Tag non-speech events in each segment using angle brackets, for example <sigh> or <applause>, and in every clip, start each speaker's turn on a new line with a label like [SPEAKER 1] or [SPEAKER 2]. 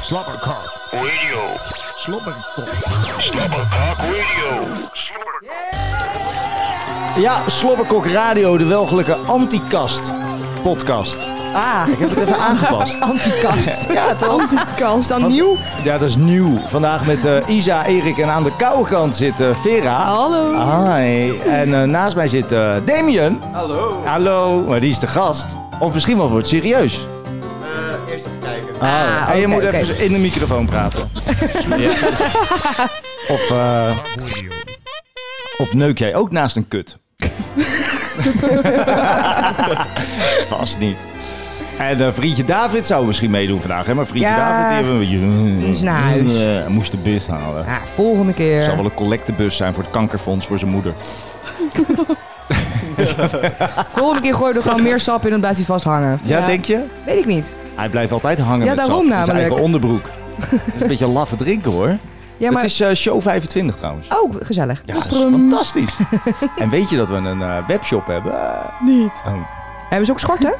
[SPEAKER 1] Slobberkok.
[SPEAKER 2] Radio.
[SPEAKER 1] Slobberkok.
[SPEAKER 2] Slobberkok Radio. Slobberkok.
[SPEAKER 3] Ja, Slobberkok Radio, de welgelijke antikast podcast.
[SPEAKER 4] Ah,
[SPEAKER 3] Ik heb het even
[SPEAKER 4] <laughs>
[SPEAKER 3] aangepast.
[SPEAKER 4] antikast.
[SPEAKER 3] Ja, toch?
[SPEAKER 4] Antikast. Is dat
[SPEAKER 3] Van-
[SPEAKER 4] nieuw?
[SPEAKER 3] Ja, dat is nieuw. Vandaag met eh, Isa, Erik en aan de koude kant zit eh, Vera.
[SPEAKER 4] Hallo.
[SPEAKER 3] Hi. En eh, naast mij zit eh Damien.
[SPEAKER 5] Hallo.
[SPEAKER 3] Hallo. Maar die is de gast. Of misschien wel voor het serieus.
[SPEAKER 5] Eh, eerst even kijken.
[SPEAKER 3] en
[SPEAKER 4] Ah,
[SPEAKER 3] Oh. je
[SPEAKER 4] oké,
[SPEAKER 3] moet
[SPEAKER 4] oké.
[SPEAKER 3] even in de microfoon praten.
[SPEAKER 4] <laughs>
[SPEAKER 3] Ja. Of, eh, of neuk jij ook naast een
[SPEAKER 4] <laughs>
[SPEAKER 3] kut? Vast niet. En eh, vriendje David zou misschien meedoen vandaag, hè? Maar vriendje
[SPEAKER 4] Ja,
[SPEAKER 3] David die hebben we-
[SPEAKER 4] die is naar huis.
[SPEAKER 3] Eh, hij moest de bus halen.
[SPEAKER 4] Ja, volgende
[SPEAKER 3] Het zal
[SPEAKER 4] keer.
[SPEAKER 3] wel een collectebus zijn voor het kankerfonds voor zijn moeder.
[SPEAKER 4] Volgende keer gooi je er gewoon meer sap in en blijft hij vasthangen.
[SPEAKER 3] Ja, denk je?
[SPEAKER 4] Weet ik niet.
[SPEAKER 3] Hij blijft altijd hangen
[SPEAKER 4] Ja,
[SPEAKER 3] met
[SPEAKER 4] daarom
[SPEAKER 3] sap in zijn
[SPEAKER 4] namelijk.
[SPEAKER 3] eigen onderbroek. Dat is een beetje een laffe drinken, hoor.
[SPEAKER 4] Ja, maar...
[SPEAKER 3] Het is eh, show 25
[SPEAKER 4] <laughs>
[SPEAKER 3] trouwens.
[SPEAKER 4] Oh, gezellig.
[SPEAKER 3] Ja, dat is fantastisch. en weet je dat we een eh, webshop hebben? Eh,
[SPEAKER 6] Niet.
[SPEAKER 4] Hebben ze ook schorten?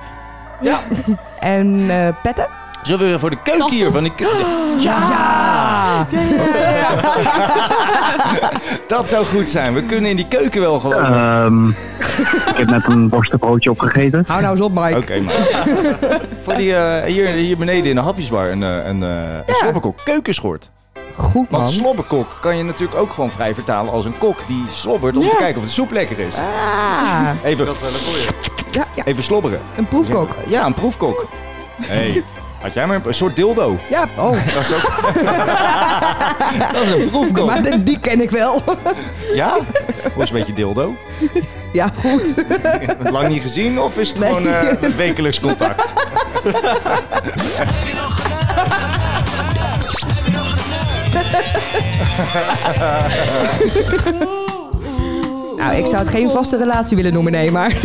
[SPEAKER 3] Ja.
[SPEAKER 4] <laughs> En eh, petten?
[SPEAKER 3] Zullen we voor de keuken
[SPEAKER 6] Tassen.
[SPEAKER 3] hier van de keuken... Ja! Dat zou goed zijn. We kunnen in die keuken wel gewoon... eh, Oké,
[SPEAKER 7] Ehm, ik heb net een borstenbroodje opgegeten.
[SPEAKER 4] Hou nou eens op, Mike.
[SPEAKER 3] maar... voor die, eh, hier, hier beneden in de hapjesbar een, eh, een, eh, een slobberkok keukenschort.
[SPEAKER 4] Goed,
[SPEAKER 3] Want
[SPEAKER 4] man.
[SPEAKER 3] slobberkok kan je natuurlijk ook gewoon vrij vertalen als een kok die slobbert om te kijken of de soep lekker is.
[SPEAKER 4] Ah,
[SPEAKER 3] Even,
[SPEAKER 5] Dat is wel een goeie.
[SPEAKER 4] ja, ja,
[SPEAKER 3] even slobberen.
[SPEAKER 4] een proefkok.
[SPEAKER 3] Ja, een proefkok.
[SPEAKER 4] <laughs>
[SPEAKER 3] hey, had jij maar een, een soort dildo.
[SPEAKER 4] Ja, oh,
[SPEAKER 3] Dat is ook... <laughs> dat is een proefkok.
[SPEAKER 4] maar die, die ken ik wel.
[SPEAKER 3] Ja? Hoe is een beetje dildo?
[SPEAKER 4] Ja, goed.
[SPEAKER 3] Lang niet gezien of is het
[SPEAKER 4] Nee.
[SPEAKER 3] gewoon eh, een wekelijks contact?
[SPEAKER 4] Nou, ik zou het geen vaste relatie willen noemen, nee, maar... <laughs>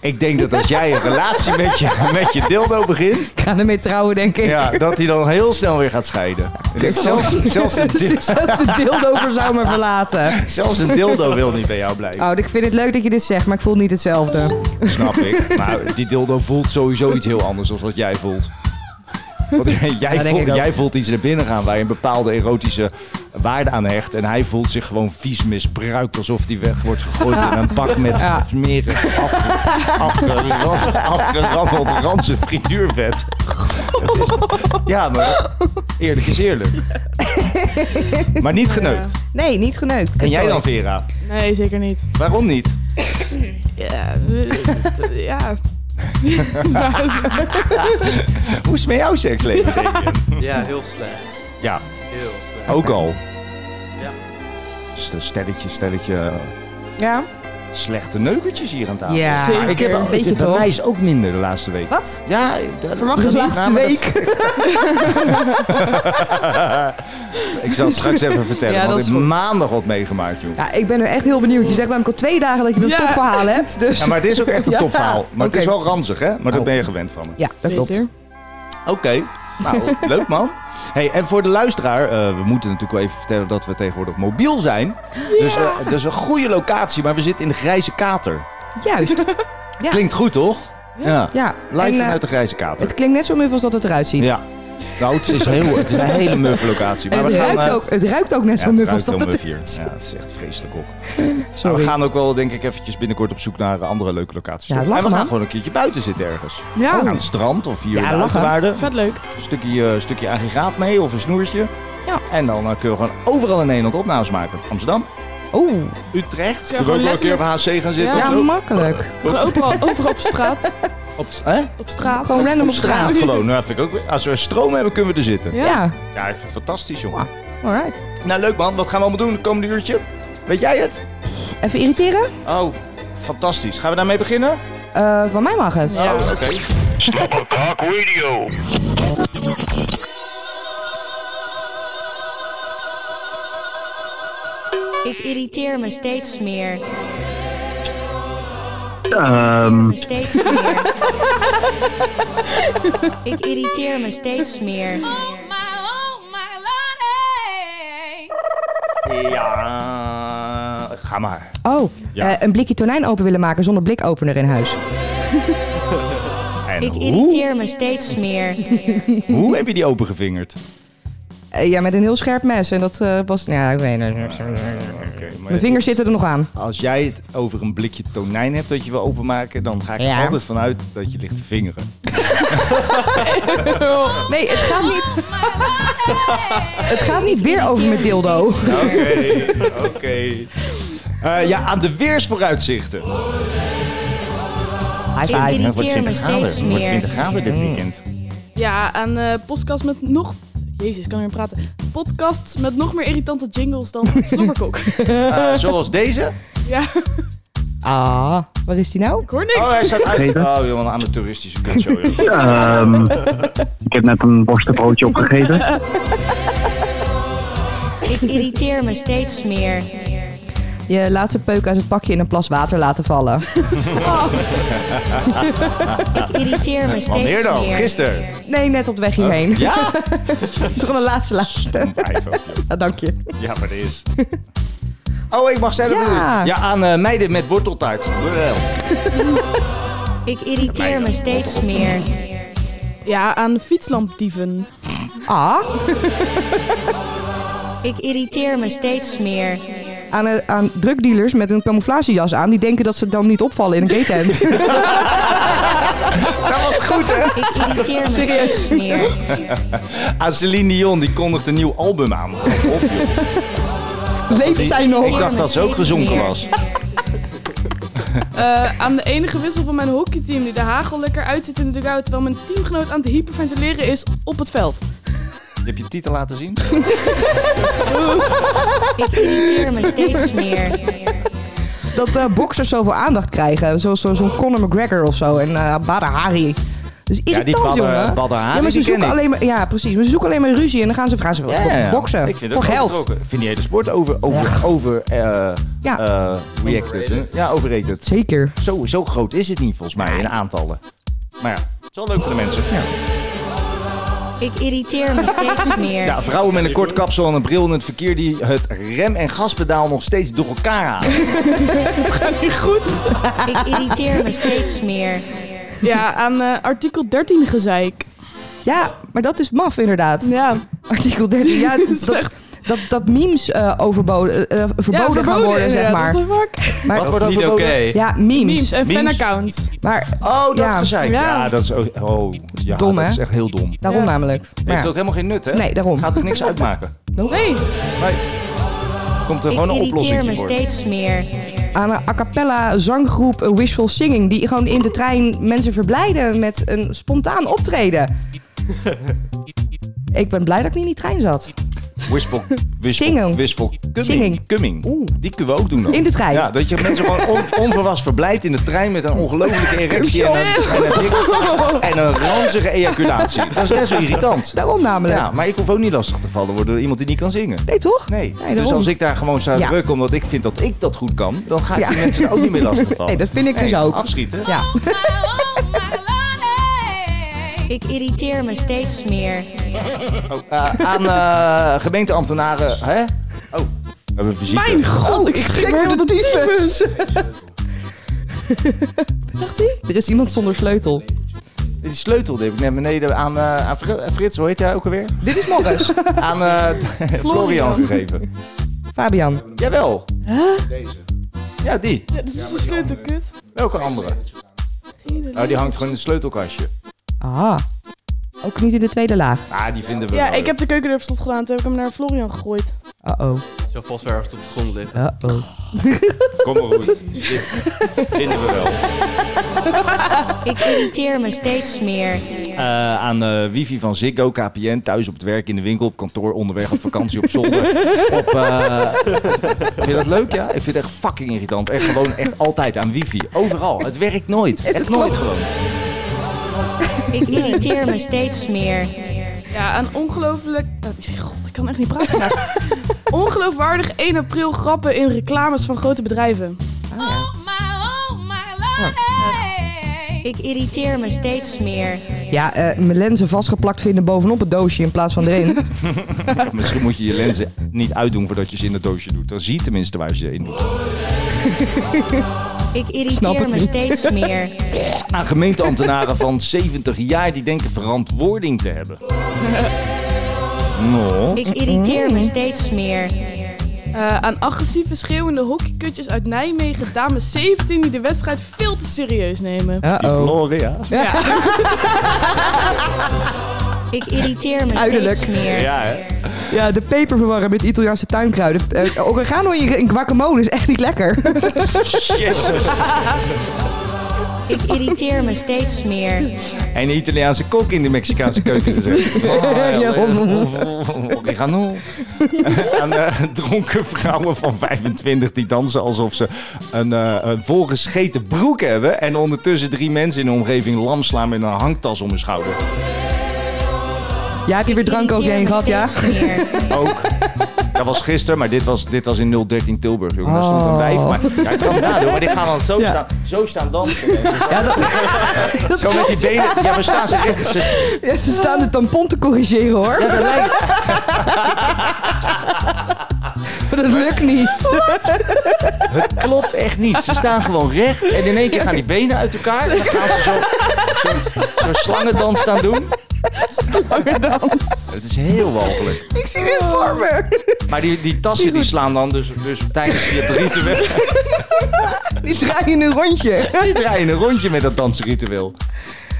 [SPEAKER 3] Ik denk dat als jij een relatie met je, met je dildo begint,
[SPEAKER 4] Ik ga ermee trouwen, denk ik.
[SPEAKER 3] ja, dat hij dan heel snel weer gaat scheiden.
[SPEAKER 4] Kut,
[SPEAKER 3] zelfs,
[SPEAKER 4] man.
[SPEAKER 3] zelfs, een dil-
[SPEAKER 4] Zelfs dus de dildover zou me verlaten.
[SPEAKER 3] zelfs een dildo wil niet bij jou blijven.
[SPEAKER 4] Oh, ik vind het leuk dat je dit zegt, maar ik voel niet hetzelfde.
[SPEAKER 3] Snap ik. Maar die dildo voelt sowieso iets heel anders dan wat jij voelt. Want <laughs> jij,
[SPEAKER 4] denk
[SPEAKER 3] voelt,
[SPEAKER 4] ik ook.
[SPEAKER 3] jij voelt iets naar binnen gaan waar je een bepaalde erotische waarde aan hecht. En hij voelt zich gewoon vies misbruikt. Alsof hij weg wordt gegooid in een bak met
[SPEAKER 4] <laughs> Ja.
[SPEAKER 3] smerig
[SPEAKER 4] <laughs>
[SPEAKER 3] afge- afgeram- afgerammeld ranse frituurvet. Het is- ja, maar eerlijk is
[SPEAKER 4] <laughs>
[SPEAKER 3] eerlijk. Maar niet geneukt.
[SPEAKER 4] Nee, niet geneukt.
[SPEAKER 3] En jij
[SPEAKER 4] Sorry.
[SPEAKER 3] dan, Vera?
[SPEAKER 6] Nee, zeker
[SPEAKER 4] <laughs>
[SPEAKER 6] niet.
[SPEAKER 3] Waarom niet?
[SPEAKER 6] Ja. eh, ja. Maar-
[SPEAKER 3] Hoe is het met jouw seksleven, Damien?
[SPEAKER 5] Ja, heel slecht.
[SPEAKER 3] Ja,
[SPEAKER 5] Heel slecht.
[SPEAKER 3] Ook al.
[SPEAKER 5] Ja.
[SPEAKER 3] St- Stelletje, stelletje eh,
[SPEAKER 4] Ja?
[SPEAKER 3] slechte neukertjes hier aan tafel.
[SPEAKER 4] Ja.
[SPEAKER 6] Zeker.
[SPEAKER 3] Ik heb al,
[SPEAKER 4] Weet je
[SPEAKER 3] bij
[SPEAKER 4] toch?
[SPEAKER 3] mij is ook minder de laatste
[SPEAKER 4] <laughs>
[SPEAKER 3] week.
[SPEAKER 4] <laughs>
[SPEAKER 3] <laughs>
[SPEAKER 4] Wat?
[SPEAKER 3] Ja, dat verwacht
[SPEAKER 4] De laatste week.
[SPEAKER 3] Ik zal het straks even vertellen,
[SPEAKER 4] Ja, dat
[SPEAKER 3] want ik
[SPEAKER 4] is
[SPEAKER 3] heb
[SPEAKER 4] goed.
[SPEAKER 3] maandag wat meegemaakt, joh.
[SPEAKER 4] Ja, ik ben nu echt heel benieuwd. Je zegt namelijk al twee dagen dat je een
[SPEAKER 6] Ja.
[SPEAKER 4] topverhaal hebt. Dus...
[SPEAKER 3] Ja, maar het is ook echt een
[SPEAKER 4] <laughs> Ja,
[SPEAKER 3] topverhaal. Maar het
[SPEAKER 4] oké.
[SPEAKER 3] is wel ranzig, hè? Maar dat
[SPEAKER 4] Oh.
[SPEAKER 3] ben je gewend van me.
[SPEAKER 4] Ja, dat klopt.
[SPEAKER 6] Beter.
[SPEAKER 3] Oké. Nou, leuk man. Hey, en voor de luisteraar, eh, we moeten natuurlijk wel even vertellen dat we tegenwoordig mobiel zijn. Dus eh, dat is een goede locatie, maar we zitten in de Grijze Kater.
[SPEAKER 4] <laughs> Juist. Ja.
[SPEAKER 3] Klinkt goed, toch? Ja.
[SPEAKER 4] Ja.
[SPEAKER 3] Live
[SPEAKER 4] En, eh,
[SPEAKER 3] vanuit de Grijze Kater.
[SPEAKER 4] het klinkt net zo muf als dat het eruit ziet.
[SPEAKER 3] Ja. Nou, het is, heel, het is een
[SPEAKER 4] <laughs>
[SPEAKER 3] hele muffe locatie.
[SPEAKER 4] En
[SPEAKER 3] Maar
[SPEAKER 4] het,
[SPEAKER 3] we gaan,
[SPEAKER 4] ruikt
[SPEAKER 3] eh,
[SPEAKER 4] ook, het ruikt ook net
[SPEAKER 3] ja,
[SPEAKER 4] zo
[SPEAKER 3] het
[SPEAKER 4] muf als
[SPEAKER 3] ruikt
[SPEAKER 4] dat
[SPEAKER 3] heel
[SPEAKER 4] het <laughs>
[SPEAKER 3] muf hier.
[SPEAKER 4] eruit
[SPEAKER 3] Ja,
[SPEAKER 4] ziet.
[SPEAKER 3] het is echt vreselijk ook. Maar
[SPEAKER 4] Sorry.
[SPEAKER 3] we gaan ook wel, denk ik, eventjes binnenkort op zoek naar eh, andere leuke locaties.
[SPEAKER 4] Ja,
[SPEAKER 3] toch? en
[SPEAKER 4] lachen,
[SPEAKER 3] we gaan
[SPEAKER 4] man.
[SPEAKER 3] gewoon een keertje buiten zitten ergens.
[SPEAKER 6] Ja.
[SPEAKER 3] Aan het strand of hier
[SPEAKER 4] Ja,
[SPEAKER 3] in de
[SPEAKER 4] lachen.
[SPEAKER 3] Uiterwaarden.
[SPEAKER 6] Vet leuk.
[SPEAKER 3] Een stukje, eh, stukje aggregaat mee of een snoertje.
[SPEAKER 6] Ja.
[SPEAKER 3] En dan eh, kunnen we gewoon overal in Nederland opnames maken. Amsterdam,
[SPEAKER 4] Oeh.
[SPEAKER 3] Utrecht.
[SPEAKER 6] Ja,
[SPEAKER 3] Kunnen we ook wel een keer op
[SPEAKER 6] letterlijk-
[SPEAKER 3] HC gaan zitten
[SPEAKER 4] Ja,
[SPEAKER 3] of zo.
[SPEAKER 4] makkelijk.
[SPEAKER 6] Gewoon overal,
[SPEAKER 3] <laughs>
[SPEAKER 6] overal op straat.
[SPEAKER 3] Op, hè?
[SPEAKER 6] Op straat.
[SPEAKER 4] Gewoon random op straat.
[SPEAKER 3] Straat gewoon. Nou, vind ik ook, weer- als we stroom hebben, kunnen we er zitten.
[SPEAKER 6] Ja.
[SPEAKER 4] Ja,
[SPEAKER 3] Ja, ik vind het fantastisch, jongen.
[SPEAKER 4] alright.
[SPEAKER 3] Nou, leuk man. Wat gaan we allemaal doen de komende uurtje? Weet jij het?
[SPEAKER 4] Even irriteren?
[SPEAKER 3] Oh, fantastisch. Gaan we daarmee beginnen?
[SPEAKER 4] Eh, van mij mag het.
[SPEAKER 3] Oh, oké.
[SPEAKER 2] Slobberkok Radio.
[SPEAKER 8] Ik irriteer me steeds meer.
[SPEAKER 7] Ehm,
[SPEAKER 8] Me steeds meer. <laughs> ik irriteer me steeds meer.
[SPEAKER 3] Ja, ga maar.
[SPEAKER 4] Oh,
[SPEAKER 3] Ja.
[SPEAKER 4] eh, een blikje tonijn open willen maken zonder blikopener in huis.
[SPEAKER 3] Hé, <laughs> En
[SPEAKER 8] Ik
[SPEAKER 3] hoe,
[SPEAKER 8] irriteer me steeds meer.
[SPEAKER 3] hoe heb je die opengevingerd?
[SPEAKER 4] Eh, ja, met een heel scherp mes. En dat eh, was... Ja, ik weet het. niet.
[SPEAKER 3] Oké, maar
[SPEAKER 4] Mijn vingers zitten er nog
[SPEAKER 6] <laughs>
[SPEAKER 4] aan.
[SPEAKER 3] Als jij het over een blikje tonijn hebt dat je wil openmaken, dan ga ik er
[SPEAKER 4] Ja.
[SPEAKER 3] altijd vanuit dat je ligt te vingeren.
[SPEAKER 4] Nee, het gaat
[SPEAKER 6] <laughs>
[SPEAKER 4] niet... Het gaat niet weer over mijn dildo.
[SPEAKER 3] Oké, oké. Eh, ja, aan de weersvooruitzichten.
[SPEAKER 4] High
[SPEAKER 8] Ik
[SPEAKER 4] five.
[SPEAKER 8] irriteer me steeds
[SPEAKER 3] Het wordt 20
[SPEAKER 8] meer.
[SPEAKER 3] graden dit weekend.
[SPEAKER 6] Ja, aan eh podcast met nog... Jezus, ik kan niet meer praten. Podcast met nog meer irritante jingles
[SPEAKER 4] <laughs>
[SPEAKER 6] dan Slobberkok.
[SPEAKER 3] Eh, zoals deze.
[SPEAKER 6] ja,
[SPEAKER 4] Ah, waar is die nou?
[SPEAKER 6] ik hoor niks.
[SPEAKER 3] Oh, hij staat uit.
[SPEAKER 7] Deze?
[SPEAKER 3] Oh, joh, een amateuristische kutshow. joh.
[SPEAKER 7] Ehm, ik heb net een worstenbroodje opgegeten.
[SPEAKER 8] Ik irriteer me steeds meer.
[SPEAKER 4] Je laatste peuk uit het pakje in een plas water laten vallen.
[SPEAKER 8] Oh.
[SPEAKER 4] <laughs>
[SPEAKER 8] Ik irriteer me
[SPEAKER 3] Wanneer
[SPEAKER 8] steeds
[SPEAKER 3] dan?
[SPEAKER 8] meer.
[SPEAKER 3] Gisteren?
[SPEAKER 4] Nee, net op de weg hierheen.
[SPEAKER 3] Oh, Ja?
[SPEAKER 4] <laughs> Toch een laatste laatste.
[SPEAKER 3] Vijf
[SPEAKER 4] <laughs>
[SPEAKER 3] ook.
[SPEAKER 4] Ah, dank je.
[SPEAKER 3] Ja, maar dit is... <laughs> Oh, ik mag zelf
[SPEAKER 4] Ja.
[SPEAKER 3] doen. Ja, aan eh, meiden met worteltaart. Wel.
[SPEAKER 8] Ik irriteer me steeds meer.
[SPEAKER 6] Ja, aan fietslampdieven.
[SPEAKER 4] Ah,
[SPEAKER 6] <laughs>
[SPEAKER 8] Ik irriteer me steeds meer.
[SPEAKER 4] aan, eh, aan drugdealers met een camouflagejas aan. Die denken dat ze dan niet opvallen in een gay tent.
[SPEAKER 3] <laughs>
[SPEAKER 8] Ik irriteer me steeds meer.
[SPEAKER 3] <laughs> Aan Celine Dion, die kondigt een nieuw album aan. Kom op, joh.
[SPEAKER 4] Leeft zij
[SPEAKER 3] Ik
[SPEAKER 4] nog?
[SPEAKER 3] dacht dat ze ook gezonken was.
[SPEAKER 6] Eh, aan de enige wissel van mijn hockeyteam die de hagel lekker uitzit in de dugout... terwijl mijn teamgenoot aan het hyperventileren is op het veld.
[SPEAKER 3] Heb je de titel laten zien?
[SPEAKER 8] Ik irriteer me steeds meer.
[SPEAKER 4] Dat eh, boxers zoveel aandacht krijgen. Zoals zo- zo'n Conor McGregor of zo. En eh Badr Hari. Dus irritant,
[SPEAKER 3] Badr-
[SPEAKER 4] jongen.
[SPEAKER 3] Badr Hari,
[SPEAKER 4] ja, maar ze
[SPEAKER 3] die ken
[SPEAKER 4] zoeken
[SPEAKER 3] ik.
[SPEAKER 4] alleen maar, ja, precies. Maar ze zoeken alleen maar ruzie. En dan gaan ze, gaan ze boksen.
[SPEAKER 3] Ik vind
[SPEAKER 4] voor
[SPEAKER 3] het
[SPEAKER 4] geld.
[SPEAKER 3] overtrokken. Ik vind die hele sport over, over, over eh,
[SPEAKER 4] Ja.
[SPEAKER 3] eh, reacted. hè? Ja, overrated.
[SPEAKER 4] Zeker.
[SPEAKER 3] Zo, zo groot is het niet volgens mij in aantallen. Maar ja, het is wel leuk voor de mensen. Ja.
[SPEAKER 8] Ik irriteer me steeds meer.
[SPEAKER 3] vrouwen met een kort kapsel en een bril in het verkeer die het rem- en gaspedaal nog steeds door elkaar halen. Nou,
[SPEAKER 8] Ik irriteer me steeds meer.
[SPEAKER 6] Ja, aan eh, artikel 13 gezeik.
[SPEAKER 4] Ja, maar dat is maf inderdaad.
[SPEAKER 6] Ja.
[SPEAKER 4] Artikel
[SPEAKER 6] <laughs>
[SPEAKER 4] 13. Ja, dat, dat, dat memes eh, overboden, eh, verboden,
[SPEAKER 6] ja,
[SPEAKER 4] gaan
[SPEAKER 6] verboden
[SPEAKER 4] worden, zeg
[SPEAKER 6] inderdaad.
[SPEAKER 4] maar.
[SPEAKER 6] What the fuck?
[SPEAKER 4] maar
[SPEAKER 3] Wat wordt
[SPEAKER 5] Niet oké.
[SPEAKER 3] overboden?
[SPEAKER 4] Ja, memes.
[SPEAKER 6] Memes en
[SPEAKER 3] Memes.
[SPEAKER 6] fanaccounts.
[SPEAKER 4] Maar
[SPEAKER 3] <laughs> Oh, dat
[SPEAKER 4] Ja.
[SPEAKER 3] gezeik. Ja.
[SPEAKER 6] Ja.
[SPEAKER 3] dat is ook- oh, ja,
[SPEAKER 4] Dom,
[SPEAKER 3] dat
[SPEAKER 4] hè?
[SPEAKER 3] is echt heel dom.
[SPEAKER 4] daarom
[SPEAKER 6] Ja.
[SPEAKER 4] namelijk. Maar
[SPEAKER 3] Heeft
[SPEAKER 4] ja.
[SPEAKER 3] ook helemaal geen nut, hè?
[SPEAKER 4] Nee, daarom.
[SPEAKER 3] Gaat ook niks uitmaken.
[SPEAKER 6] Nee,
[SPEAKER 3] Komt er
[SPEAKER 8] Ik
[SPEAKER 3] gewoon een
[SPEAKER 8] irriteer me
[SPEAKER 3] oplossing voor.
[SPEAKER 8] steeds meer.
[SPEAKER 4] aan een a cappella zanggroep eh, Wishful Singing. Die gewoon in de trein mensen verblijden met een spontaan optreden.
[SPEAKER 3] <laughs>
[SPEAKER 4] Ik ben blij dat ik niet in die trein zat.
[SPEAKER 3] Wishful, wishful,
[SPEAKER 4] Singing.
[SPEAKER 3] wishful cumming.
[SPEAKER 4] Singing.
[SPEAKER 3] Cumming.
[SPEAKER 4] Oeh.
[SPEAKER 3] Die kunnen we ook doen dan.
[SPEAKER 4] In de trein.
[SPEAKER 3] Ja, dat je mensen gewoon on- onverwachts verblijdt in de trein met een ongelofelijke erectie en een, en, een dik- en een ranzige ejaculatie. Dat is net zo irritant.
[SPEAKER 4] Daarom namelijk.
[SPEAKER 3] Ja, maar ik hoef ook niet lastig te vallen worden door iemand die niet kan zingen.
[SPEAKER 4] Nee, toch?
[SPEAKER 3] Nee, dus
[SPEAKER 4] daarom.
[SPEAKER 3] als ik daar gewoon zou
[SPEAKER 4] Ja.
[SPEAKER 3] drukken omdat ik vind dat ik dat goed kan, dan ga ik
[SPEAKER 4] Ja.
[SPEAKER 3] die mensen er ook niet meer
[SPEAKER 4] <laughs>
[SPEAKER 3] lastig vallen.
[SPEAKER 4] Nee, dat vind ik dus ook.
[SPEAKER 3] Afschieten.
[SPEAKER 4] Ja.
[SPEAKER 8] Ik irriteer me steeds meer.
[SPEAKER 3] Oh, eh, aan eh, gemeenteambtenaren, hè? Oh, we hebben een visite.
[SPEAKER 6] mijn god,
[SPEAKER 4] Oh,
[SPEAKER 6] ik schrik me
[SPEAKER 4] van
[SPEAKER 6] de tyfus.
[SPEAKER 4] Zegt hij? Er is iemand zonder sleutel.
[SPEAKER 3] Die sleutel die heb ik net beneden aan, eh, aan Fri- eh, Frits, hoe heet hij ook alweer?
[SPEAKER 4] Dit is Morris.
[SPEAKER 3] <laughs> Aan eh, Florian gegeven.
[SPEAKER 4] Fabian.
[SPEAKER 3] Jawel. Huh? Deze. Ja, die.
[SPEAKER 6] Ja, dit is een sleutelkut.
[SPEAKER 3] Welke andere? Oh, die hangt gewoon in het sleutelkastje.
[SPEAKER 4] Ah. Ook niet in de tweede laag.
[SPEAKER 3] Ah, die vinden
[SPEAKER 4] <laughs>
[SPEAKER 3] we
[SPEAKER 6] Ja,
[SPEAKER 3] wel.
[SPEAKER 6] ik heb de keukendeur op slot gedaan, toen heb ik hem naar Florian gegooid.
[SPEAKER 4] Uh-oh.
[SPEAKER 5] <laughs> Zo vast wel ergens op de grond liggen.
[SPEAKER 4] Uh-oh.
[SPEAKER 3] Kom maar goed. Die vinden we wel.
[SPEAKER 8] Ik irriteer me steeds meer.
[SPEAKER 3] Eh, aan eh, wifi van Ziggo, KPN, thuis op het werk, in de winkel, op kantoor, onderweg, op vakantie, op zolder. Op, eh, Vind je dat leuk, ja? Ik vind het echt fucking irritant. Echt gewoon, echt altijd aan wifi. Overal. Het werkt nooit. Echt nooit gewoon.
[SPEAKER 8] Ik irriteer me steeds meer.
[SPEAKER 6] Ja, aan ongelooflijk... eh, god, ik kan echt niet praten
[SPEAKER 8] <laughs>
[SPEAKER 6] vandaag. Ongeloofwaardig 1 april grappen in reclames van grote bedrijven.
[SPEAKER 8] Oh, Ik irriteer me steeds meer.
[SPEAKER 4] Ja, eh, mijn lenzen vastgeplakt vinden bovenop het doosje in plaats van erin.
[SPEAKER 3] <laughs> Misschien moet je je lenzen niet uitdoen voordat je ze in het doosje doet. Dan zie je tenminste waar je ze in doet.
[SPEAKER 8] Ik
[SPEAKER 4] Snap het
[SPEAKER 8] irriteer me
[SPEAKER 4] niet.
[SPEAKER 8] steeds meer.
[SPEAKER 3] Aan gemeenteambtenaren van 70 jaar die denken verantwoording te hebben. Nou. No.
[SPEAKER 8] Ik irriteer me steeds meer.
[SPEAKER 6] Eh, aan agressieve schreeuwende hockeykutjes uit Nijmegen, dames 17 die de wedstrijd veel te serieus nemen.
[SPEAKER 5] oh.
[SPEAKER 4] Uh-oh.
[SPEAKER 3] Gloria.
[SPEAKER 8] Ik irriteer me
[SPEAKER 4] Duidelijk.
[SPEAKER 8] <laughs> steeds meer.
[SPEAKER 3] Ja, hè?
[SPEAKER 4] Ja, de peper verwarren met Italiaanse tuinkruiden. Eh, oregano in je- in guacamole is echt niet lekker. <laughs>
[SPEAKER 3] Jezus.
[SPEAKER 8] <laughs> Ik irriteer me steeds meer.
[SPEAKER 3] En de Italiaanse kok in de Mexicaanse keuken gezet. Oh,
[SPEAKER 4] <laughs> Ja. <laughs>
[SPEAKER 3] <laughs> Oregano. Aan eh, dronken vrouwen van 25 die dansen alsof ze een, eh, een volgescheten broek hebben. En ondertussen drie mensen in de omgeving lam slaan met een hangtas om hun schouder.
[SPEAKER 4] Ja, heb je weer drank over je heen gehad, ja?
[SPEAKER 8] Irriteer me
[SPEAKER 4] <laughs>
[SPEAKER 8] steeds meer.
[SPEAKER 3] Ook. Dat was gisteren, maar dit was, dit was in 013 Tilburg. Jongen. Daar stond een
[SPEAKER 4] Oh.
[SPEAKER 3] wijf. Maar, ja, ik kan het nadoen, maar die gaan dan zo,
[SPEAKER 4] Ja.
[SPEAKER 3] staan, zo staan dansen. denk ik.
[SPEAKER 4] Ja,
[SPEAKER 3] <laughs>
[SPEAKER 4] dat,
[SPEAKER 3] Zo met die benen. Ja, maar staan ze echt. Ze,
[SPEAKER 4] ja, ze staan de tampon te corrigeren, hoor. <laughs> Maar dat lukt
[SPEAKER 8] <laughs>
[SPEAKER 4] niet.
[SPEAKER 3] het klopt echt niet. Ze staan gewoon recht. En in één keer gaan die benen uit elkaar. En dan gaan ze zo, zo, zo'n slangendans staan doen.
[SPEAKER 4] Slangerdans.
[SPEAKER 3] Het is heel walgelijk.
[SPEAKER 4] Ik zie weer voor me.
[SPEAKER 3] Maar die, die tassen die slaan dan dus, dus tijdens het ritueel.
[SPEAKER 4] Die draaien een rondje.
[SPEAKER 3] Die draaien een rondje met dat dansritueel.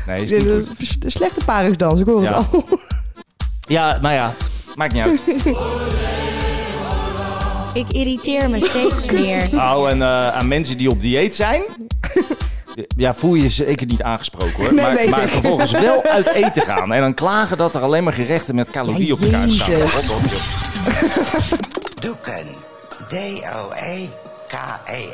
[SPEAKER 3] Nee, is
[SPEAKER 4] Dit
[SPEAKER 3] niet
[SPEAKER 4] is
[SPEAKER 3] goed.
[SPEAKER 4] een vers- een slechte paringsdans, ik hoor
[SPEAKER 3] Ja.
[SPEAKER 4] het al.
[SPEAKER 3] Ja, nou ja, maakt niet uit.
[SPEAKER 8] Ik irriteer me steeds meer.
[SPEAKER 3] Nou, en eh, aan mensen die op dieet zijn. <laughs> Ja, voel je je zeker niet aangesproken hoor.
[SPEAKER 4] Nee,
[SPEAKER 3] maar,
[SPEAKER 4] weet
[SPEAKER 3] maar
[SPEAKER 4] ik. <laughs>
[SPEAKER 3] vervolgens wel uit eten gaan. En dan klagen dat er alleen maar gerechten met calorieën op elkaar staan.
[SPEAKER 4] Jezus.
[SPEAKER 3] God, God, God.
[SPEAKER 9] Doeken. E D-O-E-K-E-N. E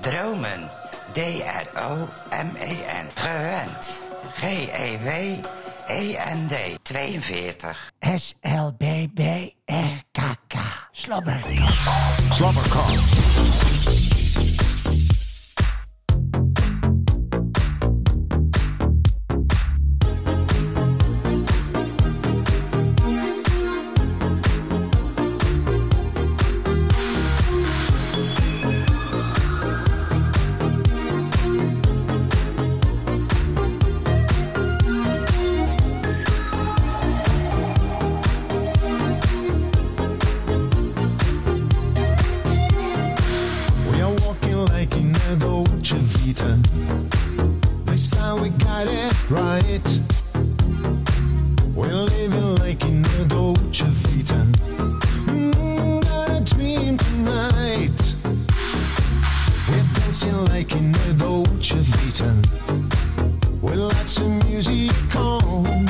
[SPEAKER 9] Dromen. D-R-O-M-E-N. E Gewend. E G-E-W-E-N-D. 42. S-L-B-B-R-K-K. Slobber.
[SPEAKER 1] We are walking like in a Dolce Vita. This time we got it right. We're living like in a Dolce Vita. Mm, got a dream tonight. We're dancing like in a Dolce Vita. With lots of music on.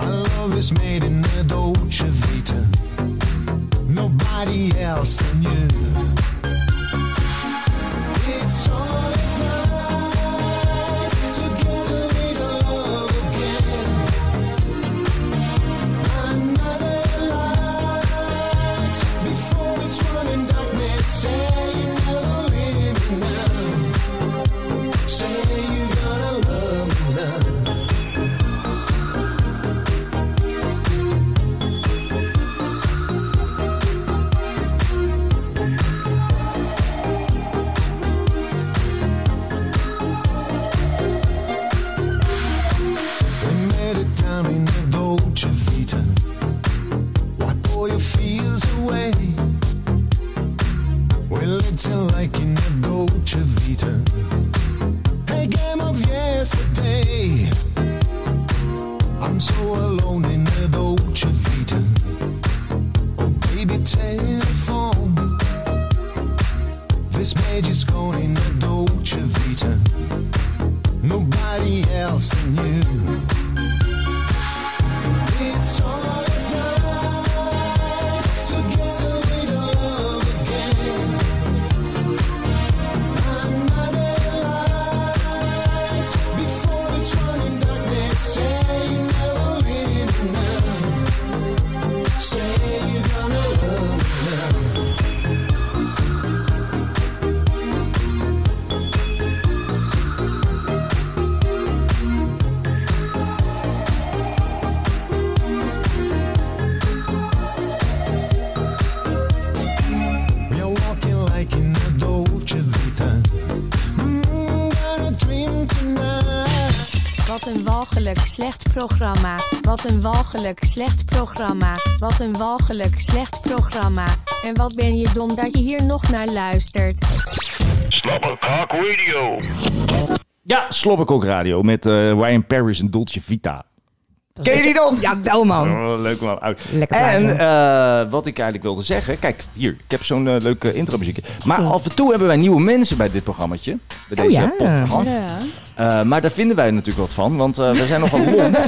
[SPEAKER 1] Our love is made in a Dolce Vita. Nobody else than you. It's all it's night together we love again. Another light before it's running darkness. Say you never leave me now. Say you gonna love me now. We made it down in the Dolce Vita. Wipe all your fears away. We're little like in the Dolce Vita. A game of yesterday. I'm so alone in the Dolce Vita. Oh, baby, telephone. This page is gone in the Dolce Vita nobody else than you. It's all it's night, together we love again. Another light, before it's running darkness, say you never leave me now. Say you're gonna love me now.
[SPEAKER 8] walgelijk slecht programma. Wat een walgelijk slecht programma. Wat een walgelijk slecht programma. En wat ben je dom dat je hier nog naar luistert.
[SPEAKER 2] Slobberkok Radio.
[SPEAKER 3] Ja, Slobberkok Radio met eh Ryan Paris en Dolce Vita. Ken je die dan?
[SPEAKER 4] Ja, wel man.
[SPEAKER 3] Oh, leuk man. Oud.
[SPEAKER 4] Lekker
[SPEAKER 3] En
[SPEAKER 4] plaatje.
[SPEAKER 3] eh, wat ik eigenlijk wilde zeggen. Kijk, hier. Ik heb zo'n eh, leuke intro muziekje. Maar af en toe hebben wij nieuwe mensen bij dit programmaatje. Bij
[SPEAKER 4] Oh
[SPEAKER 3] deze
[SPEAKER 4] ja.
[SPEAKER 3] podcast. Eh, maar daar vinden wij natuurlijk wat van. Want eh, we zijn nogal
[SPEAKER 1] <laughs>
[SPEAKER 3] lomp.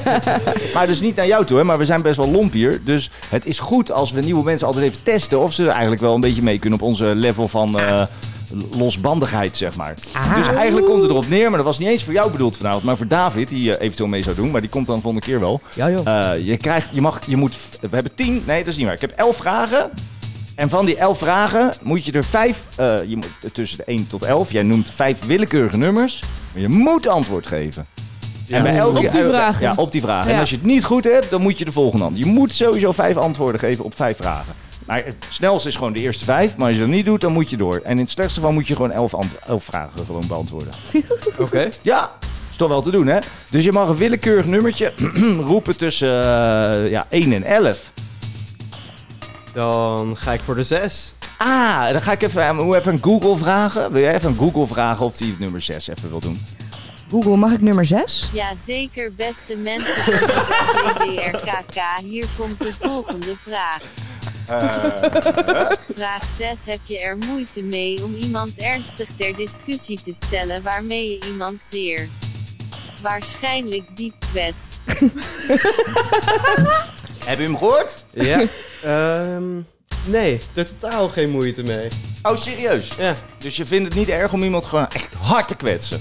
[SPEAKER 3] maar dus niet naar jou toe, hè, maar we zijn best wel lomp hier. Dus het is goed als we nieuwe mensen altijd even testen. Of ze eigenlijk wel een beetje mee kunnen op onze level van... eh, losbandigheid, zeg maar.
[SPEAKER 4] Ah.
[SPEAKER 3] Dus eigenlijk komt het erop neer, maar dat was niet eens voor jou bedoeld vanavond, maar voor David, die eh, eventueel mee zou doen, maar die komt dan volgende keer wel.
[SPEAKER 1] Ja, joh.
[SPEAKER 3] Eh, je krijgt, je mag, je moet, we hebben tien, nee dat is niet waar. Ik heb elf vragen. En van die elf vragen moet je er vijf, eh, je moet, tussen de 1 tot 11, jij noemt vijf willekeurige nummers, maar je moet antwoord geven. En bij elke,
[SPEAKER 6] Op die
[SPEAKER 3] eh,
[SPEAKER 6] vragen.
[SPEAKER 3] Ja, op die vragen. En
[SPEAKER 6] Ja.
[SPEAKER 3] als je het niet goed hebt, dan moet je de volgende antwoord. Je moet sowieso vijf antwoorden geven op vijf vragen. Maar het snelste is gewoon de eerste vijf, maar als je dat niet doet, dan moet je door. En in het slechtste geval moet je gewoon elf, ant- elf vragen gewoon
[SPEAKER 6] <laughs>
[SPEAKER 3] beantwoorden.
[SPEAKER 5] Oké.
[SPEAKER 3] Ja, is toch wel te doen, hè? Dus je mag een willekeurig nummertje <clears throat> roepen tussen eh, ja, 1 en 11.
[SPEAKER 5] Dan ga ik voor de 6.
[SPEAKER 3] Ah, dan ga ik even, eh, even een Google vragen. Wil jij even een Google vragen of die het nummer 6 even wil doen?
[SPEAKER 4] Google, mag ik nummer 6?
[SPEAKER 8] Ja, zeker beste mensen van de CDRKK. Hier komt de volgende vraag.
[SPEAKER 10] Eh,
[SPEAKER 5] <laughs>
[SPEAKER 6] Eh,
[SPEAKER 5] Eh,
[SPEAKER 8] Vraag 6. Heb je er moeite mee om iemand ernstig ter discussie te stellen waarmee je iemand zeer waarschijnlijk diep kwetst?
[SPEAKER 3] Heb je hem gehoord?
[SPEAKER 5] Ja. <laughs> Ehm nee, totaal geen moeite mee.
[SPEAKER 3] Oh, serieus?
[SPEAKER 5] Ja,
[SPEAKER 3] Dus je vindt het niet erg om iemand gewoon echt hard te kwetsen?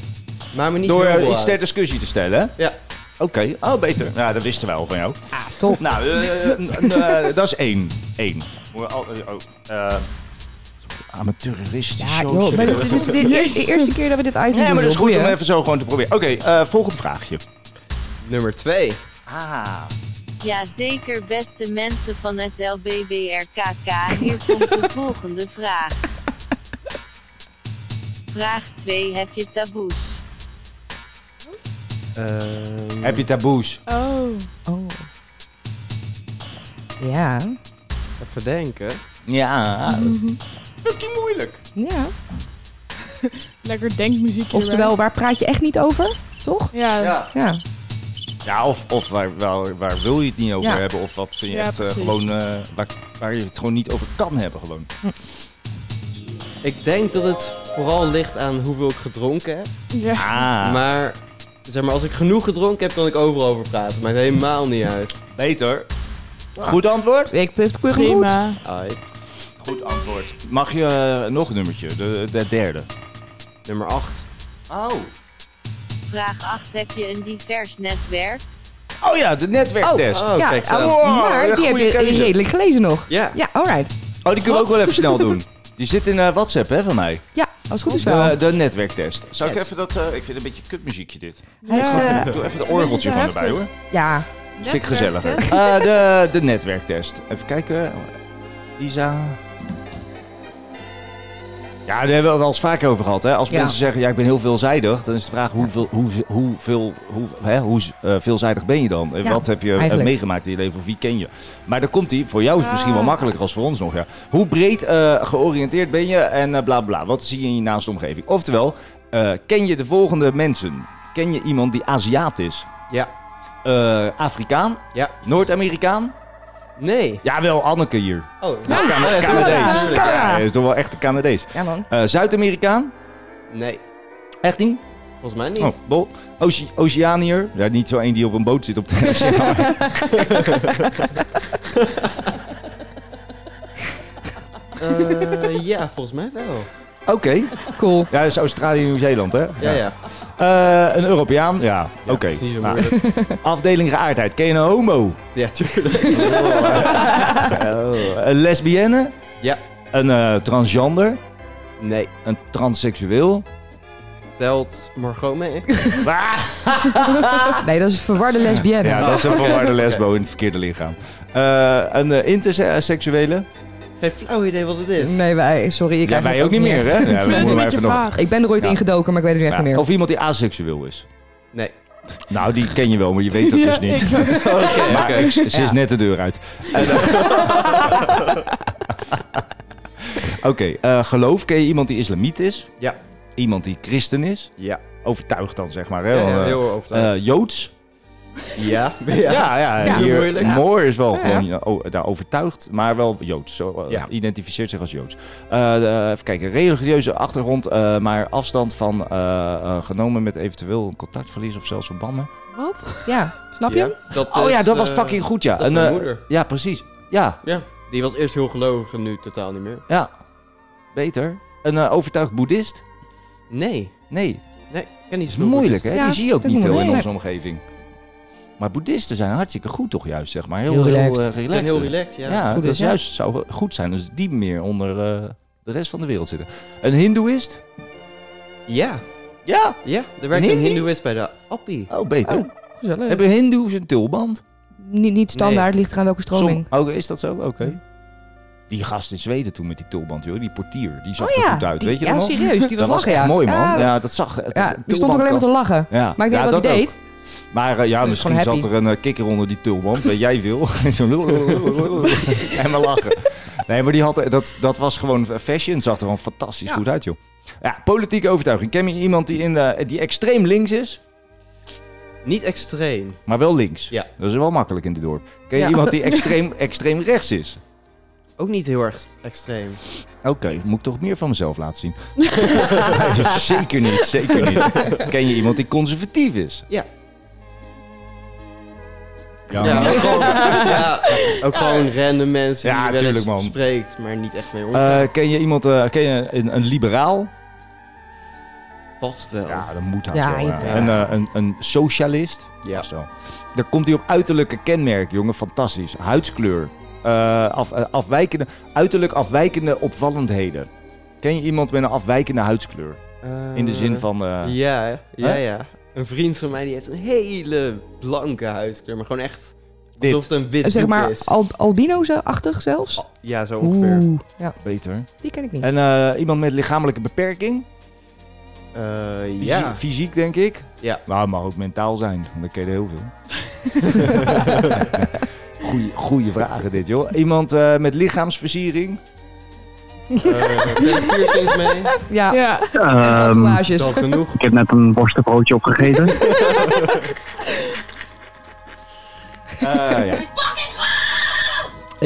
[SPEAKER 5] maar me niet
[SPEAKER 3] Door
[SPEAKER 5] heel
[SPEAKER 3] eh,
[SPEAKER 5] veel
[SPEAKER 3] iets
[SPEAKER 5] uit.
[SPEAKER 3] ter discussie te stellen, hè?
[SPEAKER 5] Ja.
[SPEAKER 3] Oké, oh beter. Ja, dat wisten wij al van jou. Ah, top. Nou, eh, eh, n- eh, dat is één. Eén. Moet je al- eh, oh, eh, amateuristisch.
[SPEAKER 4] Ja,
[SPEAKER 3] zo.
[SPEAKER 4] joh. maar dit is de eerste, eerste keer dat we dit uit
[SPEAKER 3] Nee,
[SPEAKER 4] doen,
[SPEAKER 3] maar dat is
[SPEAKER 4] joh.
[SPEAKER 3] goed om
[SPEAKER 4] Boeien.
[SPEAKER 3] even zo gewoon te proberen. Oké, eh, volgend vraagje.
[SPEAKER 5] Nummer 2.
[SPEAKER 3] Ah.
[SPEAKER 8] Ja, zeker beste mensen van SLBBRKK. Hier komt de volgende vraag. Vraag 2. Heb je taboes?
[SPEAKER 5] Ehm
[SPEAKER 3] Heb je taboes?
[SPEAKER 6] Oh.
[SPEAKER 4] Oh. Ja.
[SPEAKER 5] Even denken.
[SPEAKER 3] Ja.
[SPEAKER 5] Fucking moeilijk.
[SPEAKER 4] ja.
[SPEAKER 6] <laughs> Lekker denkmuziek hierbij.
[SPEAKER 4] Oftewel, waar praat je echt niet over? Toch?
[SPEAKER 6] Ja.
[SPEAKER 5] Ja.
[SPEAKER 4] Ja.
[SPEAKER 3] Ja, of, of waar, waar, waar wil je het niet over
[SPEAKER 4] Ja.
[SPEAKER 3] hebben? Of wat vind je
[SPEAKER 6] Ja,
[SPEAKER 3] echt eh,
[SPEAKER 6] precies.
[SPEAKER 3] gewoon... eh, waar, waar je het gewoon niet over kan hebben gewoon.
[SPEAKER 5] <laughs> Ik denk dat het vooral ligt aan hoeveel ik gedronken heb.
[SPEAKER 6] Ja.
[SPEAKER 3] Ah,
[SPEAKER 5] Maar, zeg maar, als ik genoeg gedronken heb, kan ik overal over praten. Maakt helemaal niet uit.
[SPEAKER 3] beter. Ah. Goed antwoord?
[SPEAKER 4] Ik vind het goed.
[SPEAKER 6] Prima.
[SPEAKER 5] Alright.
[SPEAKER 3] Goed antwoord. Mag je eh, nog een nummertje? De, de derde.
[SPEAKER 5] Nummer 8.
[SPEAKER 3] Oh.
[SPEAKER 8] Vraag 8. Heb je een divers netwerk?
[SPEAKER 3] Oh ja, de netwerktest.
[SPEAKER 5] Oh,
[SPEAKER 4] ja,
[SPEAKER 5] kijk zo.
[SPEAKER 4] oh,
[SPEAKER 3] Ah, Wow,
[SPEAKER 4] maar
[SPEAKER 3] wat een
[SPEAKER 4] die heb
[SPEAKER 3] goede
[SPEAKER 4] je
[SPEAKER 3] keuze.
[SPEAKER 4] redelijk gelezen nog.
[SPEAKER 3] <laughs>
[SPEAKER 5] Ja.
[SPEAKER 4] Ja, alright.
[SPEAKER 3] Oh, die kunnen we ook wel even snel
[SPEAKER 4] <laughs>
[SPEAKER 3] doen. Die zit in eh, WhatsApp, hè, van mij.
[SPEAKER 4] Ja, als het goed is wel.
[SPEAKER 3] De, de netwerktest. Zou ik
[SPEAKER 4] Yes.
[SPEAKER 3] even dat... eh, ik vind het een beetje kutmuziekje dit.
[SPEAKER 4] Hij is,
[SPEAKER 6] Ja.
[SPEAKER 4] eh,
[SPEAKER 3] Doe even
[SPEAKER 6] Het
[SPEAKER 3] de
[SPEAKER 6] is een
[SPEAKER 3] orgeltje van
[SPEAKER 6] beetje
[SPEAKER 3] erbij, hoor.
[SPEAKER 6] heftig.
[SPEAKER 4] ja.
[SPEAKER 3] Vind ik gezelliger.
[SPEAKER 6] Netwerktest.
[SPEAKER 3] Eh, de, de netwerktest. Even kijken. Isa. Ja, daar hebben we wel eens vaker over gehad. Hè? Als
[SPEAKER 4] Ja.
[SPEAKER 3] mensen zeggen, ja, ik ben heel veelzijdig, dan is de vraag hoeveel, hoe, hoe, veel, hoe, hè, hoe eh, veelzijdig ben je dan? En
[SPEAKER 4] Ja,
[SPEAKER 3] Wat heb je eh,
[SPEAKER 4] eigenlijk.
[SPEAKER 3] meegemaakt in je leven? Of wie ken je? Maar dan komt die, voor jou is het misschien wel
[SPEAKER 6] Ah.
[SPEAKER 3] makkelijker als voor ons nog. Ja. Hoe breed eh, georiënteerd ben je en eh, bla bla. Wat zie je in je naaste omgeving? Oftewel, eh, ken je de volgende mensen? Ken je iemand die Aziat is?
[SPEAKER 5] Ja.
[SPEAKER 3] Eh, Afrikaan?
[SPEAKER 5] Ja.
[SPEAKER 3] Noord-Amerikaan?
[SPEAKER 5] Nee.
[SPEAKER 3] Jawel, Anneke hier.
[SPEAKER 5] Oh,
[SPEAKER 3] Ja,
[SPEAKER 5] Oh, ja,
[SPEAKER 3] Canadees.
[SPEAKER 5] tuurlijk.
[SPEAKER 3] Ja, hij is toch wel echt een Canadees.
[SPEAKER 4] Ja, man.
[SPEAKER 3] Eh, Zuid-Amerikaan?
[SPEAKER 5] Nee,
[SPEAKER 3] Echt niet?
[SPEAKER 5] volgens mij niet.
[SPEAKER 3] Oh, bol. Oce- Oceaniër? Ja, niet zo één die op een boot zit op de <laughs> oceaan.
[SPEAKER 5] <laughs> Eh, ja, volgens mij wel.
[SPEAKER 3] Oké.
[SPEAKER 4] Cool.
[SPEAKER 3] Ja, dat is Australië en Nieuw-Zeeland, hè?
[SPEAKER 5] Ja, ja.
[SPEAKER 3] Eh, een Europeaan? Ja, oké.
[SPEAKER 5] is niet zo
[SPEAKER 3] Nou,
[SPEAKER 5] moeilijk.
[SPEAKER 3] afdeling geaardheid. Ken je een homo?
[SPEAKER 5] Ja, tuurlijk.
[SPEAKER 3] <laughs> Oh, een lesbienne?
[SPEAKER 5] Ja.
[SPEAKER 3] Een eh, transgender?
[SPEAKER 5] Nee.
[SPEAKER 3] Een transseksueel?
[SPEAKER 5] Telt Margot mee?
[SPEAKER 4] Nee, dat is een verwarde lesbienne.
[SPEAKER 3] Ja, dat is
[SPEAKER 6] <laughs>
[SPEAKER 3] een verwarde lesbo in het verkeerde lichaam. Eh, een eh, interseksuele?
[SPEAKER 5] Geen flauw idee wat het is.
[SPEAKER 4] Nee, wij, sorry. Ik
[SPEAKER 3] Ja, wij
[SPEAKER 4] eigenlijk
[SPEAKER 3] ook niet meer,
[SPEAKER 4] echt.
[SPEAKER 3] hè? Ja,
[SPEAKER 6] Ik vind het
[SPEAKER 3] moeten
[SPEAKER 6] een
[SPEAKER 3] maar
[SPEAKER 6] beetje
[SPEAKER 3] even nog-
[SPEAKER 6] vaag.
[SPEAKER 4] Ik ben er ooit
[SPEAKER 3] Ja.
[SPEAKER 4] ingedoken, maar ik weet het echt
[SPEAKER 3] Ja,
[SPEAKER 4] niet meer.
[SPEAKER 3] Of iemand die asexueel is.
[SPEAKER 5] Nee.
[SPEAKER 3] Nou, die ken je wel, maar je weet
[SPEAKER 6] <laughs>
[SPEAKER 3] dat
[SPEAKER 6] Ja,
[SPEAKER 3] dus niet.
[SPEAKER 6] ik- Oké,
[SPEAKER 3] maar
[SPEAKER 6] oké.
[SPEAKER 3] ik- ze is
[SPEAKER 6] Ja.
[SPEAKER 3] net de deur
[SPEAKER 6] <laughs>
[SPEAKER 3] uit. En, eh, <laughs> Oké, eh, geloof. Ken je iemand die islamiet is?
[SPEAKER 10] Ja.
[SPEAKER 3] Iemand die christen is?
[SPEAKER 10] Ja.
[SPEAKER 3] Overtuigd dan, zeg maar. Hè?
[SPEAKER 10] Ja, ja,
[SPEAKER 3] Want, eh,
[SPEAKER 10] heel overtuigd.
[SPEAKER 3] eh, Joods?
[SPEAKER 10] Ja.
[SPEAKER 3] <laughs> Ja, ja.
[SPEAKER 10] Ja,
[SPEAKER 3] hier-
[SPEAKER 10] moeilijk.
[SPEAKER 3] Moor is wel
[SPEAKER 10] Ja,
[SPEAKER 3] gewoon
[SPEAKER 10] ja.
[SPEAKER 3] ja, o- daar overtuigd, maar wel Joods. Zo, eh,
[SPEAKER 10] Ja.
[SPEAKER 3] Identificeert zich als Joods. Eh, eh, even kijken, religieuze achtergrond, eh, maar afstand van eh, eh, genomen met eventueel een contactverlies of zelfs verbannen.
[SPEAKER 6] Wat?
[SPEAKER 4] Ja, snap je?
[SPEAKER 3] oh ja, dat
[SPEAKER 10] Eh,
[SPEAKER 3] was fucking goed, ja.
[SPEAKER 5] Dat is
[SPEAKER 3] Een,
[SPEAKER 5] mijn
[SPEAKER 3] eh,
[SPEAKER 5] moeder.
[SPEAKER 3] Ja, precies. Ja.
[SPEAKER 5] Ja, die was eerst heel gelovig en nu totaal niet meer.
[SPEAKER 3] Ja, beter. Een eh, overtuigd boeddhist?
[SPEAKER 5] Nee.
[SPEAKER 3] Nee.
[SPEAKER 5] Nee, ik ken niet
[SPEAKER 3] is
[SPEAKER 5] zoveel
[SPEAKER 3] moeilijk, hè?
[SPEAKER 5] boeddhisten.
[SPEAKER 3] Die zie je ook
[SPEAKER 5] dat
[SPEAKER 3] niet
[SPEAKER 5] moet
[SPEAKER 3] veel in
[SPEAKER 5] moeilijk.
[SPEAKER 3] onze omgeving. Maar boeddhisten zijn hartstikke goed, toch juist, zeg maar. Heel,
[SPEAKER 5] Heel
[SPEAKER 3] heel,
[SPEAKER 5] relaxed.
[SPEAKER 3] eh,
[SPEAKER 5] Ze zijn heel relaxed, ja. Goed
[SPEAKER 3] dat
[SPEAKER 5] is,
[SPEAKER 3] is
[SPEAKER 5] ja.
[SPEAKER 3] juist zou goed zijn als die meer onder eh, de rest van de wereld zitten. Een hindoeïst?
[SPEAKER 5] Ja.
[SPEAKER 3] Ja?
[SPEAKER 5] Ja, er werkt
[SPEAKER 3] Een
[SPEAKER 5] een
[SPEAKER 3] Hindi?
[SPEAKER 5] hindoeïst bij de appie.
[SPEAKER 3] Oh, beter.
[SPEAKER 4] gezellig.
[SPEAKER 3] Hebben hindoes een tulband?
[SPEAKER 4] Niet, niet standaard, ligt eraan welke stroming.
[SPEAKER 3] Som- oh, is dat zo? Oké. Die gast in Zweden toen met die tulband, joh. Die portier, die zag
[SPEAKER 4] Oh
[SPEAKER 3] er
[SPEAKER 4] ja,
[SPEAKER 3] goed uit.
[SPEAKER 4] die-
[SPEAKER 3] weet je
[SPEAKER 4] ja,
[SPEAKER 3] dat nog?
[SPEAKER 4] serieus, die was
[SPEAKER 3] dat was
[SPEAKER 4] lachen,
[SPEAKER 3] echt
[SPEAKER 4] ja.
[SPEAKER 3] mooi, man.
[SPEAKER 4] Ja,
[SPEAKER 3] Ja, dat zag... het-
[SPEAKER 4] ja,
[SPEAKER 3] het
[SPEAKER 4] die stond ook
[SPEAKER 3] tulband
[SPEAKER 4] alleen maar te
[SPEAKER 3] kan-
[SPEAKER 4] lachen.
[SPEAKER 3] Ja.
[SPEAKER 4] Maar ik
[SPEAKER 3] ja,
[SPEAKER 4] denk wat
[SPEAKER 3] dat
[SPEAKER 4] hij
[SPEAKER 3] ook.
[SPEAKER 4] deed.
[SPEAKER 3] Maar eh, ja,
[SPEAKER 4] Dus
[SPEAKER 3] misschien
[SPEAKER 4] gewoon happy.
[SPEAKER 3] zat er een eh, kikker onder die tulband. Weet jij veel? <laughs> Zo en maar lachen. Nee, maar die had, eh, dat, dat was gewoon eh, fashion. Zag er gewoon fantastisch goed uit, joh. Ja, politieke overtuiging. Ken je iemand die, in de, die extreem links is?
[SPEAKER 5] Niet extreem.
[SPEAKER 3] Maar wel links.
[SPEAKER 5] Ja.
[SPEAKER 3] Dat is wel makkelijk in dit dorp. Ken je
[SPEAKER 5] Ja.
[SPEAKER 3] iemand
[SPEAKER 5] <laughs>
[SPEAKER 3] die extreem, extreem rechts is?
[SPEAKER 5] Ook niet heel erg extreem.
[SPEAKER 3] Oké, moet ik toch meer van mezelf laten zien? <laughs> Nee, zeker niet, zeker niet. Ken je iemand die conservatief is?
[SPEAKER 5] Ja.
[SPEAKER 3] Ja,
[SPEAKER 5] ook
[SPEAKER 3] <laughs>
[SPEAKER 5] gewoon, <laughs> ja, ook
[SPEAKER 3] Ja.
[SPEAKER 5] gewoon random mensen
[SPEAKER 3] Ja,
[SPEAKER 5] die je wel eens
[SPEAKER 3] tuurlijk, man.
[SPEAKER 5] spreekt, maar niet echt mee omgaat.
[SPEAKER 3] Eh, ken je iemand, eh, ken je een, een liberaal?
[SPEAKER 5] Past wel.
[SPEAKER 3] Ja, dat moet haast
[SPEAKER 5] Ja,
[SPEAKER 3] wel. Ja.
[SPEAKER 5] ja.
[SPEAKER 3] Een, eh, een, een socialist?
[SPEAKER 5] Ja.
[SPEAKER 3] Past wel. Dan komt hij op uiterlijke kenmerken, jongen. Fantastisch. Huidskleur. eh, af, eh, afwijkende, uiterlijk afwijkende opvallendheden. Ken je iemand met een afwijkende huidskleur? In de zin van... eh,
[SPEAKER 5] ja, ja,
[SPEAKER 3] hè?
[SPEAKER 5] ja. Een vriend van mij die heeft een hele blanke huidskleur, maar gewoon echt
[SPEAKER 3] Wit.
[SPEAKER 5] alsof het een wit
[SPEAKER 4] zeg
[SPEAKER 5] doek
[SPEAKER 4] maar
[SPEAKER 5] is.
[SPEAKER 4] Ah, al, albino's-achtig zelfs.
[SPEAKER 5] Ja, zo ongeveer.
[SPEAKER 4] Oeh, ja.
[SPEAKER 3] Beter.
[SPEAKER 4] Die ken ik niet.
[SPEAKER 3] En eh, iemand met lichamelijke beperking?
[SPEAKER 5] Eh,
[SPEAKER 3] Fysie-
[SPEAKER 5] ja.
[SPEAKER 3] Fysiek, denk ik.
[SPEAKER 5] Ja.
[SPEAKER 3] Maar het mag ook mentaal zijn, want dan ken je er heel
[SPEAKER 5] <laughs>
[SPEAKER 3] veel. goeie, goeie vragen dit, joh. Iemand eh, met lichaamsversiering?
[SPEAKER 5] Eh, Piercings mee.
[SPEAKER 4] <laughs> Ja.
[SPEAKER 7] Ehm,
[SPEAKER 5] Dat genoeg.
[SPEAKER 7] Ik heb net een worstenbroodje
[SPEAKER 4] <laughs>
[SPEAKER 7] opgegeten.
[SPEAKER 3] Eh,
[SPEAKER 4] <laughs>
[SPEAKER 3] ja.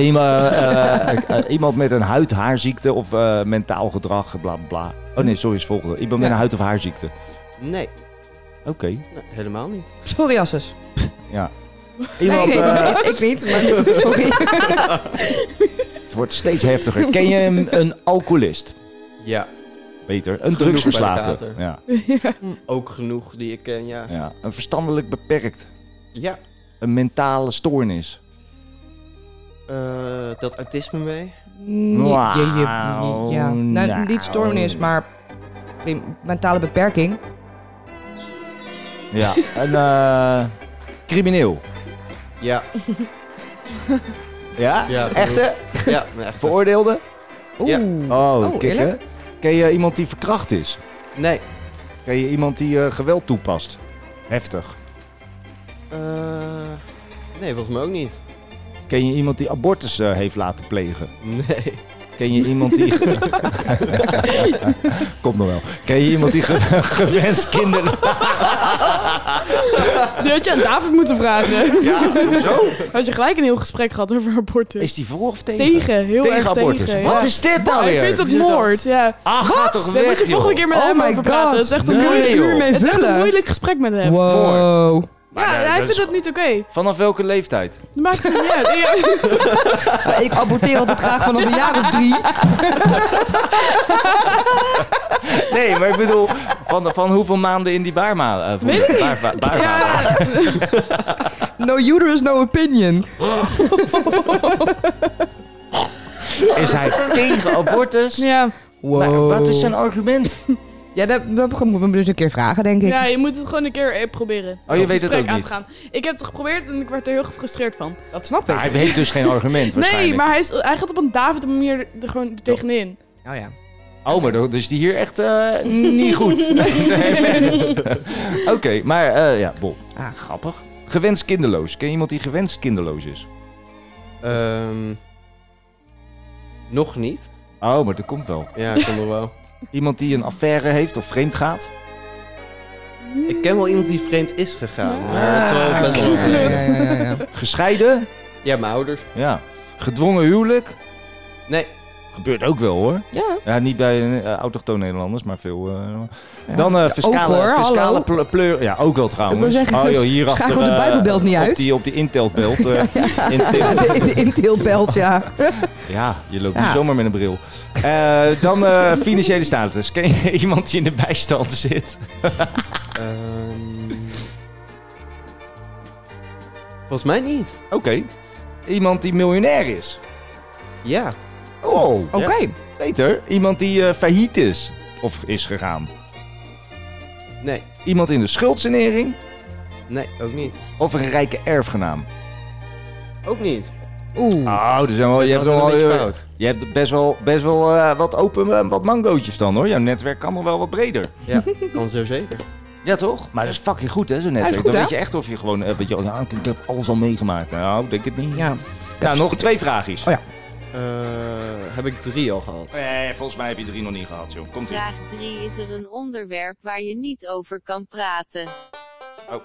[SPEAKER 3] Iemand, eh, eh, eh, iemand met een huid-haarziekte of eh, mentaal gedrag, bla bla, bla. Oh nee, sorry, is volgende. Iemand met
[SPEAKER 5] Ja.
[SPEAKER 3] een huid- of haarziekte.
[SPEAKER 5] Nee,
[SPEAKER 3] Oké,
[SPEAKER 5] nou, helemaal niet.
[SPEAKER 4] Psoriasis.
[SPEAKER 3] ja.
[SPEAKER 4] Nee,
[SPEAKER 3] Iemand,
[SPEAKER 4] nee,
[SPEAKER 3] eh,
[SPEAKER 4] ik, ik niet, maar <laughs> sorry.
[SPEAKER 3] <laughs> het wordt steeds heftiger. Ken je een, een alcoholist?
[SPEAKER 5] Ja.
[SPEAKER 3] Beter, een
[SPEAKER 5] Genoeg bij de
[SPEAKER 3] drugsverslaafde.
[SPEAKER 5] kater.
[SPEAKER 3] <laughs> Ja.
[SPEAKER 5] eh, <laughs> Ook genoeg die ik ken, ja.
[SPEAKER 3] Ja. Een verstandelijk beperkt.
[SPEAKER 5] Ja.
[SPEAKER 3] Een mentale stoornis.
[SPEAKER 5] Eh, dat autisme mee.
[SPEAKER 4] Niet,
[SPEAKER 3] Wauw,
[SPEAKER 4] je, je- ja. Nou,
[SPEAKER 3] nou.
[SPEAKER 4] niet stoornis, maar prim- mentale beperking.
[SPEAKER 3] Ja. een eh, crimineel.
[SPEAKER 5] Ja.
[SPEAKER 3] Ja?
[SPEAKER 5] Ja,
[SPEAKER 3] Echte?
[SPEAKER 5] Ja, echt.
[SPEAKER 3] Veroordeelde?
[SPEAKER 4] Oeh.
[SPEAKER 5] Ja.
[SPEAKER 3] Oh,
[SPEAKER 4] Oh,
[SPEAKER 3] kikken.
[SPEAKER 4] eerlijk?
[SPEAKER 3] Ken je iemand die verkracht is?
[SPEAKER 5] Nee.
[SPEAKER 3] Ken je iemand die eh, geweld toepast? Heftig.
[SPEAKER 5] Eh, nee, volgens mij ook niet.
[SPEAKER 3] Ken je iemand die abortus eh, heeft laten plegen?
[SPEAKER 5] Nee.
[SPEAKER 3] Ken je iemand die... <laughs> Komt nog wel. Ken je iemand die ge- <laughs> gewenst kinderen...
[SPEAKER 6] Die had je aan David moeten vragen.
[SPEAKER 3] Ja, zo.
[SPEAKER 6] Had je gelijk een heel gesprek gehad over abortus.
[SPEAKER 3] Is die voor of tegen?
[SPEAKER 6] Tegen, heel
[SPEAKER 3] Tegen
[SPEAKER 6] erg
[SPEAKER 3] abortus.
[SPEAKER 6] tegen.
[SPEAKER 3] Wat is dit nou
[SPEAKER 6] Ja,
[SPEAKER 3] weer?
[SPEAKER 6] Ik vind
[SPEAKER 3] Wie
[SPEAKER 6] het
[SPEAKER 3] is
[SPEAKER 6] moord,
[SPEAKER 3] dat?
[SPEAKER 6] ja.
[SPEAKER 3] Ah, ga toch
[SPEAKER 6] Daar
[SPEAKER 3] weg,
[SPEAKER 6] moet je volgende
[SPEAKER 3] joh.
[SPEAKER 6] keer met
[SPEAKER 4] Oh
[SPEAKER 6] hem
[SPEAKER 4] my
[SPEAKER 6] over praten. Het is echt een
[SPEAKER 3] Nee,
[SPEAKER 6] moeilijk,
[SPEAKER 3] joh.
[SPEAKER 6] het is echt een
[SPEAKER 4] vullen.
[SPEAKER 6] moeilijk gesprek met hem.
[SPEAKER 4] Wow.
[SPEAKER 3] Maar,
[SPEAKER 6] Ja,
[SPEAKER 3] eh,
[SPEAKER 6] hij
[SPEAKER 3] dat is
[SPEAKER 6] vindt dat niet oké.
[SPEAKER 3] Vanaf welke leeftijd? <laughs>
[SPEAKER 6] Dat maakt het niet uit. Ja.
[SPEAKER 4] Maar Ik aborteer altijd graag vanaf een jaar of drie.
[SPEAKER 3] Nee, maar ik bedoel, van, van hoeveel maanden in die baarma... eh,
[SPEAKER 6] Weet ik
[SPEAKER 3] baarva-
[SPEAKER 6] niet.
[SPEAKER 3] baarma-
[SPEAKER 6] Ja,
[SPEAKER 4] No uterus, no opinion.
[SPEAKER 3] Is hij tegen abortus?
[SPEAKER 6] ja.
[SPEAKER 3] Nou,
[SPEAKER 4] Wow.
[SPEAKER 3] wat is zijn argument?
[SPEAKER 4] Ja, dat, dat moeten we dus een keer vragen, denk ik.
[SPEAKER 6] ja, je moet het gewoon een keer eh, proberen.
[SPEAKER 3] Oh, je
[SPEAKER 6] Een
[SPEAKER 3] weet het
[SPEAKER 6] gesprek
[SPEAKER 3] ook
[SPEAKER 6] aan
[SPEAKER 3] niet.
[SPEAKER 6] te gaan. Ik heb het geprobeerd en ik werd er heel gefrustreerd van.
[SPEAKER 4] Dat snap ik.
[SPEAKER 3] Nou, hij heeft dus geen argument
[SPEAKER 6] Nee,
[SPEAKER 3] waarschijnlijk.
[SPEAKER 6] maar hij, is, hij gaat op een David manier er gewoon er tegenin.
[SPEAKER 4] Oh ja.
[SPEAKER 3] Oh, maar dan is die hier echt eh, <laughs> niet goed. Nee, nee. <laughs> Oké, maar eh, ja, Bol. Ah, grappig. Gewenst kinderloos. Ken je iemand die gewenst kinderloos is?
[SPEAKER 5] Ehm, nog niet.
[SPEAKER 3] Oh, maar dat komt wel.
[SPEAKER 5] Ja, komt nog wel.
[SPEAKER 3] <laughs> Iemand die een affaire heeft of vreemd gaat?
[SPEAKER 5] Ik ken wel iemand die vreemd is gegaan. Maar dat is wel best wel...
[SPEAKER 3] Ah, Ja, ja, ja, ja. Gescheiden?
[SPEAKER 5] Ja, mijn ouders.
[SPEAKER 3] Ja. Gedwongen huwelijk?
[SPEAKER 5] Nee.
[SPEAKER 3] Gebeurt ook wel hoor.
[SPEAKER 4] Ja.
[SPEAKER 3] Ja, niet bij eh, autochtone Nederlanders, maar veel. eh, dan eh fiscale,
[SPEAKER 4] ook hoor, hallo.
[SPEAKER 3] fiscale ple- pleur. Ja, ook wel trouwens.
[SPEAKER 4] Ik wil zeggen,
[SPEAKER 3] oh, joh, hier achter,
[SPEAKER 4] schakel de
[SPEAKER 3] eh,
[SPEAKER 4] Bijbelbelt niet
[SPEAKER 3] op
[SPEAKER 4] uit.
[SPEAKER 3] Die, op die inteltbelt.
[SPEAKER 4] <laughs>
[SPEAKER 3] eh,
[SPEAKER 4] Ja,
[SPEAKER 3] intilt.
[SPEAKER 4] <laughs> de, de inteelbelt, ja.
[SPEAKER 3] Ja, je loopt
[SPEAKER 4] Ja.
[SPEAKER 3] niet zomaar met een bril. Eh, dan eh, financiële status. Ken je <laughs> iemand die in de bijstand zit?
[SPEAKER 5] Ehm, volgens mij niet.
[SPEAKER 3] Oké. Iemand die miljonair is.
[SPEAKER 5] Ja.
[SPEAKER 3] Oh,
[SPEAKER 4] Oké.
[SPEAKER 3] beter. Iemand die eh, failliet is. Of is gegaan.
[SPEAKER 5] Nee.
[SPEAKER 3] Iemand in de schuldsanering.
[SPEAKER 5] Nee, ook niet.
[SPEAKER 3] Of een rijke erfgenaam.
[SPEAKER 5] Ook niet.
[SPEAKER 4] Oeh.
[SPEAKER 3] Oh, er zijn wel, je, hebt
[SPEAKER 5] Dat is
[SPEAKER 3] er wel,
[SPEAKER 5] een beetje
[SPEAKER 3] eh,
[SPEAKER 5] fout.
[SPEAKER 3] je hebt best wel, best wel eh, wat open, eh, wat mangootjes dan hoor. Jouw netwerk kan nog wel wat breder.
[SPEAKER 5] Ja, kan zo zeker.
[SPEAKER 3] Ja, toch? Maar dat is fucking goed, hè, zo'n
[SPEAKER 4] is
[SPEAKER 3] netwerk.
[SPEAKER 4] goed,
[SPEAKER 3] dan
[SPEAKER 4] hè?
[SPEAKER 3] weet je echt of je gewoon... eh, weet je, ja, ik, ik heb alles al meegemaakt. Nou, ik denk het niet. Ja. Nou, nog twee vraagjes.
[SPEAKER 4] Oh, ja.
[SPEAKER 5] Eh, heb ik drie al gehad?
[SPEAKER 3] Nee, Eh, volgens mij heb je drie nog niet gehad, joh. Komt ie.
[SPEAKER 10] Vraag 3 is er een onderwerp waar je niet over kan praten.
[SPEAKER 3] Oh.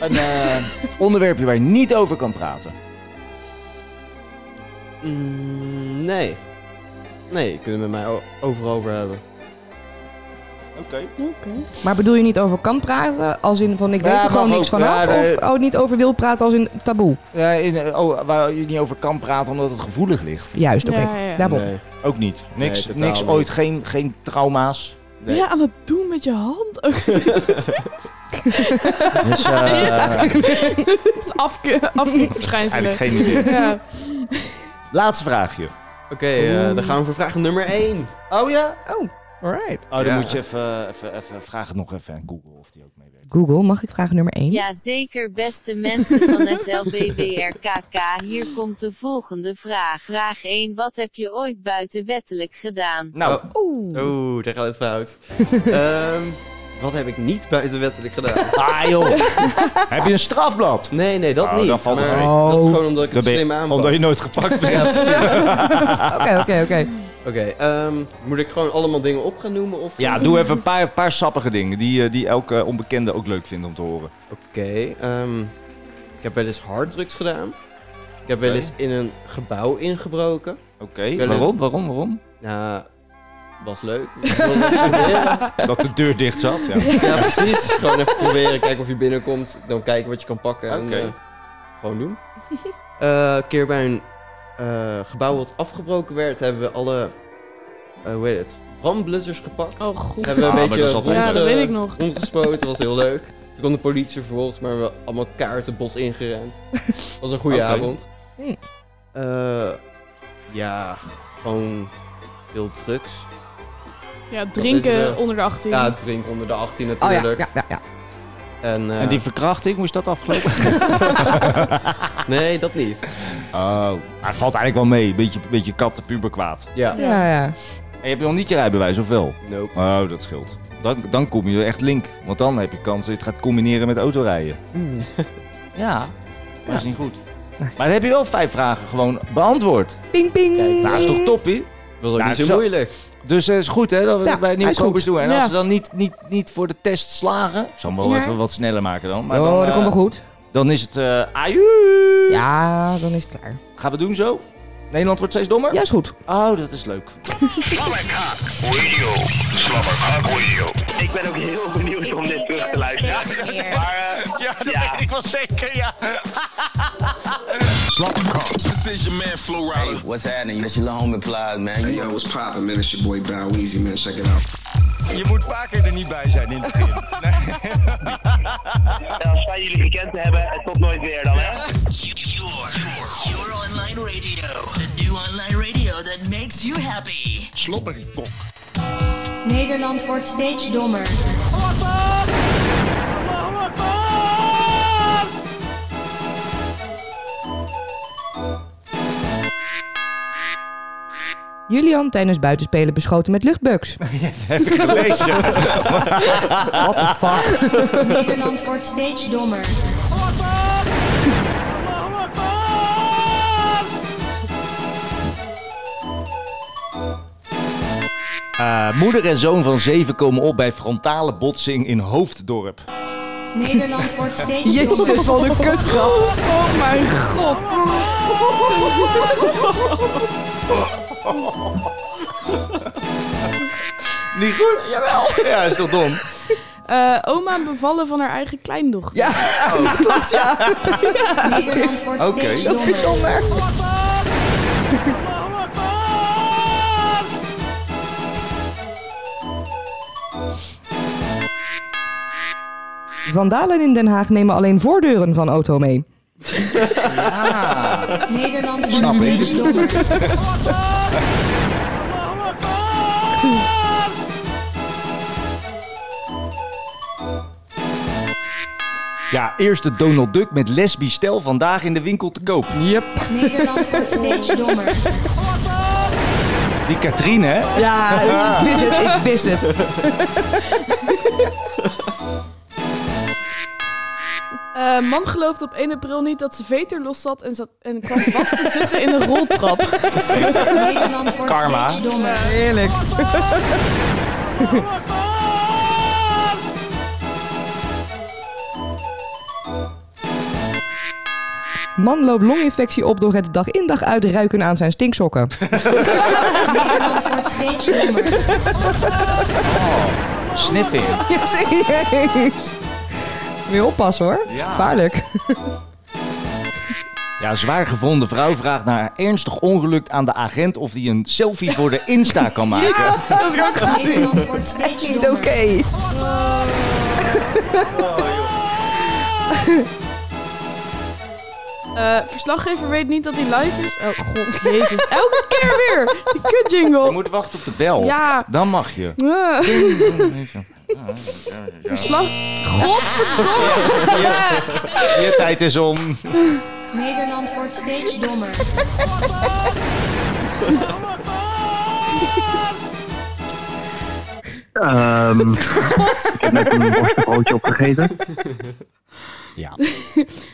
[SPEAKER 3] Een eh, onderwerpje waar je niet over kan praten.
[SPEAKER 5] Mm, nee. Nee, je kunt het met mij o- overal over hebben.
[SPEAKER 3] Oké.
[SPEAKER 4] <laughs> Maar bedoel je niet over kan praten, als in van ik
[SPEAKER 3] Ja,
[SPEAKER 4] weet er gewoon
[SPEAKER 3] mag
[SPEAKER 4] niks
[SPEAKER 3] ook.
[SPEAKER 4] vanaf?
[SPEAKER 3] Ja, nee.
[SPEAKER 4] Of oh, niet over wil praten, als in taboe?
[SPEAKER 3] oh, waar je niet over kan praten omdat het gevoelig ligt.
[SPEAKER 4] Juist, oké.
[SPEAKER 6] Ja, ja, ja.
[SPEAKER 4] Daarom.
[SPEAKER 5] Nee.
[SPEAKER 3] Ook niet. Niks,
[SPEAKER 5] Nee, totaal
[SPEAKER 3] niks
[SPEAKER 5] niet.
[SPEAKER 3] ooit. Geen, geen trauma's.
[SPEAKER 5] nee. <laughs>
[SPEAKER 6] Ja, aan het doen met je hand. Oh, Ook
[SPEAKER 3] Dus, eh, <laughs>
[SPEAKER 6] <laughs> dat is afke afkeerverschijnselen.
[SPEAKER 3] Eigenlijk geen idee.
[SPEAKER 6] Ja.
[SPEAKER 3] Laatste vraagje.
[SPEAKER 5] Oké, eh, dan gaan we voor vraag nummer 1.
[SPEAKER 3] Oh ja?
[SPEAKER 4] Oh, alright.
[SPEAKER 3] Oh, dan
[SPEAKER 5] Ja.
[SPEAKER 3] moet je even, even, even... Vraag het nog even aan Google of die ook meewerkt.
[SPEAKER 4] Google, mag ik vraag nummer 1?
[SPEAKER 10] Jazeker, beste mensen van
[SPEAKER 3] <laughs>
[SPEAKER 10] SLBBRKK. Hier komt de volgende vraag. Vraag 1. Wat heb je ooit buitenwettelijk gedaan?
[SPEAKER 3] Nou,
[SPEAKER 5] Oh.
[SPEAKER 4] Oeh.
[SPEAKER 5] Oeh, daar gaat het
[SPEAKER 3] <laughs>
[SPEAKER 5] fout. Ehm, wat heb ik niet buitenwettelijk gedaan?
[SPEAKER 3] <laughs> ah
[SPEAKER 5] <laughs>
[SPEAKER 3] joh. Heb je een strafblad?
[SPEAKER 5] Nee, nee, dat
[SPEAKER 3] Oh,
[SPEAKER 5] niet.
[SPEAKER 3] dat valt
[SPEAKER 5] maar
[SPEAKER 3] wel
[SPEAKER 4] mee.
[SPEAKER 5] dat is gewoon omdat ik
[SPEAKER 3] Dan
[SPEAKER 5] het
[SPEAKER 3] ben je-
[SPEAKER 5] slim aanpak.
[SPEAKER 3] Omdat je nooit gepakt bent. <laughs>
[SPEAKER 5] <laughs> Ja, precies.
[SPEAKER 4] Oké, oké, oké.
[SPEAKER 5] Oké, ehm, moet ik gewoon allemaal dingen op gaan noemen? Of...
[SPEAKER 3] Ja, doe even een paar, paar sappige dingen die, eh, die elke onbekende ook leuk vindt om te horen.
[SPEAKER 5] Oké, ehm, ik heb wel eens harddrugs gedaan. Ik heb wel
[SPEAKER 3] Oké.
[SPEAKER 5] eens in een gebouw ingebroken.
[SPEAKER 3] Oké,
[SPEAKER 5] wil
[SPEAKER 3] waarom, waarom, waarom?
[SPEAKER 5] Ja, was
[SPEAKER 3] <laughs>
[SPEAKER 5] leuk. Ik wilde het proberen.
[SPEAKER 3] Dat de deur dicht zat, ja.
[SPEAKER 5] <laughs> ja, precies. Gewoon even proberen, kijken of je binnenkomt. Dan kijken wat je kan pakken en
[SPEAKER 3] Oké.
[SPEAKER 5] eh, gewoon doen. Eh, een keer bij een eh, gebouw wat afgebroken werd, hebben we alle, eh, hoe heet het, brandblussers gepakt.
[SPEAKER 6] Oh, goed.
[SPEAKER 5] Hebben we
[SPEAKER 3] Ah,
[SPEAKER 5] een
[SPEAKER 3] maar
[SPEAKER 5] beetje
[SPEAKER 3] dat is altijd
[SPEAKER 6] Ja,
[SPEAKER 5] rondge-
[SPEAKER 6] dat weet ik nog.
[SPEAKER 5] rondgespoten, dat was heel leuk. Toen kwam de politie vervolgens, maar we hebben allemaal kaarten het bos ingerend. Dat was een goede
[SPEAKER 3] Oké.
[SPEAKER 5] avond.
[SPEAKER 4] Hm.
[SPEAKER 5] Eh, ja, gewoon veel drugs.
[SPEAKER 6] Ja,
[SPEAKER 5] is het,
[SPEAKER 6] drinken
[SPEAKER 5] eh,
[SPEAKER 6] onder de 18.
[SPEAKER 5] Ja, drink onder de 18
[SPEAKER 4] Oh ja,
[SPEAKER 5] natuurlijk.
[SPEAKER 4] ja, ja, ja.
[SPEAKER 5] En, eh, <laughs>
[SPEAKER 3] En die verkrachting, hoe is dat afgelopen?
[SPEAKER 5] <laughs> Nee, dat niet.
[SPEAKER 3] Oh, maar valt eigenlijk wel mee. Beetje, beetje kattenpuberkwaad.
[SPEAKER 5] Ja.
[SPEAKER 4] Ja, ja.
[SPEAKER 3] En heb je nog niet je rijbewijs, of wel?
[SPEAKER 5] Nope.
[SPEAKER 3] Oh, dat scheelt. Dan, dan kom je echt link. Want dan heb je kans dat je het gaat combineren met autorijden. Ja, dat is niet goed. Maar dan heb je wel vijf vragen gewoon beantwoord.
[SPEAKER 4] Ping, ping.
[SPEAKER 5] Kijk,
[SPEAKER 3] Nou, is toch toppie?
[SPEAKER 5] Dat was ook
[SPEAKER 3] Nou,
[SPEAKER 5] niet zo
[SPEAKER 3] ik zou-
[SPEAKER 5] moeilijk.
[SPEAKER 3] Dus het is goed hè, dat we
[SPEAKER 4] Ja,
[SPEAKER 3] dat bij
[SPEAKER 4] hij is
[SPEAKER 3] nieuwkomers
[SPEAKER 4] goed.
[SPEAKER 3] doen. En
[SPEAKER 6] Ja.
[SPEAKER 3] als ze dan niet, niet, niet voor de test slagen... Ik zal hem wel
[SPEAKER 4] Ja.
[SPEAKER 3] even wat sneller maken dan. Maar
[SPEAKER 4] oh,
[SPEAKER 3] dan,
[SPEAKER 4] dat
[SPEAKER 3] eh,
[SPEAKER 4] komt wel goed.
[SPEAKER 3] Dan is het... eh aju!
[SPEAKER 4] Ja, dan is het klaar.
[SPEAKER 3] Gaan we doen zo? Nederland wordt steeds dommer?
[SPEAKER 4] Ja, is goed.
[SPEAKER 3] Oh, dat is leuk.
[SPEAKER 2] Slobberkak Radio. Slobberkak Radio.
[SPEAKER 9] Ik ben ook heel benieuwd om dit terug te luisteren. eh,
[SPEAKER 2] Maar, ja, dat weet ik wel zeker, ja.
[SPEAKER 11] This is your man Flo Rida.
[SPEAKER 9] What's happening? That's your homie Plies, man.
[SPEAKER 11] Hey yo, what's poppin', man? It's your boy Bow Weezy, man. Check it out.
[SPEAKER 3] Je moet vaker er niet bij zijn in het begin.
[SPEAKER 9] <laughs> Als wij jullie gekend hebben, tot nooit weer dan, hè?
[SPEAKER 12] Your online radio. The new online radio that makes you happy.
[SPEAKER 1] Slobberkok.
[SPEAKER 8] Nederland wordt steeds dommer.
[SPEAKER 4] Julian tijdens buitenspelen beschoten
[SPEAKER 3] <laughs>
[SPEAKER 4] met luchtbugs.
[SPEAKER 3] Heb ik gelezen.
[SPEAKER 4] <laughs> What the fuck?
[SPEAKER 8] Nederland wordt steeds dommer.
[SPEAKER 3] <laughs> Eh, moeder en zoon van zeven komen op bij frontale botsing in Hoofddorp.
[SPEAKER 8] Nederland wordt steeds dommer.
[SPEAKER 4] Jezus, wat een kutgrap.
[SPEAKER 6] Oh mijn god.
[SPEAKER 3] Niet goed? <laughs> Jawel. Ja, is toch dom?
[SPEAKER 6] Eh, oma bevallen van haar eigen kleindochter. Oh.
[SPEAKER 4] Ja,
[SPEAKER 6] dat klopt, <laughs> ja.
[SPEAKER 8] Nederland wordt
[SPEAKER 3] Oké.
[SPEAKER 8] steeds
[SPEAKER 3] Zo
[SPEAKER 8] dommer.
[SPEAKER 4] Bijzonder. Vandalen in Den Haag nemen alleen voordeuren van auto mee.
[SPEAKER 8] Nederland wordt
[SPEAKER 3] Snap ik.
[SPEAKER 8] steeds dommer.
[SPEAKER 3] Ja, eerst de Donald Duck met lesbisch stel vandaag in de winkel te koop.
[SPEAKER 4] Yep.
[SPEAKER 8] Nederland wordt steeds dommer.
[SPEAKER 3] Die Katrien, hè?
[SPEAKER 4] Ja, ik wist het, ik wist het.
[SPEAKER 6] Eh, man gelooft op 1 april niet dat ze veter los zat en, zat en kwam vast te zitten in een roltrap.
[SPEAKER 8] Nederland wordt
[SPEAKER 3] Karma.
[SPEAKER 8] steeds dommer.
[SPEAKER 4] Heerlijk. Man loopt longinfectie op door het dag in dag uit ruiken aan
[SPEAKER 3] <laughs>
[SPEAKER 4] zijn stinksokken.
[SPEAKER 8] Nederland wordt steeds dommer.
[SPEAKER 3] <laughs> Sniffing.
[SPEAKER 4] Ja, serieus. Weer oppassen hoor.
[SPEAKER 3] Ja. <laughs>
[SPEAKER 4] Gevaarlijk.
[SPEAKER 3] Ja, zwaar gevonden vrouw vraagt naar haar ernstig ongeluk aan de agent of die een selfie voor de Insta
[SPEAKER 6] <laughs>
[SPEAKER 3] kan maken.
[SPEAKER 8] Nederland wordt steeds
[SPEAKER 4] Niet oké.
[SPEAKER 8] dommer.
[SPEAKER 3] <laughs>
[SPEAKER 6] Eh, verslaggever weet niet dat hij live is. Oh
[SPEAKER 3] <laughs>
[SPEAKER 6] god, jezus. Elke keer weer. Die kut jingle.
[SPEAKER 3] Je moet wachten op de bel.
[SPEAKER 6] Ja.
[SPEAKER 3] Dan mag <laughs> je.
[SPEAKER 6] Eh, verslag... <laughs> Godverdomme.
[SPEAKER 3] Je tijd is om.
[SPEAKER 8] Nederland wordt steeds dommer.
[SPEAKER 7] Ehm,
[SPEAKER 6] <laughs>
[SPEAKER 7] ik heb net een worstenbroodje opgegeten.
[SPEAKER 3] Ja.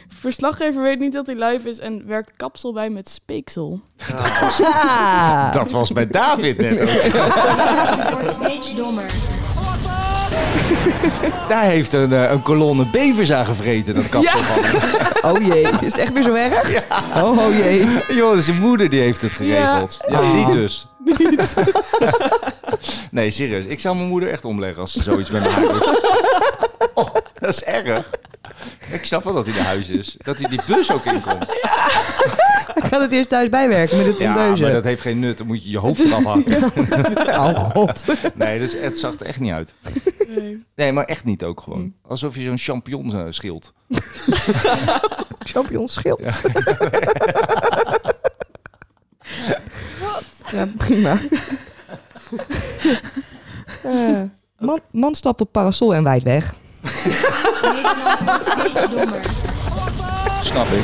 [SPEAKER 6] Verslaggever weet niet dat hij live is en werkt kapsel bij met speeksel. Ah.
[SPEAKER 4] Ja.
[SPEAKER 3] Dat was bij David net ook.
[SPEAKER 6] <laughs>
[SPEAKER 8] Nederland wordt steeds dommer.
[SPEAKER 3] Daar heeft een, eh, een kolonne bevers aan gevreten, dat kapsel van.
[SPEAKER 4] <laughs> Oh jee. Is het echt weer zo erg? Oh, oh jee.
[SPEAKER 3] Joh, zijn moeder die heeft het geregeld. Ja,
[SPEAKER 4] Ah.
[SPEAKER 3] niet dus. <laughs> nee, serieus. Ik zou mijn moeder echt omleggen als ze zoiets met haar doet.
[SPEAKER 4] <laughs>
[SPEAKER 3] Oh, dat is erg. Ik snap wel dat hij naar huis is. Dat hij die bus ook inkomt.
[SPEAKER 4] Ik ga het eerst thuis bijwerken met het
[SPEAKER 3] Ja,
[SPEAKER 4] ondeuzen.
[SPEAKER 3] maar dat heeft geen nut. Dan moet je je hoofd eraf hakken.
[SPEAKER 4] <laughs> Oh god.
[SPEAKER 3] Nee, dus het zag er echt niet uit. Nee, maar echt niet ook gewoon.
[SPEAKER 4] Hm.
[SPEAKER 3] Alsof je zo'n champignon eh, schilt.
[SPEAKER 4] <laughs> Champion schild. Ja.
[SPEAKER 3] <laughs>
[SPEAKER 4] prima. Eh, man, man stapt op parasol en wijd weg. <laughs>
[SPEAKER 8] Nederland wordt steeds dommer.
[SPEAKER 3] Snap ik.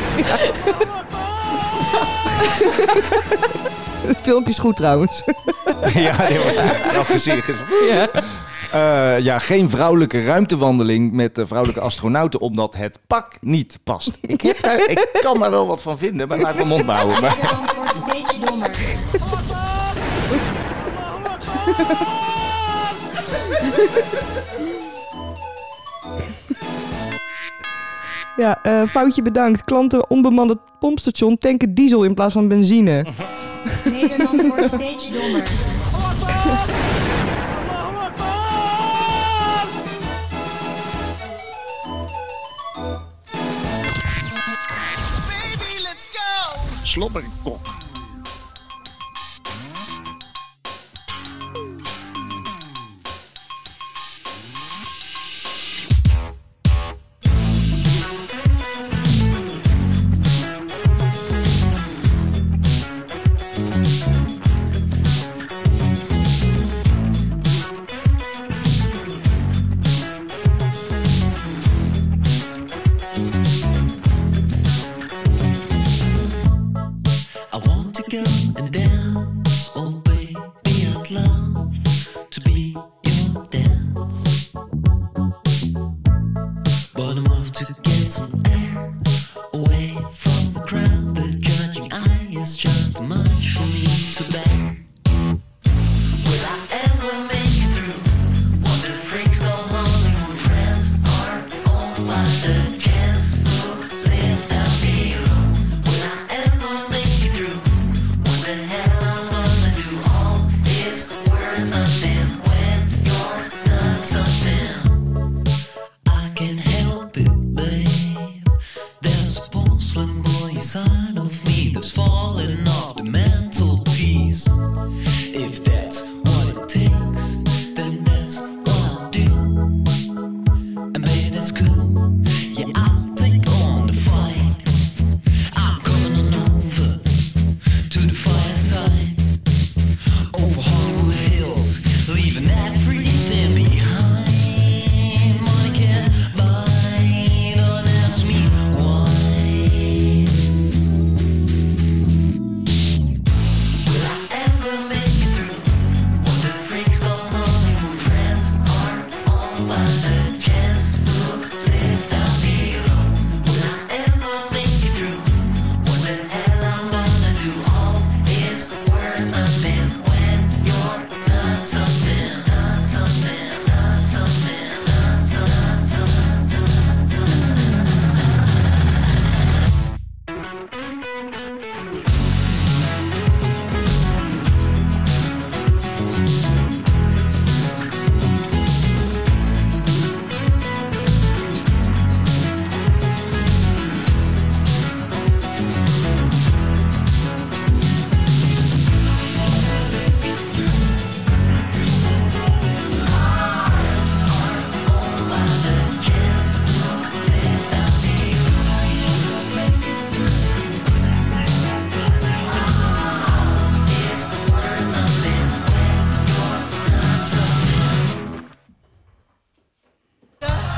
[SPEAKER 4] Het filmpje is goed trouwens.
[SPEAKER 3] <laughs>
[SPEAKER 4] <laughs>
[SPEAKER 3] ja, nee, maar, dat gezicht is- Eh, ja, geen vrouwelijke ruimtewandeling met eh, vrouwelijke astronauten, omdat het pak niet past. Ik, heb daar- ik kan daar wel wat van vinden, maar laat ik mijn mond maar houden. Maar...
[SPEAKER 8] Nederland wordt steeds dommer.
[SPEAKER 4] Ja, eh, foutje bedankt. Klanten onbemande pompstation tanken diesel in plaats
[SPEAKER 3] <laughs>
[SPEAKER 4] van benzine.
[SPEAKER 8] Nederland wordt steeds dommer.
[SPEAKER 1] Slobberkok.
[SPEAKER 13] I want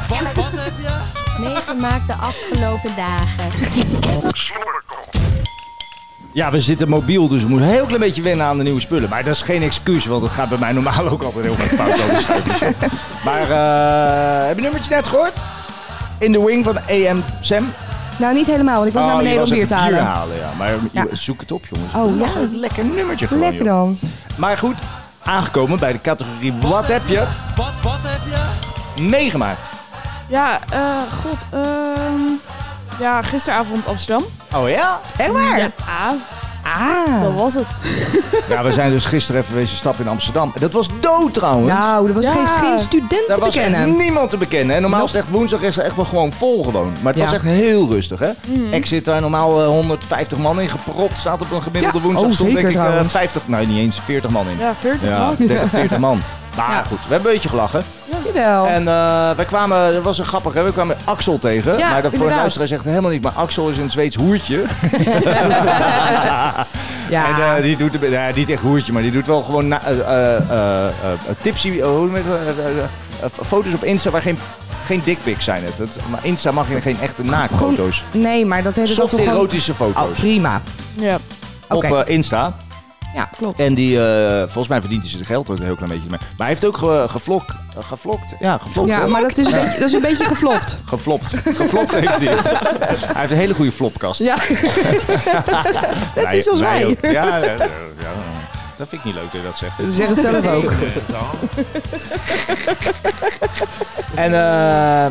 [SPEAKER 8] Wat, heb je? Meegemaakt de afgelopen dagen.
[SPEAKER 3] Ja, we zitten mobiel, dus we moeten een heel klein beetje wennen aan de nieuwe spullen. Maar dat is geen excuus, want het gaat bij mij normaal ook altijd heel erg fout. over de schuifjes,
[SPEAKER 4] <laughs>
[SPEAKER 3] hoor. maar eh, heb je nummertje net gehoord? In the wing van AM Sam?
[SPEAKER 4] Nou, niet helemaal, want ik was
[SPEAKER 3] Oh,
[SPEAKER 4] naar
[SPEAKER 3] je
[SPEAKER 4] beneden om
[SPEAKER 3] was
[SPEAKER 4] bier
[SPEAKER 3] even
[SPEAKER 4] te halen.
[SPEAKER 3] ja. Maar je-
[SPEAKER 4] Ja.
[SPEAKER 3] zoek het op, jongens.
[SPEAKER 4] Oh ja,
[SPEAKER 3] Een lekker nummertje gewoon,
[SPEAKER 4] Lekker
[SPEAKER 3] joh.
[SPEAKER 4] dan.
[SPEAKER 3] Maar goed, aangekomen bij de categorie Wat heb je
[SPEAKER 6] Wat, wat heb je?
[SPEAKER 3] meegemaakt?
[SPEAKER 6] Ja, eh, god. ehm, ja, gisteravond Amsterdam.
[SPEAKER 3] Oh ja?
[SPEAKER 4] Echt waar?
[SPEAKER 6] Ja.
[SPEAKER 4] Ah.
[SPEAKER 6] Dat was het.
[SPEAKER 3] Ja, we zijn dus gisteren even wezen stappen in Amsterdam. En dat was dood trouwens.
[SPEAKER 4] Nou, er was
[SPEAKER 6] Ja.
[SPEAKER 4] geen, geen student
[SPEAKER 3] Daar
[SPEAKER 4] te
[SPEAKER 3] was echt
[SPEAKER 4] bekennen.
[SPEAKER 3] niemand te bekennen. En normaal is het echt woensdag is het echt wel gewoon vol gewoon. Maar het
[SPEAKER 4] Ja.
[SPEAKER 3] was echt heel rustig, hè?
[SPEAKER 4] Mhm.
[SPEAKER 3] Ik zit daar normaal eh, 150 man in gepropt. Staat op een gemiddelde
[SPEAKER 4] Ja.
[SPEAKER 3] woensdag
[SPEAKER 4] Oh,
[SPEAKER 3] stond
[SPEAKER 4] zeker
[SPEAKER 3] denk ik eh,
[SPEAKER 4] trouwens.
[SPEAKER 3] 50, nou niet eens 40 man in.
[SPEAKER 6] Ja, 40
[SPEAKER 3] Ja,
[SPEAKER 6] man.
[SPEAKER 3] 30, 40
[SPEAKER 4] <laughs>
[SPEAKER 3] man. Maar goed, we hebben een beetje gelachen.
[SPEAKER 4] Jawel.
[SPEAKER 3] En eh, wij kwamen, dat was een grappig, hè? we kwamen Axel tegen.
[SPEAKER 4] Ja,
[SPEAKER 3] maar dat voor de
[SPEAKER 4] inderdaad.
[SPEAKER 3] luisteraar zegt helemaal niet, maar Axel is een Zweeds hoertje.
[SPEAKER 4] <laughs> Ja.
[SPEAKER 3] En eh, die doet, een be- nou, niet echt hoertje, maar die doet wel gewoon na, eh, eh, eh, eh, tipsy, eh, hoe noem je het, eh, eh, eh, eh, foto's op Insta waar geen, geen dickpics zijn. Het. Het- maar Insta mag je geen echte naakfoto's.
[SPEAKER 4] Nee, maar dat hele
[SPEAKER 3] Soft erotische foto's.
[SPEAKER 4] Oh, prima.
[SPEAKER 6] Ja.
[SPEAKER 3] Op
[SPEAKER 4] Oké.
[SPEAKER 3] eh, Insta.
[SPEAKER 4] Ja, klopt.
[SPEAKER 3] En die, eh, volgens mij verdient hij zijn geld ook een heel klein beetje mee. Maar hij heeft ook ge, gevlok- eh, gevlokt. Ja, gevlokt.
[SPEAKER 4] Ja,
[SPEAKER 3] hoor.
[SPEAKER 4] maar dat is een
[SPEAKER 3] Ja.
[SPEAKER 4] beetje, dat is een beetje
[SPEAKER 3] <laughs>
[SPEAKER 4] geflopt.
[SPEAKER 3] Geflopt. Geflopt heeft
[SPEAKER 4] <laughs>
[SPEAKER 3] hij. Hij heeft een hele goede flopkast.
[SPEAKER 4] Ja.
[SPEAKER 3] dat
[SPEAKER 4] is zoals wij.
[SPEAKER 3] Ja,
[SPEAKER 4] <laughs>
[SPEAKER 3] ja, ja, ja. dat vind ik niet leuk dat je dat zegt.
[SPEAKER 4] Zeg het zelf
[SPEAKER 3] <laughs>
[SPEAKER 4] ook.
[SPEAKER 3] En, eh,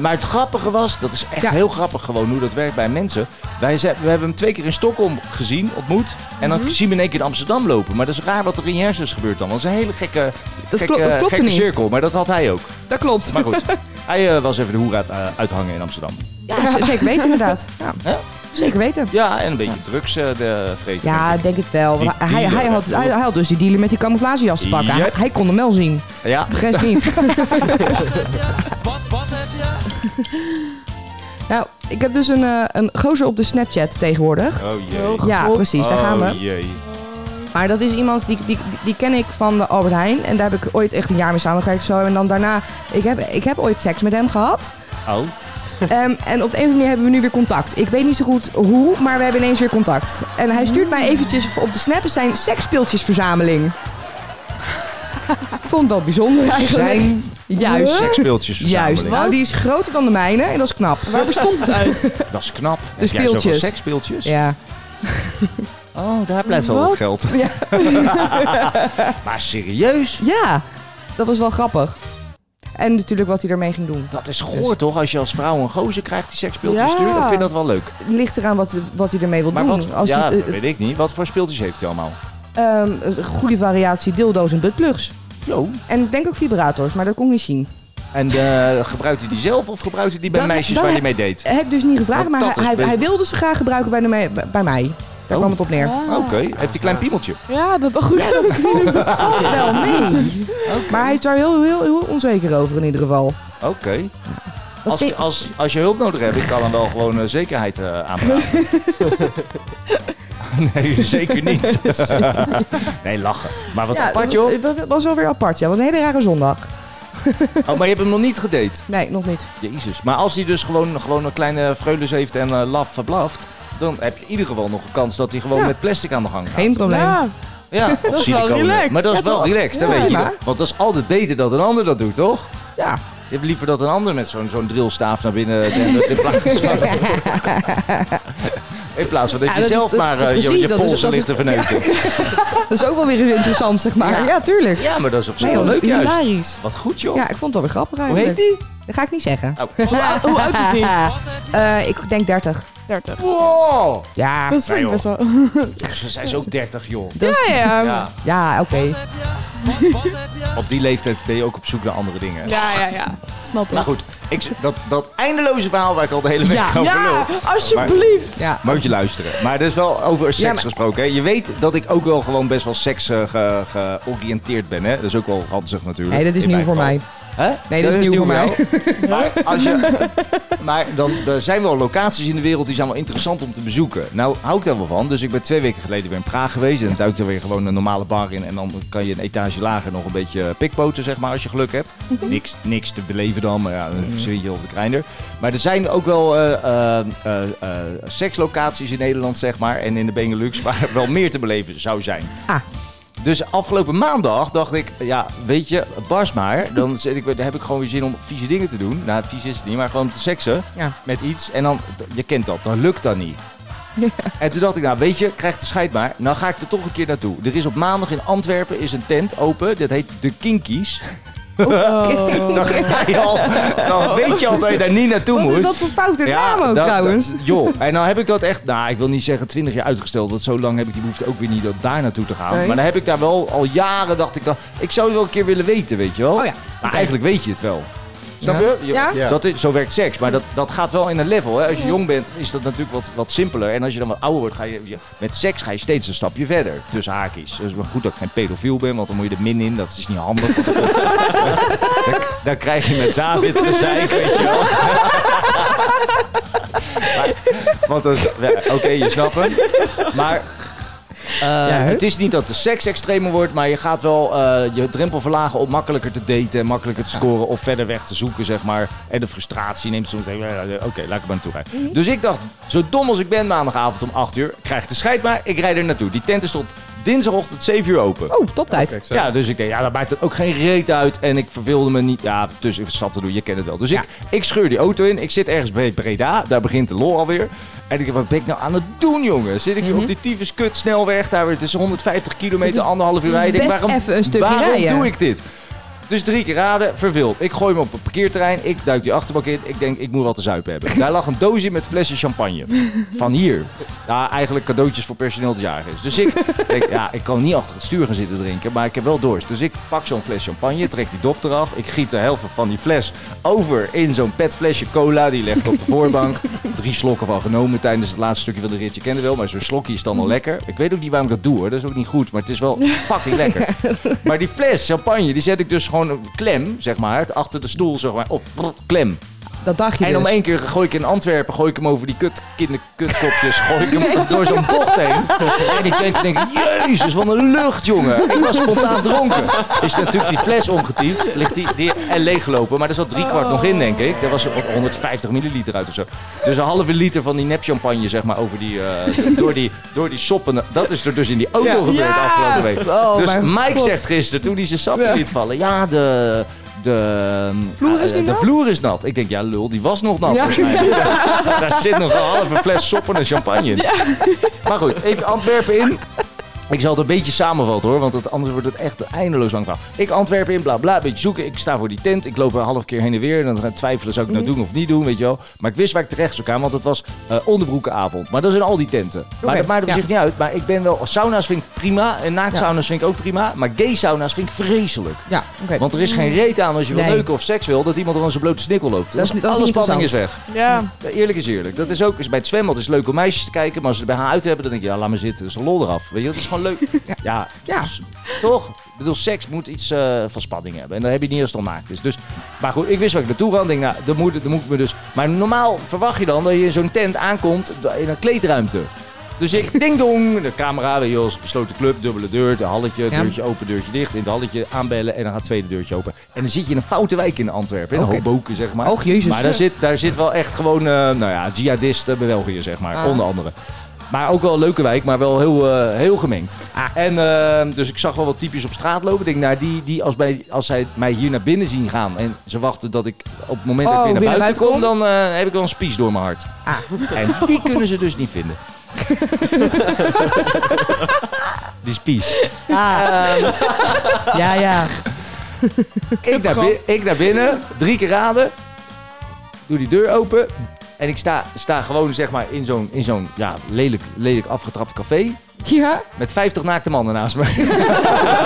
[SPEAKER 3] maar het grappige was, dat is echt heel grappig gewoon hoe dat werkt bij mensen. Wij ze- we hebben hem twee keer in Stockholm gezien, ontmoet. En dan
[SPEAKER 4] Mhm.
[SPEAKER 3] zien we in één keer in Amsterdam lopen. Maar dat is raar wat er in je hersens gebeurt dan. Dat is een hele gekke,
[SPEAKER 4] Dat
[SPEAKER 3] gekke,
[SPEAKER 4] klo- dat klopte
[SPEAKER 3] gekke
[SPEAKER 4] niet.
[SPEAKER 3] cirkel. Maar dat had hij ook.
[SPEAKER 4] Dat klopt.
[SPEAKER 3] Maar
[SPEAKER 4] <laughs>
[SPEAKER 3] goed, hij eh, was even de hoer uit, eh, uithangen in Amsterdam.
[SPEAKER 4] Ja, z- zeker weten inderdaad. Ja.
[SPEAKER 3] Ja.
[SPEAKER 4] Zeker weten.
[SPEAKER 3] Ja, en een beetje drugs eh de vreten.
[SPEAKER 4] Ja, denk ik wel.
[SPEAKER 3] Die
[SPEAKER 4] Want Hij,
[SPEAKER 3] dealer,
[SPEAKER 4] hij, had,
[SPEAKER 3] hè?
[SPEAKER 4] hij, hij had dus die dealer met die camouflagejas te pakken. Hij,
[SPEAKER 3] Yep.
[SPEAKER 4] hij kon hem wel zien.
[SPEAKER 3] Ja.
[SPEAKER 4] De rest
[SPEAKER 3] <laughs>
[SPEAKER 4] niet. Nou, ik heb dus een, eh, een gozer op de Snapchat tegenwoordig.
[SPEAKER 3] Oh
[SPEAKER 4] jee. Ja, precies, daar gaan we.
[SPEAKER 3] Oh jee.
[SPEAKER 4] Maar dat is iemand die, die, die ken ik van de Albert Heijn. En daar heb ik ooit echt een jaar mee samengewerkt. of Zo. En dan daarna, ik heb, ik heb ooit seks met hem gehad.
[SPEAKER 3] Oh.
[SPEAKER 4] Ehm, en op de een of andere manier hebben we nu weer contact. Ik weet niet zo goed hoe, maar we hebben ineens weer contact. En hij stuurt mij eventjes op de snappen zijn seksspeeltjesverzameling. Ik vond dat bijzonder eigenlijk.
[SPEAKER 3] Zijn
[SPEAKER 4] Juist.
[SPEAKER 3] Seksspeeltjes
[SPEAKER 4] Juist. Nou, die is groter dan de mijne en dat is knap.
[SPEAKER 6] Waar <laughs> bestond het uit?
[SPEAKER 3] Dat is knap. Heb jij
[SPEAKER 4] speeltjes.
[SPEAKER 3] zoveel seksspeeltjes?
[SPEAKER 4] Ja.
[SPEAKER 3] Oh, daar blijft al wat
[SPEAKER 4] Wat?
[SPEAKER 3] geld. <laughs>
[SPEAKER 4] Ja,
[SPEAKER 3] <laughs> maar serieus?
[SPEAKER 4] Ja, dat was wel grappig. En natuurlijk wat hij ermee ging doen. Dus
[SPEAKER 3] Dat is Goor toch, als je als vrouw een gozer krijgt die seksspeeltjes
[SPEAKER 4] Ja.
[SPEAKER 3] stuurt? Ik vind dat wel leuk.
[SPEAKER 4] ligt eraan wat, wat hij ermee wil
[SPEAKER 3] Maar
[SPEAKER 4] doen.
[SPEAKER 3] wat,
[SPEAKER 4] Als
[SPEAKER 3] ja,
[SPEAKER 4] hij,
[SPEAKER 3] dat weet ik niet. Wat voor speeltjes heeft hij allemaal?
[SPEAKER 4] eh, ehm, een goede variatie dildo's en buttplugs.
[SPEAKER 3] Zo.
[SPEAKER 4] En ik denk ook vibrators, maar dat kon ik niet zien.
[SPEAKER 3] En eh gebruikt hij die zelf of gebruikt hij die bij
[SPEAKER 4] Dat-
[SPEAKER 3] meisjes
[SPEAKER 4] dat
[SPEAKER 3] waar hij
[SPEAKER 4] heb-
[SPEAKER 3] mee deed?
[SPEAKER 4] Heb ik dus niet gevraagd,
[SPEAKER 3] Want dat
[SPEAKER 4] maar hij,
[SPEAKER 3] is
[SPEAKER 4] hij,
[SPEAKER 3] beter.
[SPEAKER 4] hij wilde ze graag gebruiken bij, de me- bij mij. Daar
[SPEAKER 3] Oh.
[SPEAKER 4] kwam het op neer.
[SPEAKER 6] Ah.
[SPEAKER 3] Oké, heeft hij klein piemeltje?
[SPEAKER 6] Ja, dat <laughs> goed.
[SPEAKER 4] Ja, dat, viel- Oh, dat valt
[SPEAKER 3] <laughs>
[SPEAKER 4] wel mee. Maar hij is daar heel, heel, heel onzeker over in ieder geval.
[SPEAKER 3] Oké. Als,
[SPEAKER 4] vind-
[SPEAKER 3] als, als je hulp nodig hebt, ik kan dan wel gewoon eh, zekerheid eh
[SPEAKER 4] <laughs>
[SPEAKER 3] aanvragen. <laughs> nee, zeker niet. <laughs> nee, lachen. Maar wat
[SPEAKER 4] ja,
[SPEAKER 3] apart,
[SPEAKER 4] dat
[SPEAKER 3] joh.
[SPEAKER 4] was, dat was wel weer apart, ja. Wat een hele rare
[SPEAKER 3] <laughs>
[SPEAKER 4] zondag.
[SPEAKER 3] Oh, maar je hebt hem nog niet gedate.
[SPEAKER 4] Nee, nog niet.
[SPEAKER 3] Jezus. Maar als hij dus gewoon, gewoon een kleine vreulens heeft en eh, laf verblaft... dan heb je in ieder geval nog een kans dat hij gewoon
[SPEAKER 4] Ja.
[SPEAKER 3] met plastic aan de gang gaat.
[SPEAKER 4] Geen probleem.
[SPEAKER 6] Ja.
[SPEAKER 3] Ja, of
[SPEAKER 6] wel
[SPEAKER 3] siliconen.
[SPEAKER 6] relaxed.
[SPEAKER 3] Maar dat is
[SPEAKER 6] Ja,
[SPEAKER 3] wel
[SPEAKER 6] toch?
[SPEAKER 3] relaxed, dat
[SPEAKER 6] Ja,
[SPEAKER 3] weet je.
[SPEAKER 6] maar.
[SPEAKER 3] Want dat is altijd beter dat een ander dat doet, toch?
[SPEAKER 4] Ja.
[SPEAKER 3] Je hebt liever dat een ander met zo'n zo'n drillstaaf naar binnen <laughs> dendert in plaats <laughs> van... In plaats van dat
[SPEAKER 4] Ja,
[SPEAKER 3] je
[SPEAKER 4] dat is-
[SPEAKER 3] zelf
[SPEAKER 4] dat-
[SPEAKER 3] maar eh,
[SPEAKER 4] precies,
[SPEAKER 3] je, je
[SPEAKER 4] dat is-
[SPEAKER 3] polsen
[SPEAKER 4] dat is-
[SPEAKER 3] ligt te verneuken.
[SPEAKER 4] Dat is ook wel weer interessant, zeg maar. Ja, tuurlijk.
[SPEAKER 3] Ja, maar dat is op zich
[SPEAKER 4] Nee,
[SPEAKER 3] wel
[SPEAKER 4] joh,
[SPEAKER 3] leuk juist.
[SPEAKER 4] hilarisch.
[SPEAKER 3] Wat goed joh.
[SPEAKER 4] Ja, ik vond het wel weer grappig
[SPEAKER 3] Hoe
[SPEAKER 4] eigenlijk.
[SPEAKER 3] heet die?
[SPEAKER 4] Dat ga ik niet zeggen.
[SPEAKER 3] Oh.
[SPEAKER 4] <laughs>
[SPEAKER 6] Hoe oud is hij?
[SPEAKER 4] Eh, ik denk 30.
[SPEAKER 6] 30.
[SPEAKER 3] Wow!
[SPEAKER 4] Ja,
[SPEAKER 6] Dat is
[SPEAKER 3] Nee,
[SPEAKER 6] voor best wel.
[SPEAKER 3] <laughs> Ze zijn ze ook 30 joh.
[SPEAKER 4] Dat
[SPEAKER 6] Ja, ja.
[SPEAKER 3] Ja,
[SPEAKER 4] ja oké.
[SPEAKER 3] op die leeftijd ben je ook op zoek naar andere dingen.
[SPEAKER 6] Ja, ja, ja. Snap
[SPEAKER 3] Maar
[SPEAKER 6] ik.
[SPEAKER 3] Nou goed, ik, dat, dat eindeloze verhaal waar ik al de hele week
[SPEAKER 4] Ja.
[SPEAKER 3] over lul.
[SPEAKER 6] Ja, alsjeblieft.
[SPEAKER 4] Ja.
[SPEAKER 3] Moet je luisteren. Maar dat is wel over seks
[SPEAKER 4] Ja, maar-
[SPEAKER 3] gesproken. Hè. Je weet dat ik ook wel gewoon best wel seks eh, ge- georiënteerd ben. Hè. Dat is ook wel handig natuurlijk.
[SPEAKER 4] Nee, dat is
[SPEAKER 3] In
[SPEAKER 4] nieuw
[SPEAKER 3] mijn
[SPEAKER 4] voor
[SPEAKER 3] geval.
[SPEAKER 4] mij.
[SPEAKER 3] Hè?
[SPEAKER 4] Nee, dit is nieuw voor mij.
[SPEAKER 3] jou. maar als je, <laughs> maar dan, er zijn wel locaties in de wereld die zijn wel interessant om te bezoeken. Nou, hou ik daar wel van. Dus ik ben twee weken geleden weer in Praag geweest. En dan duik je weer gewoon een normale bar in. En dan kan je een etage lager nog een beetje pikpoten, zeg maar, als je geluk hebt. Niks, niks te beleven dan, maar ja, een zwintje of een kleiner. Maar er zijn ook wel eh, eh, eh, eh, sekslocaties in Nederland, zeg maar. En in de Benelux, <laughs> waar wel meer te beleven zou zijn. Dus afgelopen maandag dacht ik, ja, weet je, bars maar.
[SPEAKER 4] <laughs>
[SPEAKER 3] Dan, zit ik, dan heb ik gewoon weer zin om vieze dingen te doen. Nou, vies is het niet, maar gewoon te seksen
[SPEAKER 4] Ja.
[SPEAKER 3] met iets. En dan, je kent dat, dan lukt dat niet. En toen dacht ik, nou weet je, krijg de scheid maar. Nou ga ik er toch een keer naartoe. Er is op maandag in Antwerpen is een tent open. Dat heet De Kinkies.
[SPEAKER 4] Oh,
[SPEAKER 3] <laughs> dan, ga je al, dan weet je al dat je daar niet naartoe
[SPEAKER 4] Wat
[SPEAKER 3] moet.
[SPEAKER 4] is Oh, dat voor foute naam ook
[SPEAKER 3] dat-
[SPEAKER 4] trouwens?
[SPEAKER 3] dat- joh, en dan heb ik dat echt, nou ik wil niet zeggen 20 jaar uitgesteld. Want zo lang heb ik die behoefte ook weer niet om daar naartoe te gaan.
[SPEAKER 4] Nee.
[SPEAKER 3] Maar dan heb ik daar wel al jaren dacht ik dat. Ik zou het wel een keer willen weten, weet je wel. Maar eigenlijk weet je het wel. Snap
[SPEAKER 4] Oh Ja.
[SPEAKER 3] je? Je-
[SPEAKER 4] Ja? Ja.
[SPEAKER 3] Dat is, zo werkt seks, maar dat, dat gaat wel in een level. Hè? Als je jong bent, is dat natuurlijk wat, wat simpeler. En als je dan wat ouder wordt, ga je, je- met seks ga je steeds een stapje verder. Tussen haakjes. Dus maar goed dat ik geen pedofiel ben, want dan moet je er min in. Dat is niet handig. want dan, dan- dan krijg je met David gezeik, weet je wel. Maar- want dat is- ja, oké, je snapt hem. Maar eh, het is niet dat de seks extremer wordt, maar je gaat wel eh, je drempel verlagen om makkelijker te daten en makkelijker te scoren of verder weg te zoeken, zeg maar. En de frustratie neemt soms. eh, eh, Oké, laat ik er maar naartoe rijden. Dus ik dacht, zo dom als ik ben maandagavond om 8 uur, krijg ik de scheid maar, ik rijd er naartoe. Die tent is tot dinsdagochtend 7 uur open.
[SPEAKER 4] Oh, toptijd.
[SPEAKER 3] ja, dus ik denk, ja, dat maakt het ook geen reet uit. En ik verveelde me niet. Ja, dus ik zat te doen, je kent het wel. Dus ik, ik scheur die auto in. Ik zit ergens bij Breda. Daar begint de lol alweer. En ik denk, wat ben ik nou aan het doen, jongen? Zit ik hier op die tyfus kut snelweg? Daar, het is 150 kilometer,
[SPEAKER 4] Mhm. Het is
[SPEAKER 3] anderhalf uur rijden. Ik denk,
[SPEAKER 4] best
[SPEAKER 3] waarom,
[SPEAKER 4] even een stukje
[SPEAKER 3] waarom
[SPEAKER 4] rijden.
[SPEAKER 3] doe ik dit? Dus drie keer raden, verveeld. Ik gooi hem op een parkeerterrein. Ik duik die achterbak in. Ik denk, ik moet wat te zuipen hebben. Daar lag een doosje met flessen champagne. Van hier. Nou, eigenlijk cadeautjes voor personeel dat jarig is. Dus ik denk, ja, ik kan niet achter het stuur gaan zitten drinken. Maar ik heb wel dorst. Dus ik pak zo'n fles champagne. Trek die dop eraf. Ik giet de helft van die fles over in zo'n petflesje cola. Die leg ik op de voorbank. Drie slokken van genomen tijdens het laatste stukje van de rit. Je kende wel, maar zo'n slokje is dan al lekker. Ik weet ook niet waarom ik dat doe hoor. Dat is ook niet goed. Maar het is wel fucking lekker. Maar die fles champagne, die zet ik dus gewoon op klem, zeg maar, achter de stoel, zeg maar, op prr, klem.
[SPEAKER 4] <laughs> Dat dacht je
[SPEAKER 3] En
[SPEAKER 4] dus.
[SPEAKER 3] om één keer gooi ik in Antwerpen, gooi ik hem over die kut, kinder, kutkopjes, gooi ik hem door zo'n bocht heen. <laughs> En ik denk, denk, jezus, wat een lucht, jongen. Ik was spontaan dronken. Is natuurlijk die fles omgetiefd, ligt die, die en leeggelopen, maar er zat drie kwart nog in, denk ik. Daar was er 150 milliliter uit of zo. Dus een halve liter van die nep champagne, zeg maar, over die, eh, door, die, door die soppen. Dat is er dus in die auto
[SPEAKER 2] Ja.
[SPEAKER 3] gebeurd
[SPEAKER 2] Ja.
[SPEAKER 3] afgelopen week.
[SPEAKER 2] Oh,
[SPEAKER 3] dus
[SPEAKER 2] mijn
[SPEAKER 3] Mike
[SPEAKER 2] God.
[SPEAKER 3] zegt gisteren, toen hij zijn sap
[SPEAKER 2] Ja.
[SPEAKER 3] liet vallen, ja, de... De,
[SPEAKER 2] Vloer is
[SPEAKER 3] eh,
[SPEAKER 2] niet
[SPEAKER 3] de
[SPEAKER 2] nat?
[SPEAKER 3] vloer is nat. Ik denk, ja lul, die was nog
[SPEAKER 2] <laughs>
[SPEAKER 3] nat.
[SPEAKER 2] Ja.
[SPEAKER 3] volgens mij. Daar- Daar zit nog een halve fles soppen en champagne in. Maar goed, even Antwerpen in. Ik zal het een beetje samenvatten hoor, want het- anders wordt het echt een eindeloos lang verhaal. Ik Antwerpen in, bla bla, een beetje zoeken. Ik sta voor die tent, ik loop een half keer heen en weer. En dan ga ik twijfelen, zou ik
[SPEAKER 4] Mhm.
[SPEAKER 3] het nou doen of niet doen, weet je wel. Maar ik wist waar ik terecht zou gaan, want het was eh, onderbroekenavond. Maar dat is in al die tenten. Maar
[SPEAKER 2] Oké,
[SPEAKER 3] dat maakt op
[SPEAKER 2] ja.
[SPEAKER 3] zich niet uit. Maar ik ben wel, sauna's vind ik prima en naaktsauna's vind ik ook prima. Maar gay sauna's vind ik vreselijk.
[SPEAKER 4] Ja, oké.
[SPEAKER 3] Want er is geen reet aan als je wil
[SPEAKER 4] Nee.
[SPEAKER 3] leuken of seks wil, dat iemand er aan zijn blote snikkel loopt.
[SPEAKER 4] Dat is niet- dat is
[SPEAKER 3] Alle
[SPEAKER 4] niet
[SPEAKER 3] spanning is
[SPEAKER 4] interessant.
[SPEAKER 3] weg.
[SPEAKER 6] Ja.
[SPEAKER 3] Ja, Eerlijk is eerlijk. Dat is ook is bij het zwembad is het leuk om meisjes te kijken, maar als ze er bij haar uit hebben, dan denk je, ja, laat maar zitten. Dat is een lol eraf. Weet je, dat is gewoon
[SPEAKER 2] <laughs>
[SPEAKER 3] leuk. Ja, ja. dus- toch? Ik bedoel, seks moet iets eh, van spanning hebben. En dat heb je niet als het al naakt is. Dus, maar goed, ik wist waar ik naartoe ga. Ik Denk, nou, dat moet, dat moet ik me dus. Maar normaal verwacht je dan dat je in zo'n tent aankomt d- in een kleedruimte.
[SPEAKER 2] <laughs>
[SPEAKER 3] Dus ik ding dong, de camera, weet je wel, besloten club, dubbele deur, de halletje,
[SPEAKER 2] Ja.
[SPEAKER 3] deurtje open, deurtje dicht. In het halletje aanbellen en dan gaat het tweede deurtje open. En dan zit je in een foute wijk in Antwerpen, in
[SPEAKER 2] Oké.
[SPEAKER 3] Hoboken zeg maar.
[SPEAKER 2] Och, Jezus.
[SPEAKER 3] Maar daar zit, daar zit wel echt gewoon, eh, nou ja, jihadisten, België zeg maar,
[SPEAKER 2] Ah.
[SPEAKER 3] onder andere. Maar ook wel een leuke wijk, maar wel heel, eh, heel gemengd. En eh, dus ik zag wel wat typjes op straat lopen. Ik denk, nou, die, die als, bij, als zij mij hier naar binnen zien gaan en ze wachten dat ik op het moment dat ik
[SPEAKER 2] Oh,
[SPEAKER 3] weer naar
[SPEAKER 2] weer naar
[SPEAKER 3] buiten kom,
[SPEAKER 2] buiten
[SPEAKER 3] dan eh, heb ik wel een spies door mijn hart. En die kunnen ze dus niet vinden. die spies.
[SPEAKER 4] Ah.
[SPEAKER 3] Ehm.
[SPEAKER 4] <laughs> ja, ja.
[SPEAKER 3] Ik naar, bin- ik naar binnen, drie keer raden. Doe die deur open. En ik sta, sta gewoon zeg maar in zo'n, in zo'n ja, lelijk, lelijk afgetrapt café.
[SPEAKER 4] Ja?
[SPEAKER 3] Met 50 naakte mannen naast me.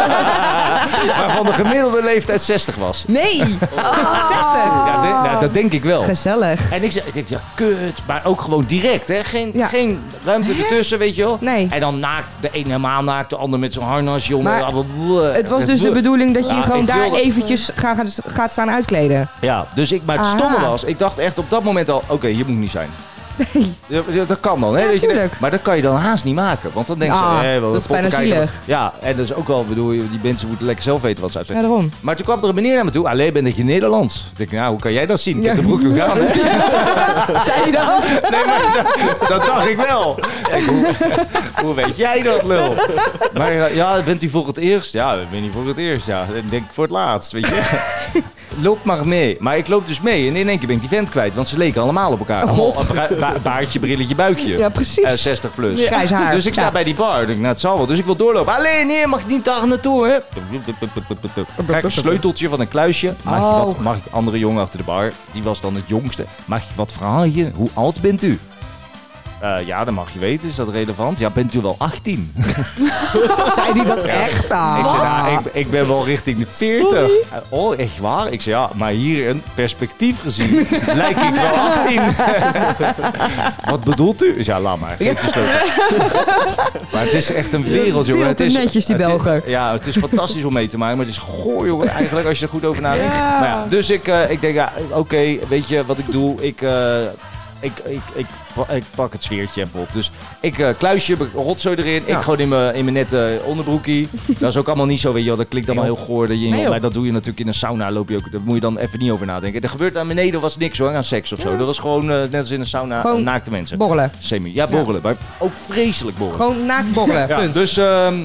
[SPEAKER 3] <laughs> Waarvan de gemiddelde leeftijd 60 was.
[SPEAKER 4] Nee! 60!
[SPEAKER 3] Oh. Ja, dit, nou, Ja, dat denk ik wel.
[SPEAKER 4] Gezellig.
[SPEAKER 3] En ik zeg, ik denk, ja, kut. Maar ook gewoon direct, hè? Geen, geen ruimte ertussen, weet je wel? Nee. En dan naakt, de ene helemaal naakt, de ander met zo'n harnasje om.
[SPEAKER 4] Maar
[SPEAKER 3] Blablabla.
[SPEAKER 4] Het was dus de bedoeling dat je
[SPEAKER 3] Ja,
[SPEAKER 4] je gewoon
[SPEAKER 3] ik
[SPEAKER 4] daar
[SPEAKER 3] wilde-
[SPEAKER 4] eventjes ga- gaat, gaat staan uitkleden.
[SPEAKER 3] Ja, dus ik, maar het
[SPEAKER 4] Aha.
[SPEAKER 3] stomme was, ik dacht echt op dat moment al, oké, hier moet ik niet zijn. <laughs> Ja, ja, dat kan dan, hè? dat je denkt- maar dat kan je dan haast niet maken. Want dan denk je,
[SPEAKER 4] Ah,
[SPEAKER 3] hé, wel
[SPEAKER 4] dat
[SPEAKER 3] een
[SPEAKER 4] is bijna
[SPEAKER 3] pottenkijker.
[SPEAKER 4] zielig.
[SPEAKER 3] Ja, en dat is ook wel, bedoel je, die mensen moeten lekker zelf weten wat ze uitzenden.
[SPEAKER 4] Ja, daarom.
[SPEAKER 3] Maar toen kwam er een meneer naar me toe, alleen ben ik in Nederlands. Ik denk, nou, hoe kan jij dat zien? Ik heb de broek nog aan, hè?
[SPEAKER 4] <laughs> Zei je dat?
[SPEAKER 3] Oh. Nee, maar dat, <laughs> dat dacht ik wel.
[SPEAKER 4] <laughs>
[SPEAKER 3] Ik, hoe, <laughs> hoe weet jij dat, lul? Maar eh, ja, bent u voor het eerst? Ja, ik ben niet voor het eerst, ja. Ik denk voor het laatst, weet
[SPEAKER 4] <laughs>
[SPEAKER 3] je. Loop maar mee. Maar ik loop dus mee en in één keer ben ik die vent kwijt. Want ze leken allemaal op elkaar.
[SPEAKER 4] Oh, God.
[SPEAKER 3] Allemaal ba- ba- baardje, brilletje, buikje.
[SPEAKER 4] Ja, precies.
[SPEAKER 3] Eh, 60 plus.
[SPEAKER 4] Ja. Grijs haar.
[SPEAKER 3] Dus ik sta
[SPEAKER 4] Ja.
[SPEAKER 3] bij die bar. Ik denk, nou, het zal wel. Dus ik wil doorlopen. Alleen, nee, mag ik niet daar naartoe, hè? Kijk,
[SPEAKER 4] <laughs>
[SPEAKER 3] een sleuteltje van een kluisje. Mag je
[SPEAKER 2] Oh.
[SPEAKER 3] wat mag ik andere jongen achter de bar, die was dan het jongste. Mag ik wat vragen? Hoe oud bent u? Eh, ja, dat mag je weten. Is dat relevant? Ja, bent u wel 18?
[SPEAKER 4] Zei die dat echt Ah.
[SPEAKER 3] Ik,
[SPEAKER 4] aan?
[SPEAKER 3] zei, nou, ik, ik ben wel richting de 40.
[SPEAKER 4] Sorry.
[SPEAKER 3] Eh, Oh, echt waar? Ik zei, ja, maar hier een perspectief gezien lijk ik wel 18. <laughs> Wat bedoelt u? Ik zei, Ja, laat maar. Geef de
[SPEAKER 4] <laughs>
[SPEAKER 3] sleutel. Maar het is echt een wereld, jongen.
[SPEAKER 4] Veel
[SPEAKER 3] Het
[SPEAKER 4] te
[SPEAKER 3] is,
[SPEAKER 4] netjes, die
[SPEAKER 3] het is-
[SPEAKER 4] Belgen.
[SPEAKER 3] ja, het is fantastisch om mee te maken, maar het is goor, jongen, eigenlijk, als je er goed over nadenkt.
[SPEAKER 2] Ja.
[SPEAKER 3] Maar ja, dus ik, eh, ik denk, ja, oké, weet je wat ik doe? Ik, eh, ik, ik, ik, pa- ik pak het sfeertje even op. Dus ik eh, kluisje, rotzooi erin.
[SPEAKER 2] Ja.
[SPEAKER 3] Ik gewoon in mijn in mijn nette
[SPEAKER 4] <laughs>
[SPEAKER 3] onderbroekie. dat is ook allemaal niet zo, weet je wel. Dat klinkt allemaal heel goor. Dat je in,
[SPEAKER 2] Nee, joh.
[SPEAKER 3] maar dat doe je natuurlijk in een sauna. Loop je ook, daar moet je dan even niet over nadenken. Er gebeurt aan beneden was niks hoor, aan seks of zo. Dat was gewoon eh, net als in een sauna
[SPEAKER 4] Gewoon
[SPEAKER 3] naakte mensen.
[SPEAKER 4] borrelen.
[SPEAKER 3] Semi, ja, borrelen. Maar ook vreselijk borrelen.
[SPEAKER 4] Gewoon naakt borrelen,
[SPEAKER 3] Ja,
[SPEAKER 4] punt.
[SPEAKER 3] Dus ehm,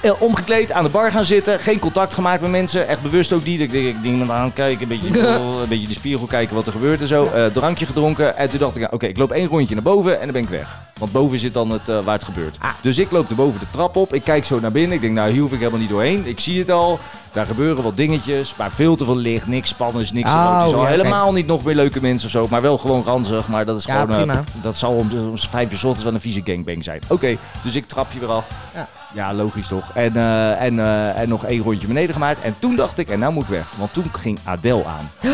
[SPEAKER 3] eh, omgekleed aan de bar gaan zitten. Geen contact gemaakt met mensen. Echt bewust ook niet. Ik denk, ik niemand aankijken. Een
[SPEAKER 2] <laughs>
[SPEAKER 3] beetje, een beetje in de spiegel kijken wat er gebeurt en zo. Eh, drankje gedronken. En toen dacht ik, ja, oké, ik loop één rondje naar boven en dan ben ik weg. Want boven zit dan het, eh, waar het gebeurt.
[SPEAKER 2] Ah.
[SPEAKER 3] Dus ik loop er boven de trap op. Ik kijk zo naar binnen. Ik denk, nou, hier hoef ik helemaal niet doorheen. Ik zie het al. Daar gebeuren wat dingetjes. Maar veel te veel licht. Niks spannends, niks.
[SPEAKER 2] Oh,
[SPEAKER 3] erotisch. Al
[SPEAKER 2] ja, oké.
[SPEAKER 3] helemaal niet nog meer leuke mensen of zo. Maar wel gewoon ranzig. Maar dat is
[SPEAKER 2] Ja,
[SPEAKER 3] gewoon... eh,
[SPEAKER 2] prima.
[SPEAKER 3] dat zal om, om vijf uur 's ochtends wel een vieze gangbang zijn. Oké, dus ik trap je weer af.
[SPEAKER 2] Ja.
[SPEAKER 3] Ja, logisch toch. En, eh, en, eh, en nog één rondje beneden gemaakt. En toen dacht ik, en nou moet ik weg. Want toen ging Adele aan.
[SPEAKER 4] <gasps>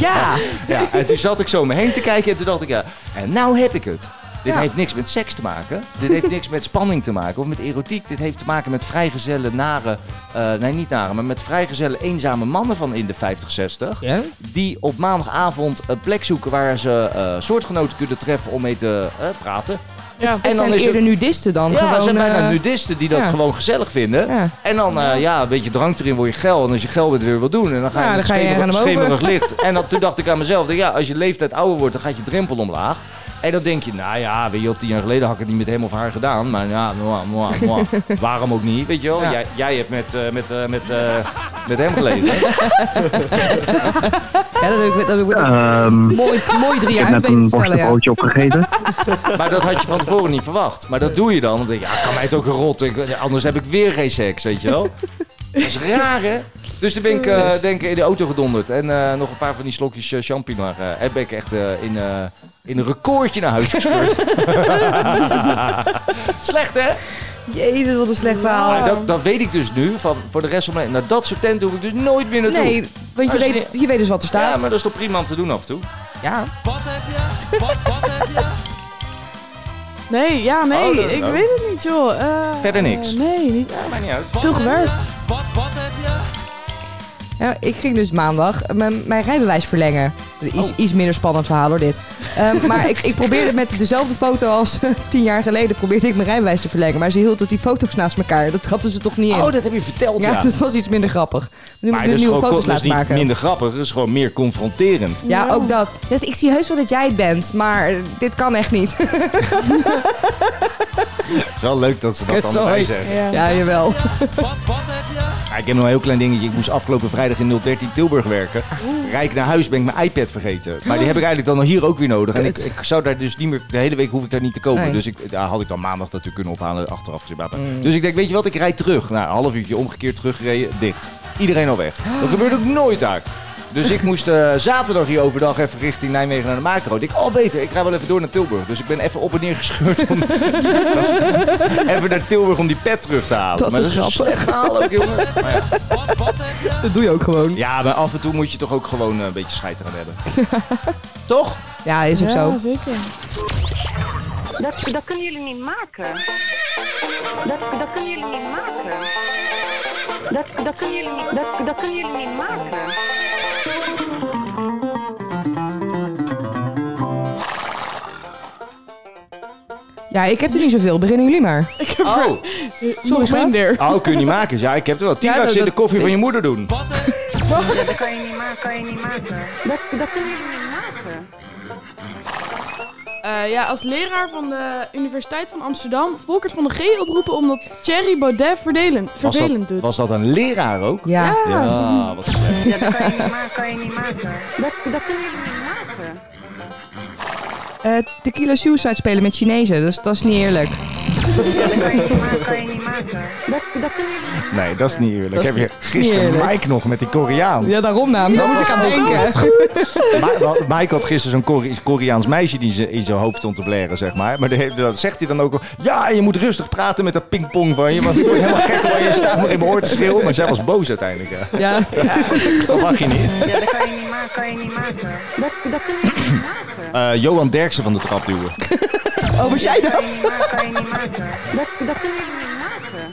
[SPEAKER 4] ja!
[SPEAKER 3] ja! En toen zat ik zo om me heen te kijken en toen dacht ik, ja, en nou heb ik het. Dit
[SPEAKER 2] Ja.
[SPEAKER 3] heeft niks met seks te maken. Dit heeft niks met spanning te maken of met erotiek. Dit heeft te maken met vrijgezelle nare... eh, nee, niet nare, maar met vrijgezelle eenzame mannen van in de 50, 60. Die op maandagavond een plek zoeken waar ze eh, soortgenoten kunnen treffen om mee te eh, praten.
[SPEAKER 4] Ja, en zijn
[SPEAKER 3] het-
[SPEAKER 4] eerder nudisten dan.
[SPEAKER 3] ja,
[SPEAKER 4] gewoon,
[SPEAKER 3] er zijn bijna
[SPEAKER 4] eh,
[SPEAKER 3] nudisten die dat
[SPEAKER 4] ja.
[SPEAKER 3] gewoon gezellig vinden. En dan, eh, ja, een beetje drank erin word je geil. En als je geil bent, weer wil doen. En dan ga je
[SPEAKER 4] Ja,
[SPEAKER 3] met
[SPEAKER 4] dan ga je
[SPEAKER 3] schemerig,
[SPEAKER 4] naar boven. <laughs>
[SPEAKER 3] schemerig licht. En dat, toen dacht ik aan mezelf, denk, ja, als je leeftijd ouder wordt, dan gaat je drempel omlaag. En dan denk je, nou ja, weet je, wel, tien jaar geleden had ik het niet met hem of haar gedaan. Maar ja, moi, moi,
[SPEAKER 4] <laughs>
[SPEAKER 3] moi. waarom ook niet, weet je wel?
[SPEAKER 2] Ja.
[SPEAKER 3] Jij, jij hebt met, eh, met, eh, met, eh, met hem geleefd.
[SPEAKER 4] Ja, dat heb ik, dat heb ik
[SPEAKER 7] Ehm,
[SPEAKER 4] mooi, <laughs> mooi drie
[SPEAKER 7] ik heb
[SPEAKER 4] jaar
[SPEAKER 7] net
[SPEAKER 4] weten
[SPEAKER 7] een
[SPEAKER 4] te stellen. Ja.
[SPEAKER 7] worstenbroodje opgegeten.
[SPEAKER 3] <laughs> Maar dat had je van tevoren niet verwacht. Maar dat doe je dan. Dan denk je, ja, kan mij het ook een rot. Ik- anders heb ik weer geen seks, weet je wel. Dat is raar, hè? Dus toen ben ik eh,
[SPEAKER 2] Yes.
[SPEAKER 3] denk ik in de auto gedonderd. En eh, nog een paar van die slokjes eh, champignon. eh, en ben ik echt eh, in, eh, in een recordje naar huis gespeurd.
[SPEAKER 4] <laughs>
[SPEAKER 3] Slecht, hè?
[SPEAKER 4] Jezus, wat een slecht
[SPEAKER 3] Maar
[SPEAKER 4] verhaal.
[SPEAKER 3] dat, dat weet ik dus nu. Van, voor de rest van mijn... Naar dat soort tenten hoef ik dus nooit meer naartoe.
[SPEAKER 4] nee, want je
[SPEAKER 3] Als
[SPEAKER 4] weet, je weet dus wat er
[SPEAKER 3] Ja,
[SPEAKER 4] staat.
[SPEAKER 3] maar dat is toch prima om te doen af en toe?
[SPEAKER 4] Ja.
[SPEAKER 6] Nee, ja, nee.
[SPEAKER 3] Oh, dat-
[SPEAKER 6] ik
[SPEAKER 3] oh.
[SPEAKER 6] weet het niet, joh. Eh,
[SPEAKER 3] Verder niks.
[SPEAKER 6] eh, nee, niet echt.
[SPEAKER 3] Maakt niet uit.
[SPEAKER 6] Veel gewerkt.
[SPEAKER 4] Ja, ik ging dus maandag mijn, mijn rijbewijs verlengen. Iets,
[SPEAKER 3] Oh.
[SPEAKER 4] iets minder spannend verhaal hoor dit. Ehm, maar ik, ik probeerde met dezelfde foto als eh, tien jaar geleden probeerde ik mijn rijbewijs te verlengen. Maar ze hield het die foto's naast elkaar. Dat trapte ze toch niet in.
[SPEAKER 3] Oh, dat heb je verteld, ja.
[SPEAKER 4] dat was iets minder grappig. Nu moet
[SPEAKER 3] maar
[SPEAKER 4] ik weer
[SPEAKER 3] dat is
[SPEAKER 4] nieuwe
[SPEAKER 3] gewoon
[SPEAKER 4] foto's
[SPEAKER 3] dat is
[SPEAKER 4] laten
[SPEAKER 3] niet
[SPEAKER 4] maken.
[SPEAKER 3] minder grappig. Dat is gewoon meer confronterend.
[SPEAKER 4] Ja,
[SPEAKER 6] Nou.
[SPEAKER 4] ook dat. Dat- Ik zie heus wel dat jij het bent, maar eh, dit kan echt niet.
[SPEAKER 3] Het is wel leuk dat ze dat dan
[SPEAKER 4] Sorry.
[SPEAKER 3] erbij zeggen.
[SPEAKER 4] Ja, jawel.
[SPEAKER 6] Oh.
[SPEAKER 3] Ja, ik heb nog een heel klein dingetje. Ik moest afgelopen vrijdag in 013 Tilburg werken.
[SPEAKER 2] Ah.
[SPEAKER 3] Rijk naar huis ben ik mijn iPad vergeten. Maar die heb ik eigenlijk dan nog hier ook weer nodig. En ik,
[SPEAKER 2] Kut.
[SPEAKER 3] ik zou daar dus niet meer... De hele week hoef ik daar niet te komen.
[SPEAKER 2] Nee.
[SPEAKER 3] Dus ik, daar had ik dan maandag natuurlijk kunnen ophalen achteraf.
[SPEAKER 2] Mm.
[SPEAKER 3] Dus ik denk, weet je wat? Ik
[SPEAKER 2] Ah.
[SPEAKER 3] rijd terug. Nou, een half uurtje omgekeerd teruggereden. Dicht. Iedereen al weg. Dat gebeurt ook nooit daar. Dus ik moest eh, zaterdag hier overdag even richting Nijmegen naar de macro. Ik denk, oh beter, ik ga wel even door naar Tilburg. Dus ik ben even op en neer gescheurd. Om, even naar Tilburg om die pet terug te halen.
[SPEAKER 4] Dat
[SPEAKER 3] maar
[SPEAKER 4] is
[SPEAKER 3] dat is een
[SPEAKER 4] grappig.
[SPEAKER 3] slecht verhaal ook, jongen. Maar ja.
[SPEAKER 4] Dat doe je ook gewoon.
[SPEAKER 3] Ja, maar af en toe moet je toch ook gewoon eh, een beetje scheid eraan hebben. Toch?
[SPEAKER 4] Ja, is ook zo.
[SPEAKER 6] zeker.
[SPEAKER 13] Dat, dat kunnen jullie niet maken. Dat, dat kunnen jullie niet maken. Dat, dat, kunnen jullie niet, dat, dat kunnen jullie niet maken.
[SPEAKER 4] Ja, ik heb er niet zoveel. Beginnen jullie maar.
[SPEAKER 6] Ik heb
[SPEAKER 3] oh.
[SPEAKER 4] Sorry, schat.
[SPEAKER 3] Oh, kun je niet maken. Ja, ik heb er wel.
[SPEAKER 4] Ja,
[SPEAKER 3] Timax
[SPEAKER 4] dat-
[SPEAKER 3] in de
[SPEAKER 4] dat-
[SPEAKER 3] koffie van je moeder doen.
[SPEAKER 13] Ja, dat kan je niet maken, kan je niet maken. Dat, dat kunnen jullie niet maken.
[SPEAKER 6] Eh, ja, als leraar van de Universiteit van Amsterdam Volkert van de G oproepen omdat Thierry Baudet verdelen,
[SPEAKER 3] Was dat,
[SPEAKER 4] dus.
[SPEAKER 6] vervelend doet.
[SPEAKER 3] was dat een leraar ook?
[SPEAKER 4] Ja.
[SPEAKER 3] Ja, wat slecht.
[SPEAKER 13] Ja, dat kan je niet maken, kan je niet maken. Dat, dat kunnen jullie niet maken.
[SPEAKER 4] Eh, tequila Suicide spelen met Chinezen, dat is, dat is niet eerlijk.
[SPEAKER 13] Ja, dat kan je niet maken, kan je niet maken. Dat, dat kunnen jullie niet
[SPEAKER 3] Nee, dat is niet eerlijk.
[SPEAKER 4] Dat is
[SPEAKER 3] heb je
[SPEAKER 4] niet
[SPEAKER 3] gisteren
[SPEAKER 4] eerlijk.
[SPEAKER 3] Mike nog met die Koreaan?
[SPEAKER 4] Ja, daarom naam. Nou, Dan moet ik aan denken.
[SPEAKER 3] Ma- wel, Mike had gisteren zo'n Kore- Koreaans meisje die ze- in zijn hoofd stond te blaren, zeg maar. Maar die heeft- dat zegt hij dan ook al. Ja, en je moet rustig praten met dat pingpong van je. Want ik word helemaal gek van je. Je staat maar in mijn oor te schreeuwen. Maar zij was boos uiteindelijk. Ja. <laughs>
[SPEAKER 4] Ja.
[SPEAKER 3] Dat mag je niet.
[SPEAKER 13] maken. Ja, dat kan je niet maken, kan je niet maken. Dat, dat kunnen jullie niet maken.
[SPEAKER 3] Eh, Johan Derksen van de trap duwen.
[SPEAKER 4] Oh, was jij
[SPEAKER 13] Kan je
[SPEAKER 4] dat?
[SPEAKER 13] niet maken, kan je niet maken. Dat, dat kunnen jullie niet maken.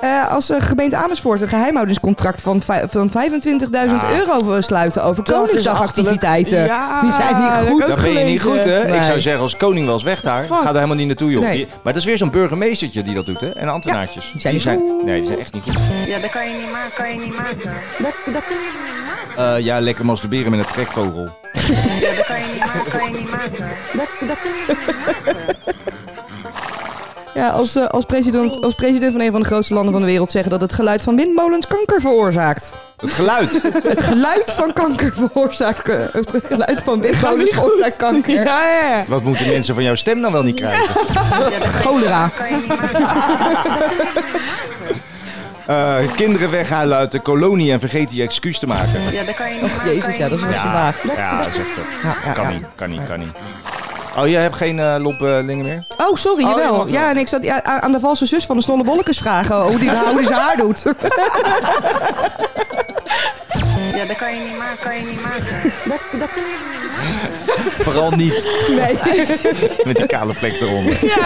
[SPEAKER 4] Eh, als eh, gemeente Amersfoort een geheimhoudingscontract van, vij- van 25.000
[SPEAKER 3] Ja.
[SPEAKER 4] euro sluiten over
[SPEAKER 3] Dat is
[SPEAKER 4] Koningsdagactiviteiten.
[SPEAKER 6] Ja,
[SPEAKER 4] Die zijn niet
[SPEAKER 6] dat heb ik
[SPEAKER 4] goed.
[SPEAKER 6] ook
[SPEAKER 3] Dan ben je niet
[SPEAKER 6] gelezen.
[SPEAKER 3] goed, hè?
[SPEAKER 4] Nee.
[SPEAKER 3] Ik zou zeggen, als koning was weg daar,
[SPEAKER 6] Fuck.
[SPEAKER 3] ga daar helemaal niet naartoe, joh.
[SPEAKER 4] Nee.
[SPEAKER 3] Die- maar dat is weer zo'n burgemeestertje die dat doet, hè? En ambtenaartjes.
[SPEAKER 4] zijn niet
[SPEAKER 3] Nee, die zijn echt niet goed.
[SPEAKER 13] Ja, dat kan je niet maken, kan je niet maken. Dat, dat kunnen jullie niet maken.
[SPEAKER 3] Eh, ja, lekker masturberen met een trekvogel.
[SPEAKER 13] Ja, dat kan je niet maken, kan je niet maken. Dat, dat kunnen jullie niet maken.
[SPEAKER 4] Ja, als, eh, als, president, als president van een van de grootste landen van de wereld zeggen dat het geluid van windmolens kanker veroorzaakt.
[SPEAKER 3] Het geluid.
[SPEAKER 4] <laughs> Het geluid van kanker veroorzaakt. eh, Het geluid van windmolens veroorzaakt kanker.
[SPEAKER 6] Ja, ja, ja.
[SPEAKER 3] Wat moeten mensen van jouw stem dan wel niet krijgen?
[SPEAKER 4] Cholera.
[SPEAKER 13] Kan je niet maken.
[SPEAKER 3] Eh, kinderen weghalen uit de kolonie en vergeet die excuus te maken.
[SPEAKER 13] Ja, dat kan je niet maken. kan
[SPEAKER 4] Jezus,
[SPEAKER 13] je
[SPEAKER 4] ja, dat is
[SPEAKER 13] niet
[SPEAKER 4] wat
[SPEAKER 13] maken.
[SPEAKER 4] vandaag.
[SPEAKER 3] Ja, dat is echt... eh,
[SPEAKER 4] Ja, ja,
[SPEAKER 3] Kan
[SPEAKER 4] ja.
[SPEAKER 3] niet, kan niet, kan niet. Oh, jij hebt geen eh lobblingen meer?
[SPEAKER 4] Oh, sorry,
[SPEAKER 3] Oh, je mag
[SPEAKER 4] jawel.
[SPEAKER 3] wel.
[SPEAKER 4] Ja, en ik zat ja, aan aan de valse zus van de Snolle Bollekes vragen hoe die, nou, hoe die zijn haar
[SPEAKER 3] <laughs>
[SPEAKER 4] doet.
[SPEAKER 13] Ja, dat kan je niet maken, kan je niet maken. Dat, dat kunnen jullie niet maken.
[SPEAKER 3] Vooral niet
[SPEAKER 4] Nee.
[SPEAKER 3] <laughs> met die kale plek eronder.
[SPEAKER 6] Ja.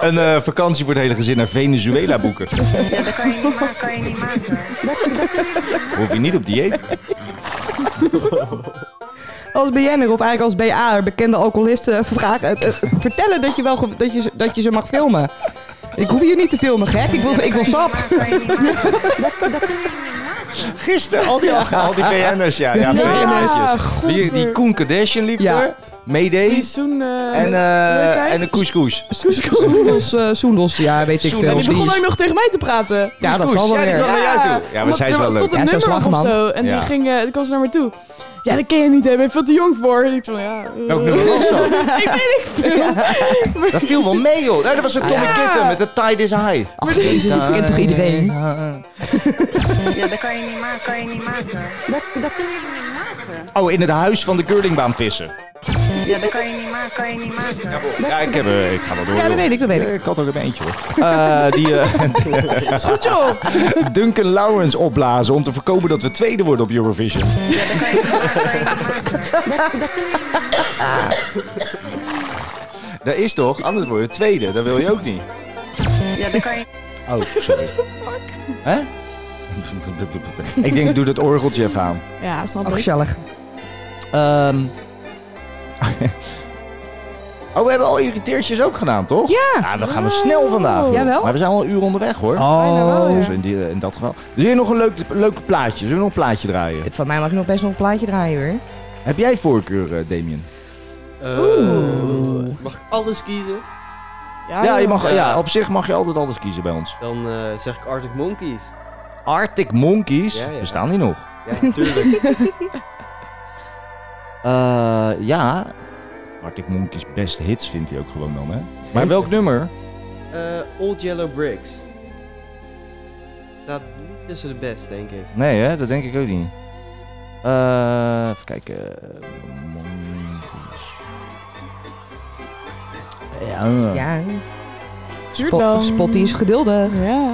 [SPEAKER 3] Een eh, vakantie voor het hele gezin naar Venezuela boeken.
[SPEAKER 13] Ja, dat kan je niet maken, kan je niet maken. Dat, dat kunnen jullie niet
[SPEAKER 3] Hoef je niet op dieet.
[SPEAKER 4] Als BN'er of eigenlijk als BA'er bekende alcoholisten vragen, eh, eh, vertellen dat je, wel, ge- dat, je, ze- dat je ze mag filmen. Ik hoef je niet te filmen, gek. Ik wil, ik wil
[SPEAKER 3] <laughs>
[SPEAKER 4] sap.
[SPEAKER 13] maken, kan je niet maken. Dat, dat kunnen jullie niet maken.
[SPEAKER 3] Gisteren, al die, al die BN'ers, ja. ja,
[SPEAKER 6] Ja,
[SPEAKER 3] BN'ertjes.
[SPEAKER 6] godver.
[SPEAKER 3] Die, die Koen Kardashian liefde,
[SPEAKER 4] Ah, Ja.
[SPEAKER 6] Die
[SPEAKER 3] Mayday
[SPEAKER 6] zoen... eh,
[SPEAKER 3] en,
[SPEAKER 6] hoe heet
[SPEAKER 3] eh
[SPEAKER 6] zij?
[SPEAKER 3] en een couscous.
[SPEAKER 4] Soendels, eh, soendels, ja, weet ik
[SPEAKER 3] Soendels.
[SPEAKER 6] En
[SPEAKER 4] veel.
[SPEAKER 6] die begon ook nog tegen mij te praten.
[SPEAKER 4] Ja, dat
[SPEAKER 3] Couscous.
[SPEAKER 4] zal wel
[SPEAKER 3] Ja, die
[SPEAKER 4] weer.
[SPEAKER 3] kwam naar jou toe. Ja, maar
[SPEAKER 6] omdat-
[SPEAKER 3] zij is
[SPEAKER 6] er
[SPEAKER 3] wel
[SPEAKER 6] stond
[SPEAKER 3] leuk.
[SPEAKER 6] een
[SPEAKER 4] Ja, zo'n
[SPEAKER 6] nummer op of
[SPEAKER 4] slagman.
[SPEAKER 6] zo. En
[SPEAKER 3] Ja.
[SPEAKER 6] die, ging, eh, die kwam ze naar me toe. Ja, dat ken je niet, hè. Ben je veel te jong voor. En ik zo, ja... eh.
[SPEAKER 3] Welk nummer was dat?
[SPEAKER 6] ik weet niet veel. Maar-
[SPEAKER 3] Dat viel wel mee, joh. Nee, dat was een Tommy
[SPEAKER 6] Ja.
[SPEAKER 3] Kitten met de Tide is High.
[SPEAKER 4] Ach, jezus, dit kent toch iedereen?
[SPEAKER 13] Ja, dat kan je niet maken, kan je niet maken. Dat, dat kunnen jullie niet maken.
[SPEAKER 3] Oh, in het huis van de curlingbaan pissen.
[SPEAKER 13] Ja, dat kan je niet maken, kan je niet maken.
[SPEAKER 3] Ja, ik, heb, eh, ik ga wel door.
[SPEAKER 4] Ja, dat
[SPEAKER 3] joh.
[SPEAKER 4] weet ik, dat weet ik.
[SPEAKER 3] Ja, Ik had ook een eentje,
[SPEAKER 4] <laughs>
[SPEAKER 3] hoor. Eh, die eh,
[SPEAKER 6] Goed, joh.
[SPEAKER 3] Duncan Lawrence opblazen om te voorkomen dat we tweede worden op
[SPEAKER 4] <laughs>
[SPEAKER 3] Eurovision. Dat is toch? Anders word je tweede. Dat wil je ook niet.
[SPEAKER 13] Ja, dat kan je
[SPEAKER 3] Oh, sorry. Hè? ik denk, doe dat orgeltje even aan.
[SPEAKER 6] Ja, snap
[SPEAKER 4] Oh,
[SPEAKER 6] ik.
[SPEAKER 4] gezellig.
[SPEAKER 3] Ehm. <laughs> oh, we hebben al irriteertjes ook gedaan, toch?
[SPEAKER 4] Ja.
[SPEAKER 3] Ja, we gaan we snel vandaag.
[SPEAKER 4] Jawel.
[SPEAKER 3] Maar we zijn al een uur onderweg, hoor.
[SPEAKER 5] Oh.
[SPEAKER 6] Bijna wel, ja.
[SPEAKER 3] Dus in, die, in dat geval. Dus hier nog een leuk, leuk plaatje. Zullen we nog een plaatje draaien?
[SPEAKER 4] Van mij mag je nog best nog een plaatje draaien hoor.
[SPEAKER 3] Heb jij voorkeur, eh, Damien?
[SPEAKER 5] Eh, mag ik alles kiezen?
[SPEAKER 3] ja, je mag, ja.
[SPEAKER 5] ja.
[SPEAKER 3] op zich mag je altijd alles kiezen bij ons.
[SPEAKER 5] Dan eh, zeg ik Arctic Monkeys.
[SPEAKER 3] Arctic Monkeys.
[SPEAKER 5] Ja, ja.
[SPEAKER 3] Bestaan die nog?
[SPEAKER 4] <laughs>
[SPEAKER 5] Ja, natuurlijk.
[SPEAKER 3] Eh, ja. Arctic Monkeys best hits vindt hij ook gewoon dan, hè? Maar welk nummer?
[SPEAKER 5] Eh, Old Yellow Bricks. staat niet tussen de best, denk ik.
[SPEAKER 3] Nee, hè? dat denk ik ook niet. Eh, even kijken. Ja.
[SPEAKER 4] Ja.
[SPEAKER 6] Duurt
[SPEAKER 4] Spot-
[SPEAKER 6] lang.
[SPEAKER 4] Spotty is <laughs> geduldig.
[SPEAKER 6] Eh, Ja.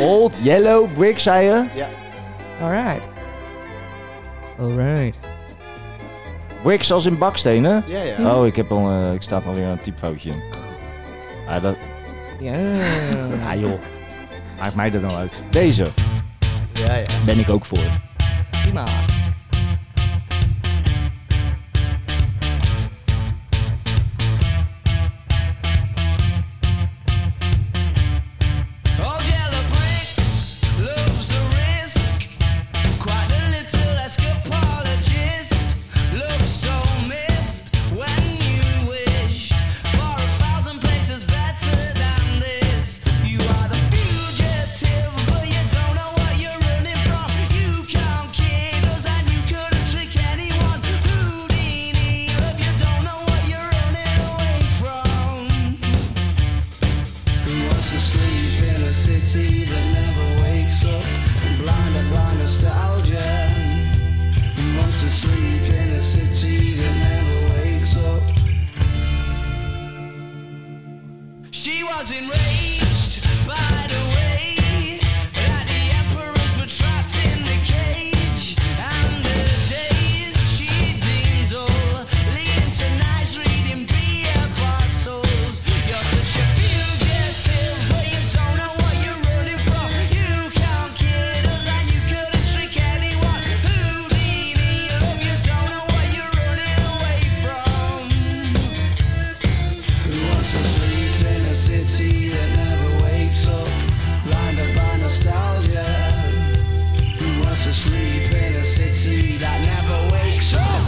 [SPEAKER 3] Old Yellow Brick, zei je?
[SPEAKER 5] Ja.
[SPEAKER 4] Alright. Alright.
[SPEAKER 3] Bricks als in bakstenen?
[SPEAKER 5] Ja, ja.
[SPEAKER 3] Oh, ik, heb al, eh, ik sta alweer een typfoutje in. Ah, dat...
[SPEAKER 4] Ja.
[SPEAKER 3] Ah, joh. Maakt mij er nou uit. Deze
[SPEAKER 5] Ja, ja.
[SPEAKER 3] ben ik ook voor.
[SPEAKER 4] Prima.
[SPEAKER 12] Old yellow bricks loves the risk. Quite a little escapologist. Looks so miffed when you wish for a thousand places better than this. You are the fugitive, but you don't know what you're running from. You can't kid us and you couldn't trick anyone. Houdini, love, you don't know what you're running away from. Who wants to sleep in a city that never wakes up? Blind and blind nostalgia. Who wants to sleep in a city that never wakes up? She was enraged by the way that the emperors were trapped in the cage. And the days she deemed dull, leading to nights reading beer bottles. You're such a fugitive, but you don't know what you're running from. You can't kid us and you couldn't trick anyone. Houdini, love, you don't know what you're running away from. Who wants to sleep in a city that never wakes up? Blinded by nostalgia. Who wants to sleep in a city that never wakes up?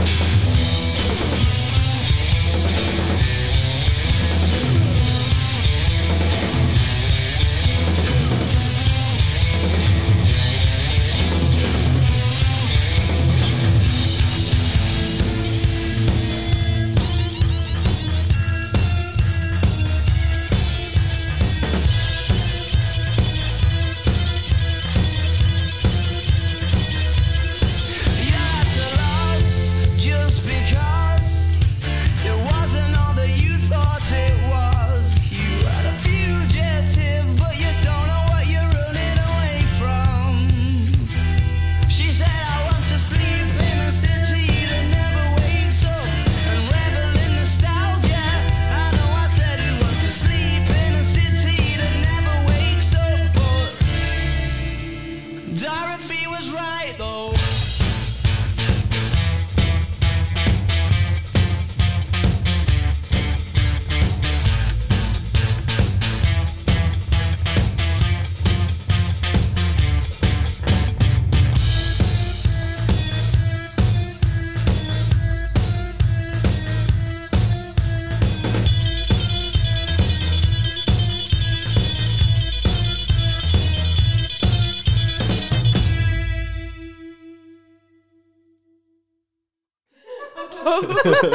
[SPEAKER 12] You're at a loss just because it wasn't all that you thought it was. You are a fugitive, but you don't know what you're running away from. She said, I want to sleep in a city that never wakes up and revel in nostalgia. I know I said I want to sleep in a city that never wakes up, but Dorothy was right though.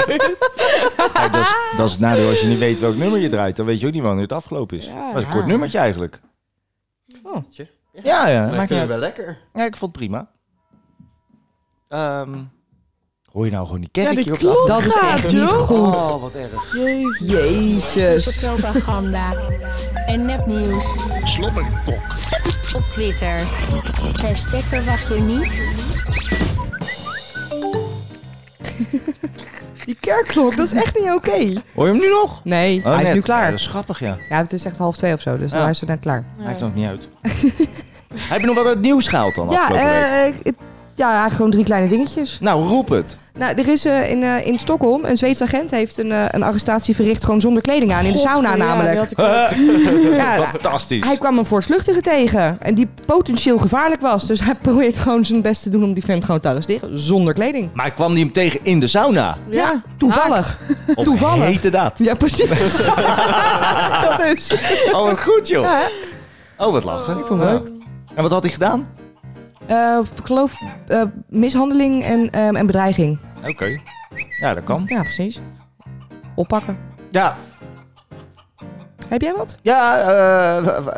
[SPEAKER 3] Kijk,
[SPEAKER 4] <laughs>
[SPEAKER 3] dat, is, dat is het nadeel als je niet weet welk nummer je draait. Dan weet je ook niet wanneer het afgelopen is.
[SPEAKER 6] Ja.
[SPEAKER 3] dat is een kort nummertje eigenlijk.
[SPEAKER 5] Oh.
[SPEAKER 3] Ja, ja.
[SPEAKER 5] Maar
[SPEAKER 3] maakt
[SPEAKER 5] ik
[SPEAKER 3] niet
[SPEAKER 5] vind het wel
[SPEAKER 3] uit.
[SPEAKER 5] lekker.
[SPEAKER 3] Ja, ik vond het prima. Ehm, hoor je nou gewoon die
[SPEAKER 6] Ja,
[SPEAKER 3] kerkje
[SPEAKER 6] die
[SPEAKER 3] op de achtergrond?
[SPEAKER 4] Dat is echt niet goed.
[SPEAKER 3] Oh, wat erg.
[SPEAKER 6] Jezus.
[SPEAKER 4] Jezus.
[SPEAKER 8] Propaganda. En nepnieuws.
[SPEAKER 1] Slobberkok.
[SPEAKER 8] Op Twitter. Hashtag verwacht je niet.
[SPEAKER 4] Die kerkklok, dat is echt niet oké.
[SPEAKER 3] <laughs> Hoor je hem nu nog?
[SPEAKER 4] Nee,
[SPEAKER 3] Oh,
[SPEAKER 4] hij is
[SPEAKER 3] net.
[SPEAKER 4] nu
[SPEAKER 3] Ja,
[SPEAKER 4] klaar.
[SPEAKER 3] dat is grappig, ja.
[SPEAKER 4] Ja, het is echt half twee of zo, dus
[SPEAKER 3] Ja.
[SPEAKER 4] dan is het net klaar.
[SPEAKER 3] Maakt nog niet uit. <laughs> Heb je nog wat uit het nieuws gehaald dan
[SPEAKER 4] Ja,
[SPEAKER 3] afgelopen week?
[SPEAKER 4] eh, ik- het- ja, eigenlijk gewoon drie kleine dingetjes.
[SPEAKER 3] Nou, roep het.
[SPEAKER 4] Nou, er is eh, in, eh, in Stockholm, een Zweedse agent heeft een, eh, een arrestatie verricht gewoon zonder kleding aan. In de
[SPEAKER 6] Godver,
[SPEAKER 4] sauna
[SPEAKER 6] ja, die
[SPEAKER 4] namelijk.
[SPEAKER 6] had ik ook.
[SPEAKER 4] Ja,
[SPEAKER 3] Fantastisch.
[SPEAKER 4] hij kwam een voortvluchtige tegen en die potentieel gevaarlijk was. Dus hij <laughs> probeert gewoon zijn best te doen om die vent gewoon te arresteren zonder kleding.
[SPEAKER 3] Maar kwam die hem tegen in de sauna?
[SPEAKER 6] Ja.
[SPEAKER 4] Ja, toevallig.
[SPEAKER 3] Op
[SPEAKER 4] Toevallig.
[SPEAKER 3] hete daad.
[SPEAKER 4] Ja,
[SPEAKER 3] <laughs>
[SPEAKER 4] precies. dat is.
[SPEAKER 3] Oh, wat goed joh.
[SPEAKER 4] Ja, hè?
[SPEAKER 3] Oh, wat lachen. Ik
[SPEAKER 4] vond het leuk.
[SPEAKER 3] En wat had hij gedaan?
[SPEAKER 4] Eh, ik geloof eh, mishandeling en, ehm, en bedreiging.
[SPEAKER 3] Oké. Ja, dat kan.
[SPEAKER 4] Ja, precies. Oppakken.
[SPEAKER 3] Ja.
[SPEAKER 4] Heb jij wat?
[SPEAKER 3] Ja,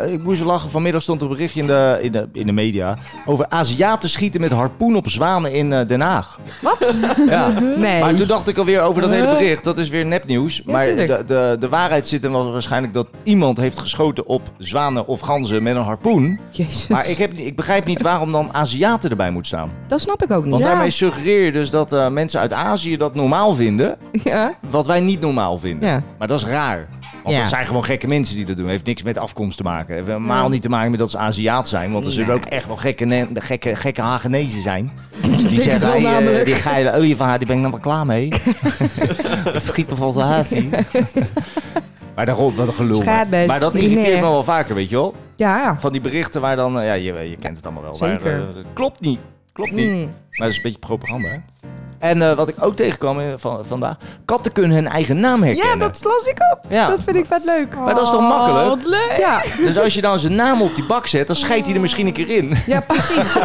[SPEAKER 3] eh, ik moest lachen. Vanmiddag stond er een berichtje in de, in, de, in de media over Aziaten schieten met harpoen op zwanen in eh, Den Haag.
[SPEAKER 4] Wat?
[SPEAKER 3] Ja. <laughs>
[SPEAKER 4] Nee.
[SPEAKER 3] Maar toen dacht ik alweer over dat hele
[SPEAKER 4] Huh?
[SPEAKER 3] bericht. Dat is weer nepnieuws. maar
[SPEAKER 4] tuurlijk.
[SPEAKER 3] de, de, de waarheid zit hem wel waarschijnlijk dat iemand heeft geschoten op zwanen of ganzen met een harpoen.
[SPEAKER 4] Jezus.
[SPEAKER 3] Maar ik, heb, niet- ik begrijp niet waarom dan Aziaten erbij moet staan.
[SPEAKER 4] Dat snap ik ook niet.
[SPEAKER 3] Want daarmee suggereer je dus dat eh, mensen uit Azië dat normaal vinden.
[SPEAKER 4] Ja.
[SPEAKER 3] Wat wij niet normaal vinden.
[SPEAKER 4] Ja.
[SPEAKER 3] Maar dat is raar. Want
[SPEAKER 4] Ja.
[SPEAKER 3] dat zijn gewoon gekke mensen die dat doen. Heeft niks met afkomst te maken. Heeft helemaal
[SPEAKER 4] Ja.
[SPEAKER 3] niet te maken met dat ze Aziat zijn. Want er zullen
[SPEAKER 4] Nee.
[SPEAKER 3] ook echt wel gekke, ne- gekke, gekke Hagenezen
[SPEAKER 4] <laughs>
[SPEAKER 3] zijn. Die
[SPEAKER 4] het
[SPEAKER 3] zeggen,
[SPEAKER 4] wel
[SPEAKER 3] hey, eh,
[SPEAKER 4] namelijk.
[SPEAKER 3] die geile olievaar, die ben ik nou maar klaar
[SPEAKER 4] <laughs>
[SPEAKER 3] mee. Het schiet me van zijn haast in. Maar daarom, wat een gelul. man.
[SPEAKER 4] Schaatbest.
[SPEAKER 3] Maar dat irriteert
[SPEAKER 4] Nee.
[SPEAKER 3] me wel vaker, weet je wel.
[SPEAKER 4] Ja.
[SPEAKER 3] Van die berichten waar dan... eh, Ja, je, je kent het allemaal wel. Waar,
[SPEAKER 4] Zeker.
[SPEAKER 3] eh, klopt niet. Klopt niet.
[SPEAKER 4] Mm.
[SPEAKER 3] Maar dat is een beetje propaganda, hè? En eh, wat ik ook tegenkwam eh, van, vandaag... Katten kunnen hun eigen naam herkennen.
[SPEAKER 4] Ja, dat las ik
[SPEAKER 6] <laughs>
[SPEAKER 4] ook.
[SPEAKER 3] Ja.
[SPEAKER 4] Dat vind ik vet leuk.
[SPEAKER 3] Maar dat is toch makkelijk?
[SPEAKER 6] Oh, wat leuk.
[SPEAKER 4] Ja.
[SPEAKER 3] Dus als je dan zijn naam op die bak zet, dan scheidt hij er misschien een keer in.
[SPEAKER 4] Ja, precies.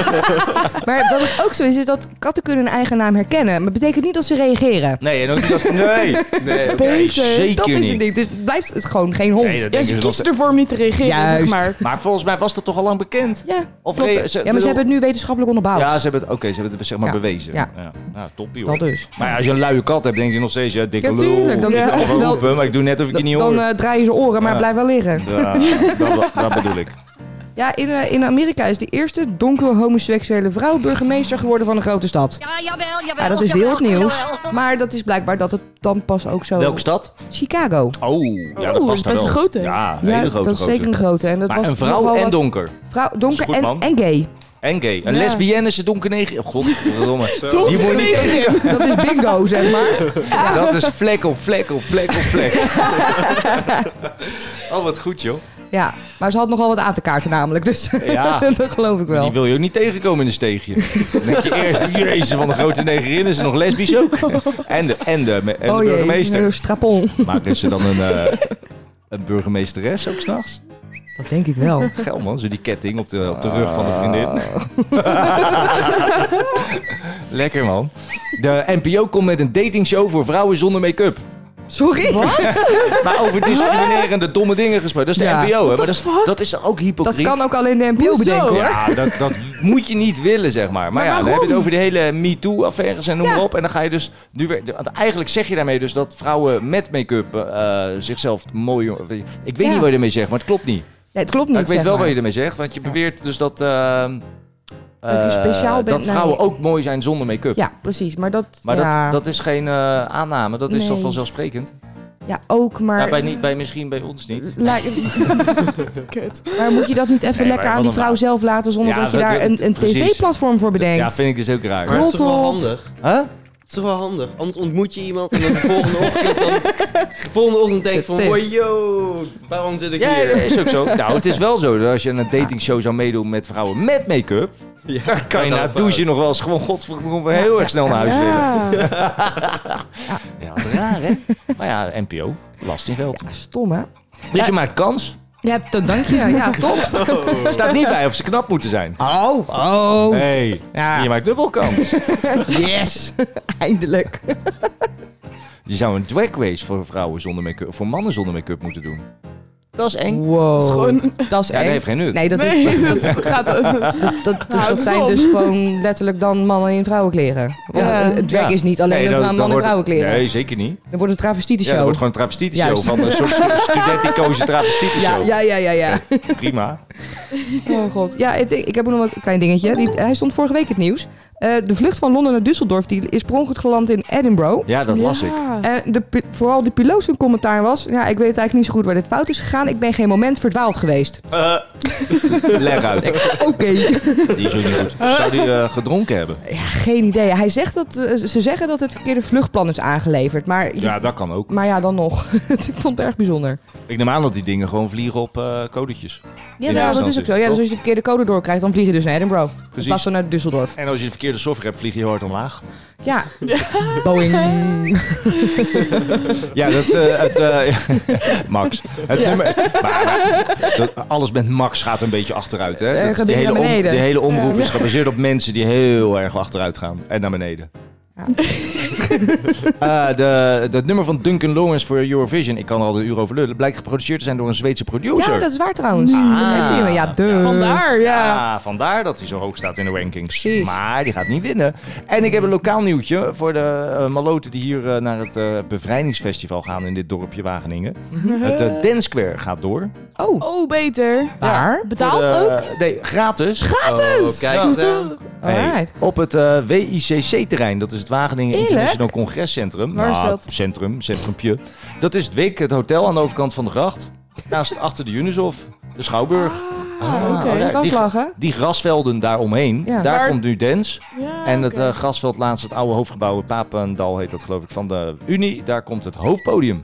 [SPEAKER 4] maar wat het ook zo is, is dat katten kunnen hun eigen naam herkennen. Maar dat betekent niet dat ze reageren.
[SPEAKER 3] Nee, en ook niet als...
[SPEAKER 4] <laughs>
[SPEAKER 3] Nee, nee,
[SPEAKER 4] Punten.
[SPEAKER 3] zeker
[SPEAKER 4] dat is
[SPEAKER 3] niet.
[SPEAKER 4] het ding. Dus het blijft het gewoon geen hond.
[SPEAKER 3] Nee, dat
[SPEAKER 6] Ja,
[SPEAKER 3] denken
[SPEAKER 6] ze
[SPEAKER 3] ze
[SPEAKER 6] kiezen
[SPEAKER 3] nog-
[SPEAKER 6] ervoor om niet te reageren,
[SPEAKER 4] Juist.
[SPEAKER 6] zeg maar.
[SPEAKER 3] Maar volgens mij was dat toch al lang bekend?
[SPEAKER 4] Ja,
[SPEAKER 3] Of
[SPEAKER 4] klopt.
[SPEAKER 3] re- ze-
[SPEAKER 4] ja, maar ze
[SPEAKER 3] bedoel-
[SPEAKER 4] hebben het nu wetenschappelijk onderbouwd.
[SPEAKER 3] <laughs> Ja, ze hebben het, oké, ze hebben het zeg maar
[SPEAKER 4] Ja.
[SPEAKER 3] bewezen.
[SPEAKER 4] Ja.
[SPEAKER 3] Nou, toppie hoor.
[SPEAKER 4] Dat dus.
[SPEAKER 3] Maar ja, als je een luie kat hebt, denk je nog steeds, ja, dikke
[SPEAKER 4] Ja,
[SPEAKER 3] lul.
[SPEAKER 4] tuurlijk, dan-
[SPEAKER 3] Ik
[SPEAKER 4] ja,
[SPEAKER 3] kan
[SPEAKER 4] echt
[SPEAKER 3] wel
[SPEAKER 4] wel.
[SPEAKER 3] roepen, maar ik doe net of ik je niet
[SPEAKER 4] Dan
[SPEAKER 3] hoor.
[SPEAKER 4] eh, draaien ze oren, maar
[SPEAKER 3] Ja.
[SPEAKER 4] blijf wel liggen.
[SPEAKER 3] Ja,
[SPEAKER 4] <laughs>
[SPEAKER 3] dat, dat bedoel ik.
[SPEAKER 4] Ja, in, eh, in Amerika is de eerste donkere homoseksuele vrouw burgemeester geworden van een grote stad.
[SPEAKER 14] Ja, jawel, jawel.
[SPEAKER 4] Ja, dat is wereldnieuws. Maar dat is blijkbaar dat het dan pas ook zo...
[SPEAKER 3] Welke stad?
[SPEAKER 4] Chicago.
[SPEAKER 3] Oh, ja, dat
[SPEAKER 4] Oeh,
[SPEAKER 3] past daar
[SPEAKER 4] best een
[SPEAKER 3] wel.
[SPEAKER 4] grote.
[SPEAKER 3] Ja, een
[SPEAKER 4] Ja,
[SPEAKER 3] hele grote.
[SPEAKER 4] dat is zeker een grote. En dat
[SPEAKER 3] maar
[SPEAKER 4] was
[SPEAKER 3] een vrouw
[SPEAKER 4] nogal
[SPEAKER 3] en
[SPEAKER 4] wat-
[SPEAKER 3] donker.
[SPEAKER 4] Vrouw,
[SPEAKER 3] Dat is
[SPEAKER 4] donker
[SPEAKER 3] goed,
[SPEAKER 4] en,
[SPEAKER 3] man.
[SPEAKER 4] en gay.
[SPEAKER 3] En gay. Een
[SPEAKER 4] Ja.
[SPEAKER 3] lesbienne is een donkerneger. Oh, godverdomme. Die
[SPEAKER 4] Donker
[SPEAKER 3] moet niet
[SPEAKER 4] en gay.
[SPEAKER 3] tegen.
[SPEAKER 4] <laughs> Dat is bingo, zeg
[SPEAKER 3] <laughs>
[SPEAKER 4] maar. Ja.
[SPEAKER 3] Dat is vlek op vlek op vlek op vlek. <laughs> oh, wat goed, joh.
[SPEAKER 4] Ja, maar ze had nogal wat aan te kaarten namelijk. Dus
[SPEAKER 3] Ja.
[SPEAKER 4] <laughs> dat geloof ik wel.
[SPEAKER 3] Die wil je ook niet tegenkomen in een steegje. Dan denk je eerst, jezus, van de grote negerin is ze nog lesbisch
[SPEAKER 4] <laughs>
[SPEAKER 3] ook. En de, en de, en de
[SPEAKER 4] oh jee,
[SPEAKER 3] burgemeester.
[SPEAKER 4] een strapon.
[SPEAKER 3] Maar is ze dan een,
[SPEAKER 4] <laughs>
[SPEAKER 3] eh, een burgemeesteres ook s'nachts?
[SPEAKER 4] Dat denk ik wel.
[SPEAKER 3] Geil man, zo die ketting op de, op de rug van de vriendin.
[SPEAKER 4] Ah.
[SPEAKER 3] <laughs> Lekker man. De NPO komt met een datingshow voor vrouwen zonder make-up.
[SPEAKER 4] Sorry?
[SPEAKER 3] <laughs> Maar over discriminerende domme dingen gesproken. Dat is de
[SPEAKER 4] Ja.
[SPEAKER 3] NPO, hè?
[SPEAKER 4] What
[SPEAKER 3] Maar
[SPEAKER 4] the
[SPEAKER 3] dat is, dat is toch ook
[SPEAKER 4] Dat
[SPEAKER 3] hypocriet?
[SPEAKER 4] kan ook alleen de NPO
[SPEAKER 3] Hoezo?
[SPEAKER 4] bedenken hoor.
[SPEAKER 3] Ja, dat, dat moet je niet willen, zeg maar. Maar, ja, dan heb je het over de hele MeToo-affaires en noem maar op. En dan ga je dus nu weer... Want eigenlijk zeg je daarmee dus dat vrouwen met make-up eh, zichzelf mooi... Ik weet
[SPEAKER 4] Ja.
[SPEAKER 3] niet wat je ermee zegt, maar het klopt niet.
[SPEAKER 4] Nee, het klopt niet.
[SPEAKER 3] Maar ik weet
[SPEAKER 4] zeg
[SPEAKER 3] wel
[SPEAKER 4] maar.
[SPEAKER 3] wat je ermee zegt, want je beweert dus dat... eh,
[SPEAKER 4] Dat je
[SPEAKER 3] eh,
[SPEAKER 4] speciaal bent
[SPEAKER 3] dat
[SPEAKER 4] naar-
[SPEAKER 3] vrouwen ook mooi zijn zonder make-up.
[SPEAKER 4] Ja, precies. Maar dat...
[SPEAKER 3] Maar
[SPEAKER 4] ja.
[SPEAKER 3] dat, dat is geen eh, aanname, dat is
[SPEAKER 4] Nee.
[SPEAKER 3] toch vanzelfsprekend?
[SPEAKER 4] Ja, ook, maar...
[SPEAKER 3] Ja, bij, niet, bij, misschien bij ons niet.
[SPEAKER 4] <laughs> Lijkt- Maar moet je dat niet even
[SPEAKER 3] Nee,
[SPEAKER 4] lekker
[SPEAKER 3] maar
[SPEAKER 4] aan die
[SPEAKER 3] wat
[SPEAKER 4] vrouw
[SPEAKER 3] een-
[SPEAKER 4] zelf laten zonder
[SPEAKER 3] Ja,
[SPEAKER 4] dat je
[SPEAKER 3] dat-
[SPEAKER 4] daar een, een
[SPEAKER 3] precies.
[SPEAKER 4] tv-platform voor bedenkt?
[SPEAKER 3] Ja, vind ik dus ook raar.
[SPEAKER 5] Maar het is toch wel
[SPEAKER 4] Rot op.
[SPEAKER 5] handig?
[SPEAKER 3] Huh?
[SPEAKER 5] Het is toch wel handig? Anders ontmoet je iemand en dan de volgende ochtend, dan, de volgende ochtend denk je van...
[SPEAKER 3] Zit
[SPEAKER 5] Boy,
[SPEAKER 3] tegen.
[SPEAKER 5] yo, waarom zit ik
[SPEAKER 3] Ja,
[SPEAKER 5] hier?
[SPEAKER 3] dat is
[SPEAKER 5] <laughs>
[SPEAKER 3] ook
[SPEAKER 4] <laughs>
[SPEAKER 3] zo. Nou, het is wel zo dat als je aan een datingshow zou meedoen met vrouwen met make-up, <laughs> dan kan je
[SPEAKER 5] dat
[SPEAKER 3] na
[SPEAKER 5] is
[SPEAKER 3] het douchen
[SPEAKER 5] fout.
[SPEAKER 3] nog wel eens gewoon godverdomme heel erg snel naar huis willen. <laughs> Ja, wat raar hè? Maar ja, NPO, last in geld.
[SPEAKER 4] Stom, hè?
[SPEAKER 3] Dus je maakt kans.
[SPEAKER 4] Ja, dan dank je. <laughs> Ja, top.
[SPEAKER 3] <laughs> Er Oh. staat niet bij of ze knap moeten zijn.
[SPEAKER 4] Oh, oh.
[SPEAKER 3] Nee, je maakt dubbel kans.
[SPEAKER 4] <laughs> Yes. Eindelijk.
[SPEAKER 3] <laughs> Je zou een drag race voor vrouwen zonder make-up, voor mannen zonder make-up moeten doen. Dat is eng.
[SPEAKER 4] Wow. Dat is,
[SPEAKER 3] Ja, dat
[SPEAKER 4] eng.
[SPEAKER 3] heeft geen nut.
[SPEAKER 4] Nee, dat,
[SPEAKER 6] Nee,
[SPEAKER 4] <laughs> dat,
[SPEAKER 6] dat gaat...
[SPEAKER 4] dat, dat, dat,
[SPEAKER 6] Houd het
[SPEAKER 4] zijn
[SPEAKER 6] op.
[SPEAKER 4] dus gewoon letterlijk dan mannen in vrouwenkleren. Want
[SPEAKER 6] Ja.
[SPEAKER 4] het drag
[SPEAKER 3] Ja.
[SPEAKER 4] is niet alleen
[SPEAKER 3] Nee,
[SPEAKER 4] een
[SPEAKER 3] dan-
[SPEAKER 4] man
[SPEAKER 3] dan
[SPEAKER 4] in
[SPEAKER 3] wordt-
[SPEAKER 4] vrouwenkleren.
[SPEAKER 3] Nee, zeker niet.
[SPEAKER 4] Dan wordt het travestiete
[SPEAKER 3] Ja, dat
[SPEAKER 4] show.
[SPEAKER 3] wordt gewoon een travestietenshow
[SPEAKER 4] Juist.
[SPEAKER 3] van een soort
[SPEAKER 4] <laughs>
[SPEAKER 3] student die koos een
[SPEAKER 4] ja,
[SPEAKER 3] travestietenshow.
[SPEAKER 4] ja, ja, ja, ja.
[SPEAKER 3] Prima.
[SPEAKER 4] Oh god. Ja, ik, ik heb nog een klein dingetje. Die, hij stond vorige week in het nieuws. Eh, de vlucht van Londen naar Düsseldorf die is per ongeluk geland in Edinburgh.
[SPEAKER 3] Ja, dat las ik.
[SPEAKER 4] En de, pi- vooral de piloot zijn commentaar was... Ja, ik weet eigenlijk niet zo goed waar dit fout is gegaan. Ik ben geen moment verdwaald geweest.
[SPEAKER 3] Eh, <laughs> leg uit.
[SPEAKER 4] Oké.
[SPEAKER 3] Die is ook niet goed. Zou die eh, gedronken hebben?
[SPEAKER 4] Geen idee. Hij zegt dat, eh, ze zeggen dat het verkeerde vluchtplan is aangeleverd. Maar,
[SPEAKER 3] Ja, dat kan ook.
[SPEAKER 4] maar ja, dan nog. <laughs> ik vond het erg bijzonder.
[SPEAKER 3] Ik neem aan dat die dingen gewoon vliegen op eh codetjes.
[SPEAKER 4] Ja,
[SPEAKER 3] In
[SPEAKER 4] dat
[SPEAKER 3] eerste
[SPEAKER 4] is ook zo.
[SPEAKER 3] instantie,
[SPEAKER 4] Ja, dus als
[SPEAKER 3] toch?
[SPEAKER 4] je de verkeerde code doorkrijgt, dan vlieg je dus naar Edinburgh.
[SPEAKER 3] Precies.
[SPEAKER 4] Pas zo naar Düsseldorf.
[SPEAKER 3] En als je de verkeerde software hebt, vlieg je hard omlaag.
[SPEAKER 4] Ja. <laughs> Boeing.
[SPEAKER 3] Ja, dat... eh, het, eh, <laughs> Max. Het nummer... Maar, maar dat- alles met Max gaat een beetje achteruit, hè?
[SPEAKER 4] Eh,
[SPEAKER 3] Dat is
[SPEAKER 4] gaat
[SPEAKER 3] die,
[SPEAKER 4] niet
[SPEAKER 3] hele
[SPEAKER 4] naar
[SPEAKER 3] om-
[SPEAKER 4] beneden.
[SPEAKER 3] die hele omroep
[SPEAKER 4] Ja.
[SPEAKER 3] is gebaseerd op mensen die heel erg achteruit gaan. En naar beneden. <laughs> Eh, de, het nummer van Duncan Lawrence voor Eurovision, ik kan er al de uur over lullen, blijkt geproduceerd te zijn door een Zweedse producer.
[SPEAKER 4] Ja, dat is waar trouwens. Dat heeft hij- ja, duh.
[SPEAKER 3] Ah, vandaar dat hij zo hoog staat in de rankings. Maar die gaat niet winnen. En ik heb een lokaal nieuwtje voor de eh, maloten die hier eh, naar het eh, bevrijdingsfestival gaan in dit dorpje
[SPEAKER 4] <laughs>
[SPEAKER 3] Wageningen. Het eh, Dance Square gaat door.
[SPEAKER 4] Oh.
[SPEAKER 6] Oh, beter.
[SPEAKER 3] Waar?
[SPEAKER 6] Betaald
[SPEAKER 3] ook? Nee, gratis.
[SPEAKER 6] Gratis! Oh, kijk eens aan.
[SPEAKER 3] Hey,
[SPEAKER 6] <laughs> Alright.
[SPEAKER 3] op het eh, WICC-terrein, dat is het Wageningen
[SPEAKER 6] Eerlijk?
[SPEAKER 3] International Congrescentrum.
[SPEAKER 6] Waar is
[SPEAKER 3] Nou,
[SPEAKER 6] dat?
[SPEAKER 3] Centrum, centrumpje. Dat is het WIC, het hotel aan de overkant van de gracht.
[SPEAKER 6] <laughs>
[SPEAKER 3] Naast achter de Unishof, de Schouwburg. Ah,
[SPEAKER 4] Oh, oké,
[SPEAKER 3] alright.
[SPEAKER 4] dat is
[SPEAKER 3] die,
[SPEAKER 4] lachen.
[SPEAKER 3] die grasvelden daaromheen,
[SPEAKER 4] Ja.
[SPEAKER 3] daar
[SPEAKER 4] Waar-
[SPEAKER 3] komt nu Dens.
[SPEAKER 4] Ja,
[SPEAKER 3] en het eh, grasveld laatst, het oude hoofdgebouw, Papendal heet dat geloof ik, van de Unie. Daar komt het hoofdpodium.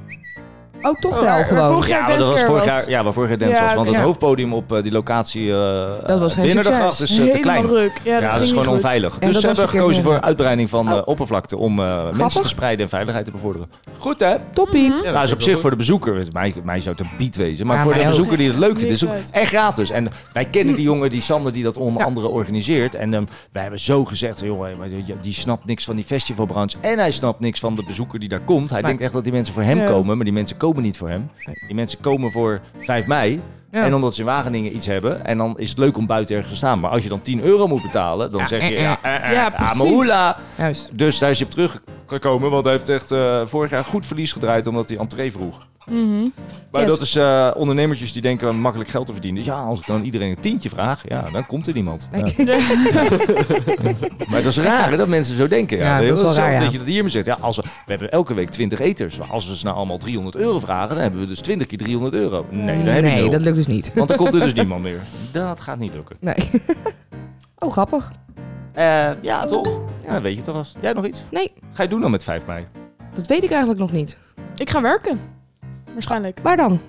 [SPEAKER 4] Oh, toch wel
[SPEAKER 6] eh,
[SPEAKER 4] gewoon.
[SPEAKER 3] ja, maar dat was vorig jaar, ja, waar vorig jaar Dance
[SPEAKER 6] Ja,
[SPEAKER 3] was. Want
[SPEAKER 6] ja.
[SPEAKER 3] het hoofdpodium op eh, die locatie eh
[SPEAKER 6] Dat was geen
[SPEAKER 3] binnen de
[SPEAKER 6] succes.
[SPEAKER 3] gracht is eh, te
[SPEAKER 6] Helemaal
[SPEAKER 3] klein.
[SPEAKER 6] ruk. Ja, dat
[SPEAKER 3] dat
[SPEAKER 6] ging
[SPEAKER 3] is
[SPEAKER 6] niet
[SPEAKER 3] gewoon
[SPEAKER 6] goed.
[SPEAKER 3] onveilig.
[SPEAKER 6] En
[SPEAKER 3] dus ze
[SPEAKER 6] dat was
[SPEAKER 3] hebben
[SPEAKER 6] verkeerd
[SPEAKER 3] gekozen voor
[SPEAKER 6] neergezet.
[SPEAKER 3] uitbreiding van eh, oppervlakte om eh, mensen te
[SPEAKER 6] Grappig.
[SPEAKER 3] spreiden en veiligheid te bevorderen. Goed hè?
[SPEAKER 4] Toppie.
[SPEAKER 3] Mhm. Ja, dat Nou, is op zich voor de bezoeker. eh, Mij, mij zou het een biet wezen. Maar
[SPEAKER 4] Ja,
[SPEAKER 3] voor de
[SPEAKER 4] mij ook.
[SPEAKER 3] bezoeker die het leuk vindt. Is het
[SPEAKER 4] Niks
[SPEAKER 3] ook- en gratis. En wij kennen die jongen, die Sander, die dat onder andere organiseert. En ehm, wij hebben zo gezegd, joh, eh, maar die- die snapt niks van die festivalbranche. En hij snapt niks van de bezoeker die daar komt. Hij
[SPEAKER 4] Maar-
[SPEAKER 3] denkt echt dat die mensen voor hem
[SPEAKER 4] Ja.
[SPEAKER 3] komen. Maar die mensen komen niet voor hem. Die mensen komen voor 5 mei.
[SPEAKER 4] Ja.
[SPEAKER 3] En omdat ze in Wageningen iets hebben. En dan is het leuk om buiten ergens te staan. Maar als je dan 10 euro moet betalen, dan zeg je...
[SPEAKER 4] eh, eh.
[SPEAKER 3] Ja, eh, eh,
[SPEAKER 4] Ja,
[SPEAKER 3] ah, maar
[SPEAKER 4] precies.
[SPEAKER 3] hoela.
[SPEAKER 4] <laughs> Juist.
[SPEAKER 3] Dus daar is hij op teruggekomen. Want hij heeft echt eh, vorig jaar goed verlies gedraaid. Omdat hij entree vroeg. Maar
[SPEAKER 6] Yes.
[SPEAKER 3] dat is eh, ondernemertjes die denken makkelijk geld te verdienen. Ja, als ik dan iedereen een tientje vraag, ja, dan komt er niemand. Ja. <laughs> maar dat is raar hè, dat mensen zo denken. Ja,
[SPEAKER 4] Ja, dat is wel
[SPEAKER 3] hetzelfde
[SPEAKER 4] raar, ja.
[SPEAKER 3] Dat je dat hier maar zegt. Ja, als we, we hebben elke week 20 eters. Maar als we ze nou allemaal 300 euro vragen, dan hebben we dus 20 keer 300 euro. Nee, dan heb je
[SPEAKER 4] Nee,
[SPEAKER 3] nul.
[SPEAKER 4] dat lukt dus niet.
[SPEAKER 3] Want dan komt er dus
[SPEAKER 4] <laughs>
[SPEAKER 3] niemand meer. Dat gaat niet lukken.
[SPEAKER 4] Nee. <laughs> Oh, grappig.
[SPEAKER 3] Eh, ja, toch? Ja, dan weet je toch als. Jij nog iets?
[SPEAKER 4] Nee.
[SPEAKER 3] Ga je doen dan met 5 mei?
[SPEAKER 4] Dat weet ik eigenlijk nog niet.
[SPEAKER 6] Ik ga werken. Waarschijnlijk.
[SPEAKER 4] Waar dan?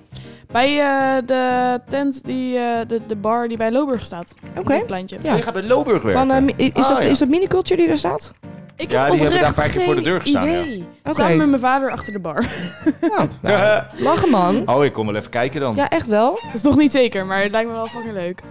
[SPEAKER 6] Bij eh, de tent, die, eh, de, de bar die bij Loburg staat. Oké. Het pleintje.
[SPEAKER 4] Ja.
[SPEAKER 3] Je gaat bij Loburg werken.
[SPEAKER 4] Van, eh, mi- is,
[SPEAKER 3] Ah,
[SPEAKER 4] dat,
[SPEAKER 3] ja.
[SPEAKER 4] is dat miniculture die daar staat?
[SPEAKER 6] Ik
[SPEAKER 3] Ja,
[SPEAKER 6] heb
[SPEAKER 3] die hebben
[SPEAKER 6] oprecht
[SPEAKER 3] daar een paar keer voor de
[SPEAKER 6] geen
[SPEAKER 3] deur gestaan, ja.
[SPEAKER 6] Idee.
[SPEAKER 4] Oké.
[SPEAKER 6] Samen met mijn vader achter de bar.
[SPEAKER 3] Nou,
[SPEAKER 4] Lachen man.
[SPEAKER 3] <laughs> Oh, ik kom wel even kijken dan.
[SPEAKER 4] Ja, echt wel. Eh,
[SPEAKER 6] Dat is nog niet zeker, maar het lijkt me wel fucking leuk.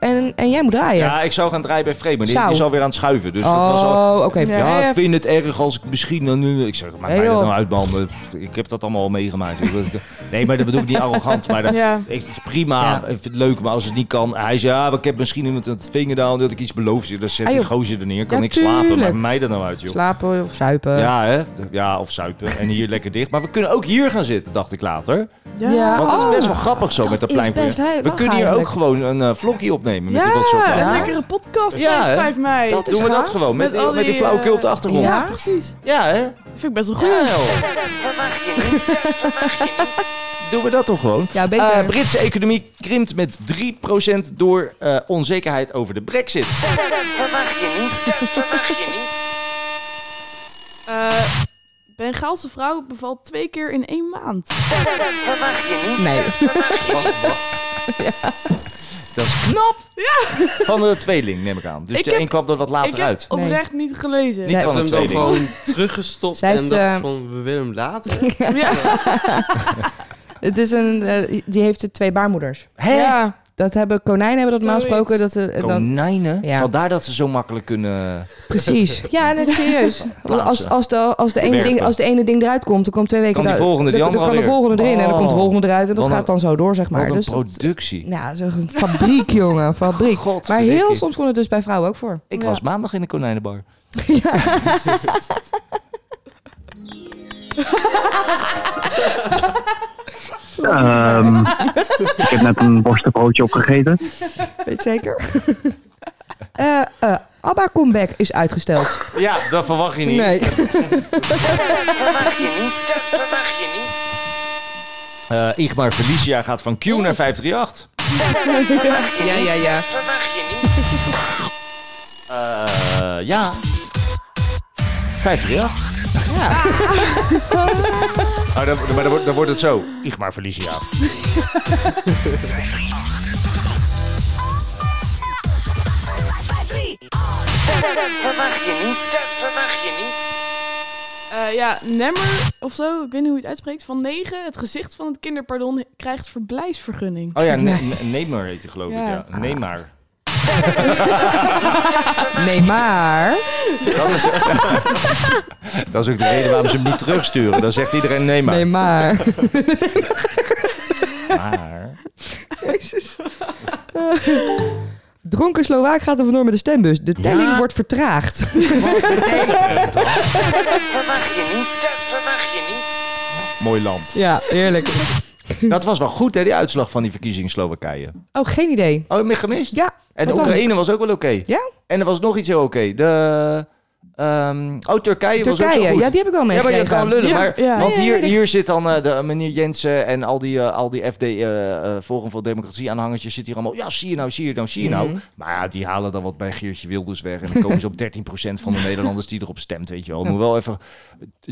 [SPEAKER 4] En, en jij moet draaien.
[SPEAKER 3] Ja, ik zou gaan draaien bij Freeman. Die,
[SPEAKER 4] Zou.
[SPEAKER 3] die is alweer aan het schuiven. Dus dat
[SPEAKER 4] Oh,
[SPEAKER 3] was al...
[SPEAKER 4] oké.
[SPEAKER 3] Ja,
[SPEAKER 4] Nee.
[SPEAKER 3] ik vind het erg als ik misschien dan nu... Ik zeg, maak
[SPEAKER 4] Nee,
[SPEAKER 3] mij dat
[SPEAKER 4] joh.
[SPEAKER 3] nou uit, man. Ik heb dat allemaal al meegemaakt. Ik bedoel, nee, maar dat bedoel ik niet arrogant. Maar
[SPEAKER 4] <laughs>
[SPEAKER 3] dat,
[SPEAKER 6] Ja.
[SPEAKER 3] ik- het is prima. Ik vind het leuk, maar als het niet kan... Hij zei, ja, ik heb misschien iemand aan het vingerdaal dat ik iets beloof. Dan zet
[SPEAKER 4] Ah,
[SPEAKER 3] die
[SPEAKER 4] joh.
[SPEAKER 3] gozer er neer. Kan
[SPEAKER 4] Ja,
[SPEAKER 3] ik slapen? Maakt
[SPEAKER 4] tuurlijk.
[SPEAKER 3] mij dat nou uit, joh.
[SPEAKER 4] Slapen of zuipen.
[SPEAKER 3] Ja, hè? Ja, of suipen. En hier lekker dicht. Maar we kunnen ook hier gaan zitten, dacht ik later.
[SPEAKER 6] Ja. Oh.
[SPEAKER 3] Want dat is best wel grappig zo met dat
[SPEAKER 4] is
[SPEAKER 3] plein. voor
[SPEAKER 4] best
[SPEAKER 3] je.
[SPEAKER 4] leuk,
[SPEAKER 3] we kunnen hier
[SPEAKER 4] eigenlijk.
[SPEAKER 3] ook gewoon een eh vlogje opnemen met
[SPEAKER 6] ja,
[SPEAKER 3] die rotzooi.
[SPEAKER 6] een lekkere podcast
[SPEAKER 3] Ja,
[SPEAKER 6] tijdens
[SPEAKER 3] hè?
[SPEAKER 6] 5 mei.
[SPEAKER 3] Dat Doen is we dat gaaf. gewoon, met die-
[SPEAKER 6] al
[SPEAKER 3] met die flauwekul op de
[SPEAKER 6] eh,
[SPEAKER 3] achtergrond.
[SPEAKER 6] Ja, precies.
[SPEAKER 3] Ja, hè? Dat
[SPEAKER 6] vind ik best wel goed. Ja,
[SPEAKER 3] Doen we dat toch gewoon?
[SPEAKER 4] Ja, beter.
[SPEAKER 3] Eh, Britse economie krimpt met 3% door eh, onzekerheid over de brexit.
[SPEAKER 6] Eh, Bengaalse vrouw bevalt twee keer in één maand.
[SPEAKER 4] Nee.
[SPEAKER 3] Dat is knap. Van de tweeling, neem ik aan. Dus
[SPEAKER 6] Ik
[SPEAKER 3] de
[SPEAKER 6] heb-
[SPEAKER 3] een kwam er wat
[SPEAKER 6] ik
[SPEAKER 3] later
[SPEAKER 6] heb
[SPEAKER 3] uit.
[SPEAKER 6] oprecht niet gelezen.
[SPEAKER 3] Niet van
[SPEAKER 5] Ze
[SPEAKER 3] de
[SPEAKER 5] hebben hem dan
[SPEAKER 3] tweeling.
[SPEAKER 5] gewoon teruggestopt
[SPEAKER 4] Zij
[SPEAKER 5] en
[SPEAKER 4] heeft,
[SPEAKER 5] dacht
[SPEAKER 4] eh,
[SPEAKER 5] van, we willen hem laten.
[SPEAKER 4] Het is een, eh, die heeft de twee baarmoeders.
[SPEAKER 3] Hè?
[SPEAKER 6] Ja.
[SPEAKER 4] Dat hebben konijnen hebben dat maar
[SPEAKER 6] Zoiets.
[SPEAKER 4] gesproken. Dat, eh, dan,
[SPEAKER 3] Konijnen?
[SPEAKER 4] Ja.
[SPEAKER 3] Vandaar dat ze zo makkelijk kunnen... <laughs>
[SPEAKER 4] precies. Ja, en het is serieus. Want als, als, de, als, de ene
[SPEAKER 3] Werken.
[SPEAKER 4] ding, als de ene ding eruit komt, dan komt twee weken
[SPEAKER 3] Kan die
[SPEAKER 4] eruit-
[SPEAKER 3] volgende die
[SPEAKER 4] dan- dan
[SPEAKER 3] andere
[SPEAKER 4] kan de
[SPEAKER 3] weer.
[SPEAKER 4] volgende erin en dan komt de
[SPEAKER 3] Oh.
[SPEAKER 4] volgende eruit. En dat
[SPEAKER 3] Wat
[SPEAKER 4] gaat
[SPEAKER 3] een-
[SPEAKER 4] dan zo door, zeg maar.
[SPEAKER 3] Wat een
[SPEAKER 4] Dus dat-
[SPEAKER 3] productie.
[SPEAKER 4] ja, Nou, zo'n fabriek, <laughs> jongen. Fabriek. maar heel
[SPEAKER 3] Godverdikkie.
[SPEAKER 4] soms kon het dus bij vrouwen ook voor.
[SPEAKER 3] Ik
[SPEAKER 4] Ja.
[SPEAKER 3] was maandag in de konijnenbar.
[SPEAKER 7] Ehm, <laughs>
[SPEAKER 3] <laughs>
[SPEAKER 7] ik heb net een worstenbroodje opgegeten.
[SPEAKER 4] <laughs> Weet zeker. Eh eh, Abba Comeback is uitgesteld.
[SPEAKER 3] Ja, dat verwacht je niet.
[SPEAKER 4] Nee. <laughs>
[SPEAKER 3] Eh, Igmar Felicia gaat van Q naar 538.
[SPEAKER 4] ja, ja, ja.
[SPEAKER 3] Eh, ja. 538. Ja. Oh, dan, maar dan wordt, dan wordt het zo. Igmar Felicia.
[SPEAKER 12] 3,
[SPEAKER 6] Eh, ja, Nemmer of zo, ik weet niet hoe je het uitspreekt. Van 9, het gezicht van het kinderpardon krijgt verblijfsvergunning.
[SPEAKER 3] Oh ja, ne- ne- Neymar heet hij geloof ik.
[SPEAKER 6] Ja.
[SPEAKER 3] Ja. Neymar.
[SPEAKER 4] Nee, maar...
[SPEAKER 3] Dat is, dat is ook de reden waarom ze hem niet terugsturen. Dan zegt iedereen nee maar.
[SPEAKER 4] Nee, maar...
[SPEAKER 3] <laughs> Maar...
[SPEAKER 4] Jezus. <laughs> Dronken Slowaak gaat er vandoor met de stembus. De telling wordt
[SPEAKER 3] <laughs>
[SPEAKER 4] vertraagd.
[SPEAKER 14] verwacht je niet. Dat verwacht je niet.
[SPEAKER 3] Mooi land.
[SPEAKER 4] Ja, eerlijk.
[SPEAKER 3] <laughs> Dat was wel goed, hè, die uitslag van die verkiezingen in Slowakije.
[SPEAKER 4] Oh, geen idee.
[SPEAKER 3] Oh, heb je gemist?
[SPEAKER 4] Ja.
[SPEAKER 3] En de
[SPEAKER 4] wat dan?
[SPEAKER 3] Oekraïne was ook wel oké.
[SPEAKER 4] Ja?
[SPEAKER 3] En er was nog iets heel oké. De... ehm, oh, Turkije, was ook
[SPEAKER 4] Turkije.
[SPEAKER 3] zo goed.
[SPEAKER 4] Ja, die heb ik wel
[SPEAKER 3] Ja, maar je
[SPEAKER 4] meegekregen.
[SPEAKER 3] kan lullen.
[SPEAKER 4] Ja,
[SPEAKER 3] maar,
[SPEAKER 4] ja.
[SPEAKER 3] Want
[SPEAKER 4] Ja, ja,
[SPEAKER 3] hier,
[SPEAKER 4] weet ik.
[SPEAKER 3] hier zit dan eh, de, meneer Jensen en al die, eh, al die FD, eh, eh, Forum voor Democratie aanhangertjes zitten hier allemaal. Ja, zie je nou, zie je nou, zie je nou.
[SPEAKER 4] Mhm.
[SPEAKER 3] Maar ja, die halen dan wat bij Geertje Wilders weg. En dan komen
[SPEAKER 4] <laughs>
[SPEAKER 3] ze op 13% van de Nederlanders die erop stemt, weet je wel. Moet wel even...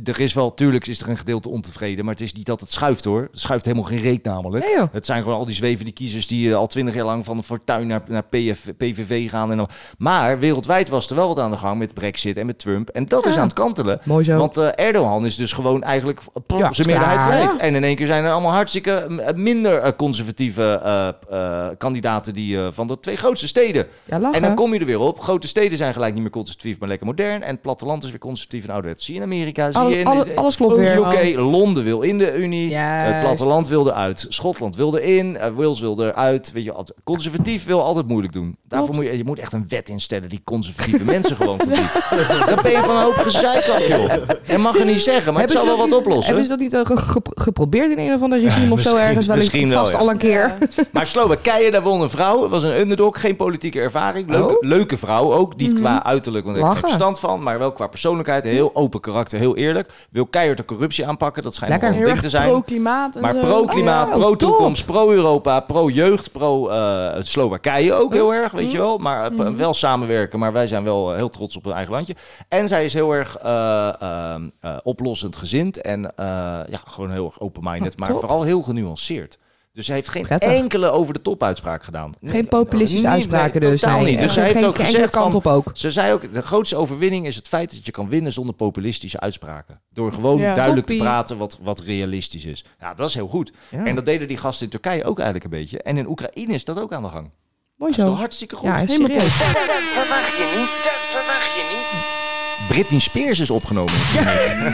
[SPEAKER 3] Er is wel, tuurlijk is er een gedeelte ontevreden. Maar het is niet dat het schuift, hoor. Het schuift helemaal geen reet namelijk.
[SPEAKER 4] Nee, joh.
[SPEAKER 3] Het zijn gewoon al die zwevende kiezers die eh, al twintig jaar lang van de fortuin naar, naar PF, PVV gaan. En dan. Maar wereldwijd was er wel wat aan de gang met Brexit en met Trump. En dat is aan het kantelen.
[SPEAKER 4] Ah. Mooi zo.
[SPEAKER 3] Want eh, Erdogan is dus gewoon eigenlijk plom,
[SPEAKER 4] Ja,
[SPEAKER 3] zijn meerderheid
[SPEAKER 4] ja.
[SPEAKER 3] kwijt. En in één keer zijn er allemaal hartstikke m- minder eh, conservatieve eh, eh, kandidaten die, eh, van de twee grootste steden.
[SPEAKER 4] Ja, lachen.
[SPEAKER 3] En dan kom je er weer op. Grote steden zijn gelijk niet meer conservatief, maar lekker modern. En het platteland is weer conservatief en ouderwets. Zie je in Amerika. Zie
[SPEAKER 4] Alles-
[SPEAKER 3] je in,
[SPEAKER 4] alle- alles klopt weer.
[SPEAKER 3] Oké, Londen wil in de Unie. Eh,
[SPEAKER 4] Juist.
[SPEAKER 3] Het platteland wilde uit. Schotland wilde in. eh, Wales wilde eruit. Weet je, altijd- conservatief wil altijd moeilijk doen. Daarvoor moet je, je moet echt een wet instellen die conservatieve <laughs> mensen
[SPEAKER 4] <laughs>
[SPEAKER 3] gewoon verbiedt. Dan ben je <laughs> van een hoop gezeik af, joh. En mag je niet
[SPEAKER 4] <laughs>
[SPEAKER 3] zeggen, maar
[SPEAKER 4] Hebben
[SPEAKER 3] het zal
[SPEAKER 4] ze-
[SPEAKER 3] wel wat oplossen.
[SPEAKER 4] Hebben ze dat niet eh, ge- ge- geprobeerd in een of ander regime of zo
[SPEAKER 3] misschien-
[SPEAKER 4] ergens? Wel eens-
[SPEAKER 3] misschien wel,
[SPEAKER 4] vast
[SPEAKER 3] ja.
[SPEAKER 4] al een keer.
[SPEAKER 3] Maar Slowakije, daar won een vrouw. Het was een underdog, geen politieke ervaring. Leuke, leuke vrouw ook. Niet qua uiterlijk, want daar heeft geen
[SPEAKER 4] Lachen.
[SPEAKER 3] verstand van. Maar wel qua persoonlijkheid. Heel open karakter, heel eerlijk. Wil keihard de corruptie aanpakken. Dat schijnt
[SPEAKER 6] Lekker.
[SPEAKER 3] nogal een
[SPEAKER 6] Heel
[SPEAKER 3] ding te
[SPEAKER 6] erg
[SPEAKER 3] zijn.
[SPEAKER 6] pro-klimaat en
[SPEAKER 3] Maar
[SPEAKER 6] zo.
[SPEAKER 3] pro-klimaat,
[SPEAKER 6] Oh, ja.
[SPEAKER 3] pro-toekomst, pro-Europa, pro-jeugd, pro-Slowakije
[SPEAKER 6] Hm,
[SPEAKER 3] ook heel erg, weet je wel. Maar eh,
[SPEAKER 6] Mhm.
[SPEAKER 3] wel samenwerken, maar wij zijn wel eh, heel trots op hun eigen landje. En zij is heel erg eh, eh, eh, oplossend gezind en eh, ja, gewoon heel erg
[SPEAKER 6] Oh,
[SPEAKER 3] open-minded. maar
[SPEAKER 4] top.
[SPEAKER 3] vooral heel genuanceerd. Dus ze heeft geen
[SPEAKER 4] Prettig.
[SPEAKER 3] enkele over de top uitspraak gedaan.
[SPEAKER 4] Geen populistische
[SPEAKER 3] Nee,
[SPEAKER 4] uitspraken
[SPEAKER 3] nee,
[SPEAKER 4] dus.
[SPEAKER 3] totaal
[SPEAKER 4] nee.
[SPEAKER 3] niet. Dus
[SPEAKER 4] Eh,
[SPEAKER 3] zij heeft
[SPEAKER 4] geen-
[SPEAKER 3] ook
[SPEAKER 4] geen
[SPEAKER 3] gezegd
[SPEAKER 4] enkele kant op
[SPEAKER 3] van-
[SPEAKER 4] ook.
[SPEAKER 3] Ze zei ook, de grootste overwinning is het feit dat je kan winnen zonder populistische uitspraken. Door gewoon
[SPEAKER 4] Ja.
[SPEAKER 3] duidelijk te
[SPEAKER 4] Toppie.
[SPEAKER 3] praten wat, wat realistisch is. Ja, dat is heel goed.
[SPEAKER 4] Ja.
[SPEAKER 3] En dat deden die gasten in Turkije ook eigenlijk een beetje. En in Oekraïne is dat ook aan de gang.
[SPEAKER 4] Mooi
[SPEAKER 3] Dat
[SPEAKER 4] zo.
[SPEAKER 3] is toch hartstikke goed.
[SPEAKER 4] Ja, serieus.
[SPEAKER 14] Dat verwacht je niet. Dat verwacht je niet.
[SPEAKER 3] Britney Spears is <laughs> opgenomen.
[SPEAKER 14] Dat verwacht je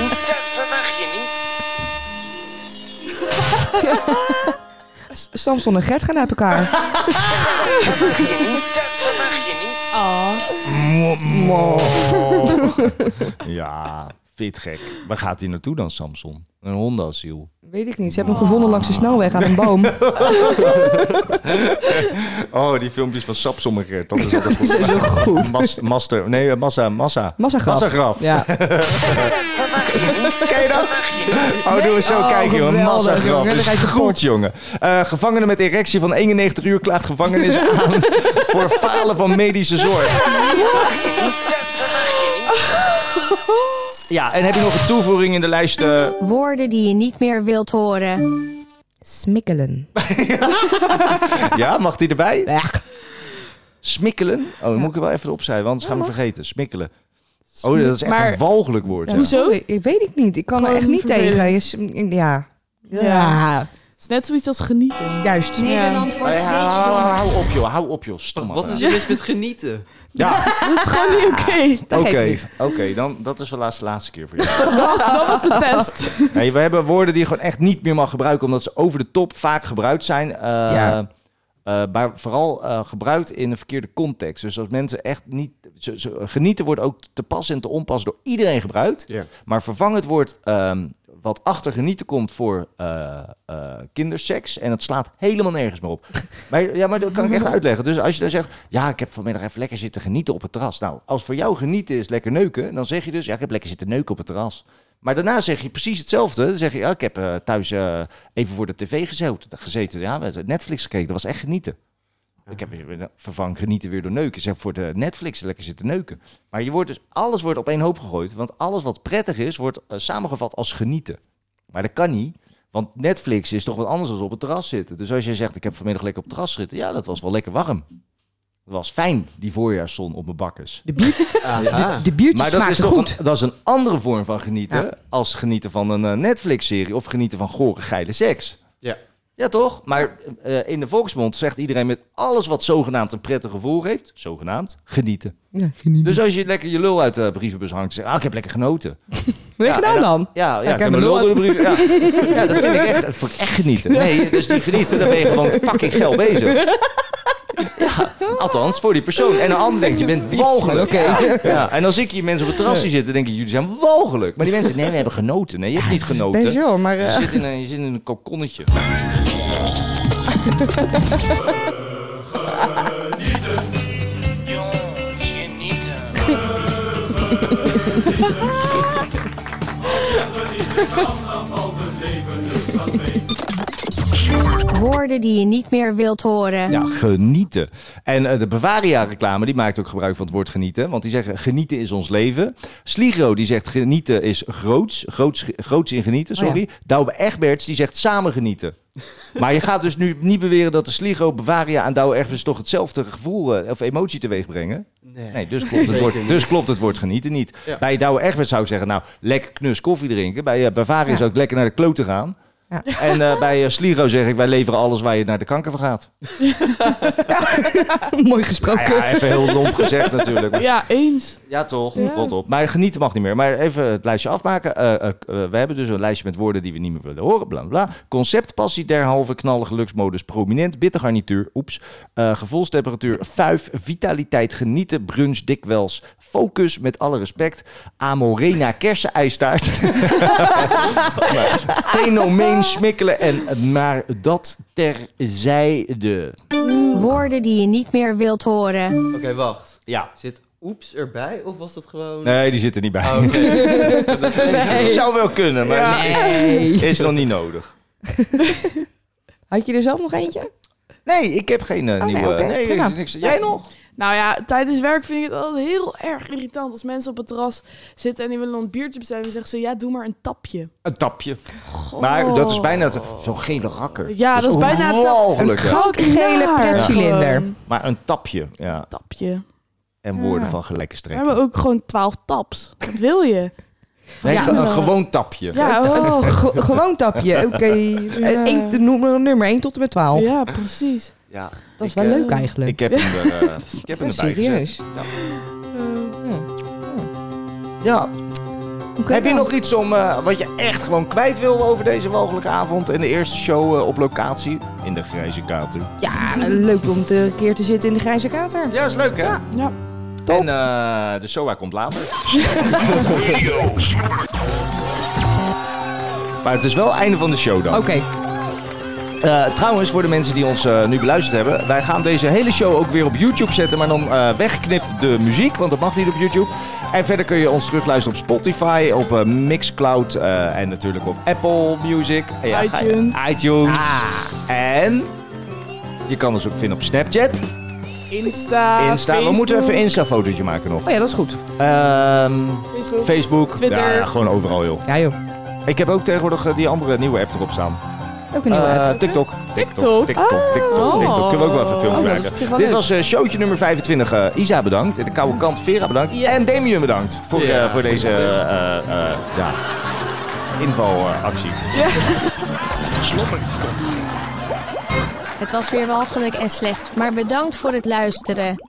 [SPEAKER 14] niet. Dat verwacht je niet.
[SPEAKER 4] S- <laughs> Samson en Gert gaan uit elkaar.
[SPEAKER 14] Dat verwacht je niet.
[SPEAKER 4] Oh.
[SPEAKER 3] Ja, fit gek. Waar gaat hij naartoe dan, Samson? Een <laughs> hondenasiel.
[SPEAKER 4] Weet ik niet. Ze hebben hem gevonden langs de snelweg aan een
[SPEAKER 3] <laughs>
[SPEAKER 4] boom.
[SPEAKER 3] Oh, die filmpjes van Samson en Gert. Dat is <laughs> altijd goed.
[SPEAKER 4] Die zijn zo goed.
[SPEAKER 3] Mas- master, nee, eh, massa, massa.
[SPEAKER 4] Massagraf.
[SPEAKER 3] Massagraf.
[SPEAKER 4] Ja.
[SPEAKER 3] Ken je dat? <laughs> Oh, doe eens zo
[SPEAKER 4] Oh,
[SPEAKER 3] kijken, jongen.
[SPEAKER 4] geweldig,
[SPEAKER 3] Massagraf.
[SPEAKER 4] jongen.
[SPEAKER 3] Dat
[SPEAKER 4] Dan
[SPEAKER 3] is
[SPEAKER 4] ga je
[SPEAKER 3] goed, jongen. Eh gevangene met erectie van 91 uur klaagt gevangenis
[SPEAKER 4] <laughs>
[SPEAKER 3] aan... voor falen van medische zorg. Ja, en heb je nog een toevoeging in de lijst? eh?
[SPEAKER 8] Woorden die je niet meer wilt horen.
[SPEAKER 4] Smikkelen.
[SPEAKER 3] <laughs> ja, mag die erbij? Smikkelen? Oh, dan moet ik er wel even opschrijven, want anders gaan we vergeten. Smikkelen. Oh, dat is echt
[SPEAKER 6] Maar-
[SPEAKER 3] een walgelijk woord.
[SPEAKER 4] Ja,
[SPEAKER 3] ja.
[SPEAKER 4] sorry, Ik weet ik niet. Ik kan er
[SPEAKER 6] Gewoon
[SPEAKER 4] echt niet
[SPEAKER 6] vervelend.
[SPEAKER 4] tegen. Je sm- Ja.
[SPEAKER 6] Ja.
[SPEAKER 4] Ja.
[SPEAKER 6] Het is net zoiets als genieten.
[SPEAKER 4] Juist.
[SPEAKER 6] Nederland
[SPEAKER 3] Hey, hou, hou, hou op joh, hou op joh, stom.
[SPEAKER 5] Wat is er mis met genieten?
[SPEAKER 3] Ja,
[SPEAKER 6] <laughs> Dat is gewoon niet oké.
[SPEAKER 4] Dat geeft
[SPEAKER 3] oké,
[SPEAKER 4] niet.
[SPEAKER 3] oké, dan dat is wel laatste, laatste keer voor jou.
[SPEAKER 6] Dat, was, dat was de test.
[SPEAKER 3] Hey, we hebben woorden die je gewoon echt niet meer mag gebruiken, omdat ze over de top vaak gebruikt zijn. Eh,
[SPEAKER 4] Ja.
[SPEAKER 3] eh, maar vooral eh, gebruikt in een verkeerde context. Dus als mensen echt niet. Ze, ze- genieten wordt ook te pas en te onpas door iedereen gebruikt.
[SPEAKER 5] Ja.
[SPEAKER 3] Maar vervang het woord ehm, wat achter genieten komt voor eh, eh, kinderseks. En het slaat helemaal nergens meer op. maar, ja, maar dat kan ik echt uitleggen. Dus als je dan zegt, ja, ik heb vanmiddag even lekker zitten genieten op het terras. Nou, als voor jou genieten is lekker neuken, dan zeg je dus, ja, ik heb lekker zitten neuken op het terras. Maar daarna zeg je precies hetzelfde. Dan zeg je, ja, ik heb eh, thuis eh, even voor de tv gezeten. gezeten. Ja, we hebben Netflix gekeken, dat was echt genieten. Ik heb weer vervang genieten weer door neuken. Ze hebben voor de Netflix lekker zitten neuken. Maar je wordt dus, alles wordt op één hoop gegooid. Want alles wat prettig is, wordt eh, samengevat als genieten. Maar dat kan niet. Want Netflix is toch wat anders dan op het terras zitten. Dus als jij zegt, ik heb vanmiddag lekker op het terras zitten. Ja, dat was wel lekker warm. Het was fijn, die voorjaarszon op mijn bakkers.
[SPEAKER 4] De,
[SPEAKER 3] <laughs>
[SPEAKER 4] bier, de, de biertjes
[SPEAKER 3] Maar dat is,
[SPEAKER 4] smaakten
[SPEAKER 3] toch
[SPEAKER 4] goed.
[SPEAKER 3] Een, dat is een andere vorm van genieten.
[SPEAKER 4] Ja.
[SPEAKER 3] Als genieten van een eh, Netflix-serie. Of genieten van gore, geile seks.
[SPEAKER 5] Ja.
[SPEAKER 3] Ja, toch? Maar eh, in de volksmond zegt iedereen met alles wat zogenaamd een prettig gevoel geeft, zogenaamd, genieten. Dus als je lekker je lul uit de brievenbus hangt en zegt, ah, ik heb lekker
[SPEAKER 4] <laughs>
[SPEAKER 3] genoten.
[SPEAKER 4] Wat heb je gedaan dan?
[SPEAKER 3] Ja, ja, ik heb mijn lul door de brief. <laughs> Ja. ja, dat vind ik echt, dat vind ik echt genieten. Nee, dus die genieten, dan ben je
[SPEAKER 4] <laughs>
[SPEAKER 3] gewoon fucking geil bezig. Ja, althans, voor die persoon. En een ander denkt, je bent walgelijk.
[SPEAKER 1] oké.
[SPEAKER 3] Ja. Ja, en als ik hier mensen op het terrasje zitten, denk ik, jullie zijn walgelijk. Maar die mensen, nee, we hebben genoten. Nee, je hebt niet genoten.
[SPEAKER 4] best wel, maar,
[SPEAKER 3] je,
[SPEAKER 4] eh.
[SPEAKER 3] zit in een, je zit in een kokonnetje.
[SPEAKER 8] Woorden die je niet meer wilt horen.
[SPEAKER 3] Ja, genieten. En eh, de Bavaria-reclame die maakt ook gebruik van het woord genieten. Want die zeggen genieten is ons leven. Sligro die zegt genieten is groots. Groots, groots in genieten,
[SPEAKER 1] Oh ja.
[SPEAKER 3] sorry. Douwe Egberts die zegt samen genieten. Maar je gaat dus nu niet beweren dat de Sligro, Bavaria en Douwe Egberts toch hetzelfde gevoel eh, of emotie teweeg brengen. Nee, dus, klopt het
[SPEAKER 1] Zeker
[SPEAKER 3] woord,
[SPEAKER 1] niet.
[SPEAKER 3] dus klopt het woord genieten niet.
[SPEAKER 1] Ja.
[SPEAKER 3] Bij Douwe Egberts zou ik zeggen, nou, lekker knus koffie drinken. Bij eh, Bavaria
[SPEAKER 1] Ja.
[SPEAKER 3] zou ik lekker naar de kloten gaan. <laughs> En eh, bij eh, Sligro zeg ik, wij leveren alles waar je naar de kanker van gaat.
[SPEAKER 4] <laughs> Mooi gesproken.
[SPEAKER 3] Nou ja, even heel lomp gezegd natuurlijk. Maar-
[SPEAKER 6] Ja, eens.
[SPEAKER 3] Ja, toch?
[SPEAKER 6] Ja.
[SPEAKER 3] Rot op. Maar genieten mag niet meer. Maar even het lijstje afmaken. Eh, eh, eh, we hebben dus een lijstje met woorden die we niet meer willen horen. Bla bla. bla. Concept, passie, derhalve, knallen, geluksmodus, prominent, bitter garnituur, oeps. Eh, gevoelstemperatuur, vuif, vitaliteit, genieten, brunch, dikwijls, focus, met alle respect. Amorena, kersenijstaart. <laughs> Maar Fenomeen, smikkelen en maar dat terzijde.
[SPEAKER 8] Woorden die je niet meer wilt horen.
[SPEAKER 5] Oké, wacht.
[SPEAKER 3] Ja.
[SPEAKER 5] Zit oeps erbij of was dat gewoon...
[SPEAKER 3] Nee, die zit er niet bij.
[SPEAKER 5] Oh,
[SPEAKER 3] <laughs>
[SPEAKER 5] oké.
[SPEAKER 3] Dat zou wel kunnen, maar
[SPEAKER 5] Ja.
[SPEAKER 3] is- is, nog niet nodig.
[SPEAKER 4] Had je er zelf nog eentje? Oh,
[SPEAKER 3] Nee, ik heb geen eh, nieuwe.
[SPEAKER 4] oké,
[SPEAKER 3] nee,
[SPEAKER 4] prima.
[SPEAKER 3] er is niks. Jij nog?
[SPEAKER 6] Nou ja, tijdens werk vind ik het altijd heel erg irritant als mensen op het terras zitten en die willen een biertje bestellen en zeggen ze ja, doe maar een tapje.
[SPEAKER 3] Een tapje. Maar dat is bijna zo- zo'n gele rakker.
[SPEAKER 6] Ja, dat is bijna hetzelfde.
[SPEAKER 3] ongelooflijk,
[SPEAKER 6] Een
[SPEAKER 3] hè?
[SPEAKER 6] grote gele
[SPEAKER 3] Ja.
[SPEAKER 6] pretcilinder. Gewoon.
[SPEAKER 3] Maar een tapje, ja.
[SPEAKER 6] Tapje.
[SPEAKER 3] En
[SPEAKER 6] Ja.
[SPEAKER 3] woorden van gelijke
[SPEAKER 6] We
[SPEAKER 3] streek.
[SPEAKER 6] hebben ook gewoon twaalf taps. Wat wil
[SPEAKER 3] <laughs>
[SPEAKER 6] je?
[SPEAKER 3] Nee,
[SPEAKER 6] Ja.
[SPEAKER 3] ge- een gewoon tapje.
[SPEAKER 6] Ja,
[SPEAKER 4] <laughs>
[SPEAKER 6] oh.
[SPEAKER 4] Ge- gewoon
[SPEAKER 3] <laughs>
[SPEAKER 4] tapje,
[SPEAKER 6] <laughs>
[SPEAKER 4] oké. Eh, één- noem maar een nummer 1 tot en met 12.
[SPEAKER 6] Ja, precies.
[SPEAKER 4] <laughs>
[SPEAKER 3] Ja,
[SPEAKER 4] Dat is
[SPEAKER 3] ik,
[SPEAKER 4] wel
[SPEAKER 3] eh,
[SPEAKER 4] leuk eigenlijk.
[SPEAKER 3] Ik heb hem er, eh, ik heb hem
[SPEAKER 4] Ja,
[SPEAKER 3] erbij
[SPEAKER 4] serieus.
[SPEAKER 3] gezet. Ja.
[SPEAKER 4] Ja.
[SPEAKER 3] heb je
[SPEAKER 6] nou-
[SPEAKER 3] nog iets om, eh, wat je echt gewoon kwijt wil over deze walgelijke avond en de eerste show eh, op locatie? In de grijze kater.
[SPEAKER 4] Ja, Ah, leuk om te- een keer te zitten in de grijze kater.
[SPEAKER 3] Ja, is leuk hè? Ja.
[SPEAKER 6] ja.
[SPEAKER 3] En eh, de SOA komt later. <laughs> maar het is wel het einde van de show dan.
[SPEAKER 4] Oké.
[SPEAKER 3] Eh, trouwens, voor de mensen die ons eh, nu beluisterd hebben, wij gaan deze hele show ook weer op YouTube zetten, maar dan eh, weggeknipt de muziek, want dat mag niet op YouTube. En verder kun je ons terugluisteren op Spotify, op eh, Mixcloud eh, en natuurlijk op Apple Music. Eh, ja, ga je-
[SPEAKER 1] iTunes.
[SPEAKER 3] iTunes. En je kan ons ook vinden op Snapchat.
[SPEAKER 6] Insta.
[SPEAKER 3] Insta. We moeten even een Insta-fotootje maken nog.
[SPEAKER 4] Oh ja, dat is goed. Ehm,
[SPEAKER 3] Facebook.
[SPEAKER 6] Facebook.
[SPEAKER 3] Ja,
[SPEAKER 6] Twitter.
[SPEAKER 3] ja, gewoon overal, joh.
[SPEAKER 4] Ja, joh.
[SPEAKER 3] Ik heb ook tegenwoordig eh, die andere nieuwe app erop staan.
[SPEAKER 4] Ook een nieuwe
[SPEAKER 3] Eh,
[SPEAKER 4] app.
[SPEAKER 3] TikTok. TikTok.
[SPEAKER 4] TikTok?
[SPEAKER 3] TikTok. TikTok. TikTok. Kunnen we ook wel even
[SPEAKER 4] Oh,
[SPEAKER 3] filmpjes
[SPEAKER 4] dat is
[SPEAKER 3] maken.
[SPEAKER 4] op zich wel
[SPEAKER 3] Dit
[SPEAKER 4] leuk.
[SPEAKER 3] was eh, showtje nummer 25. Eh, Isa bedankt. En de koude kant Vera bedankt.
[SPEAKER 1] Yes.
[SPEAKER 3] En Damien bedankt voor, eh,
[SPEAKER 1] Ja,
[SPEAKER 3] voor deze
[SPEAKER 1] goed.
[SPEAKER 3] eh, eh, ja, invalactie. Slopper.
[SPEAKER 8] Het was weer walgelijk en slecht, maar bedankt voor het luisteren.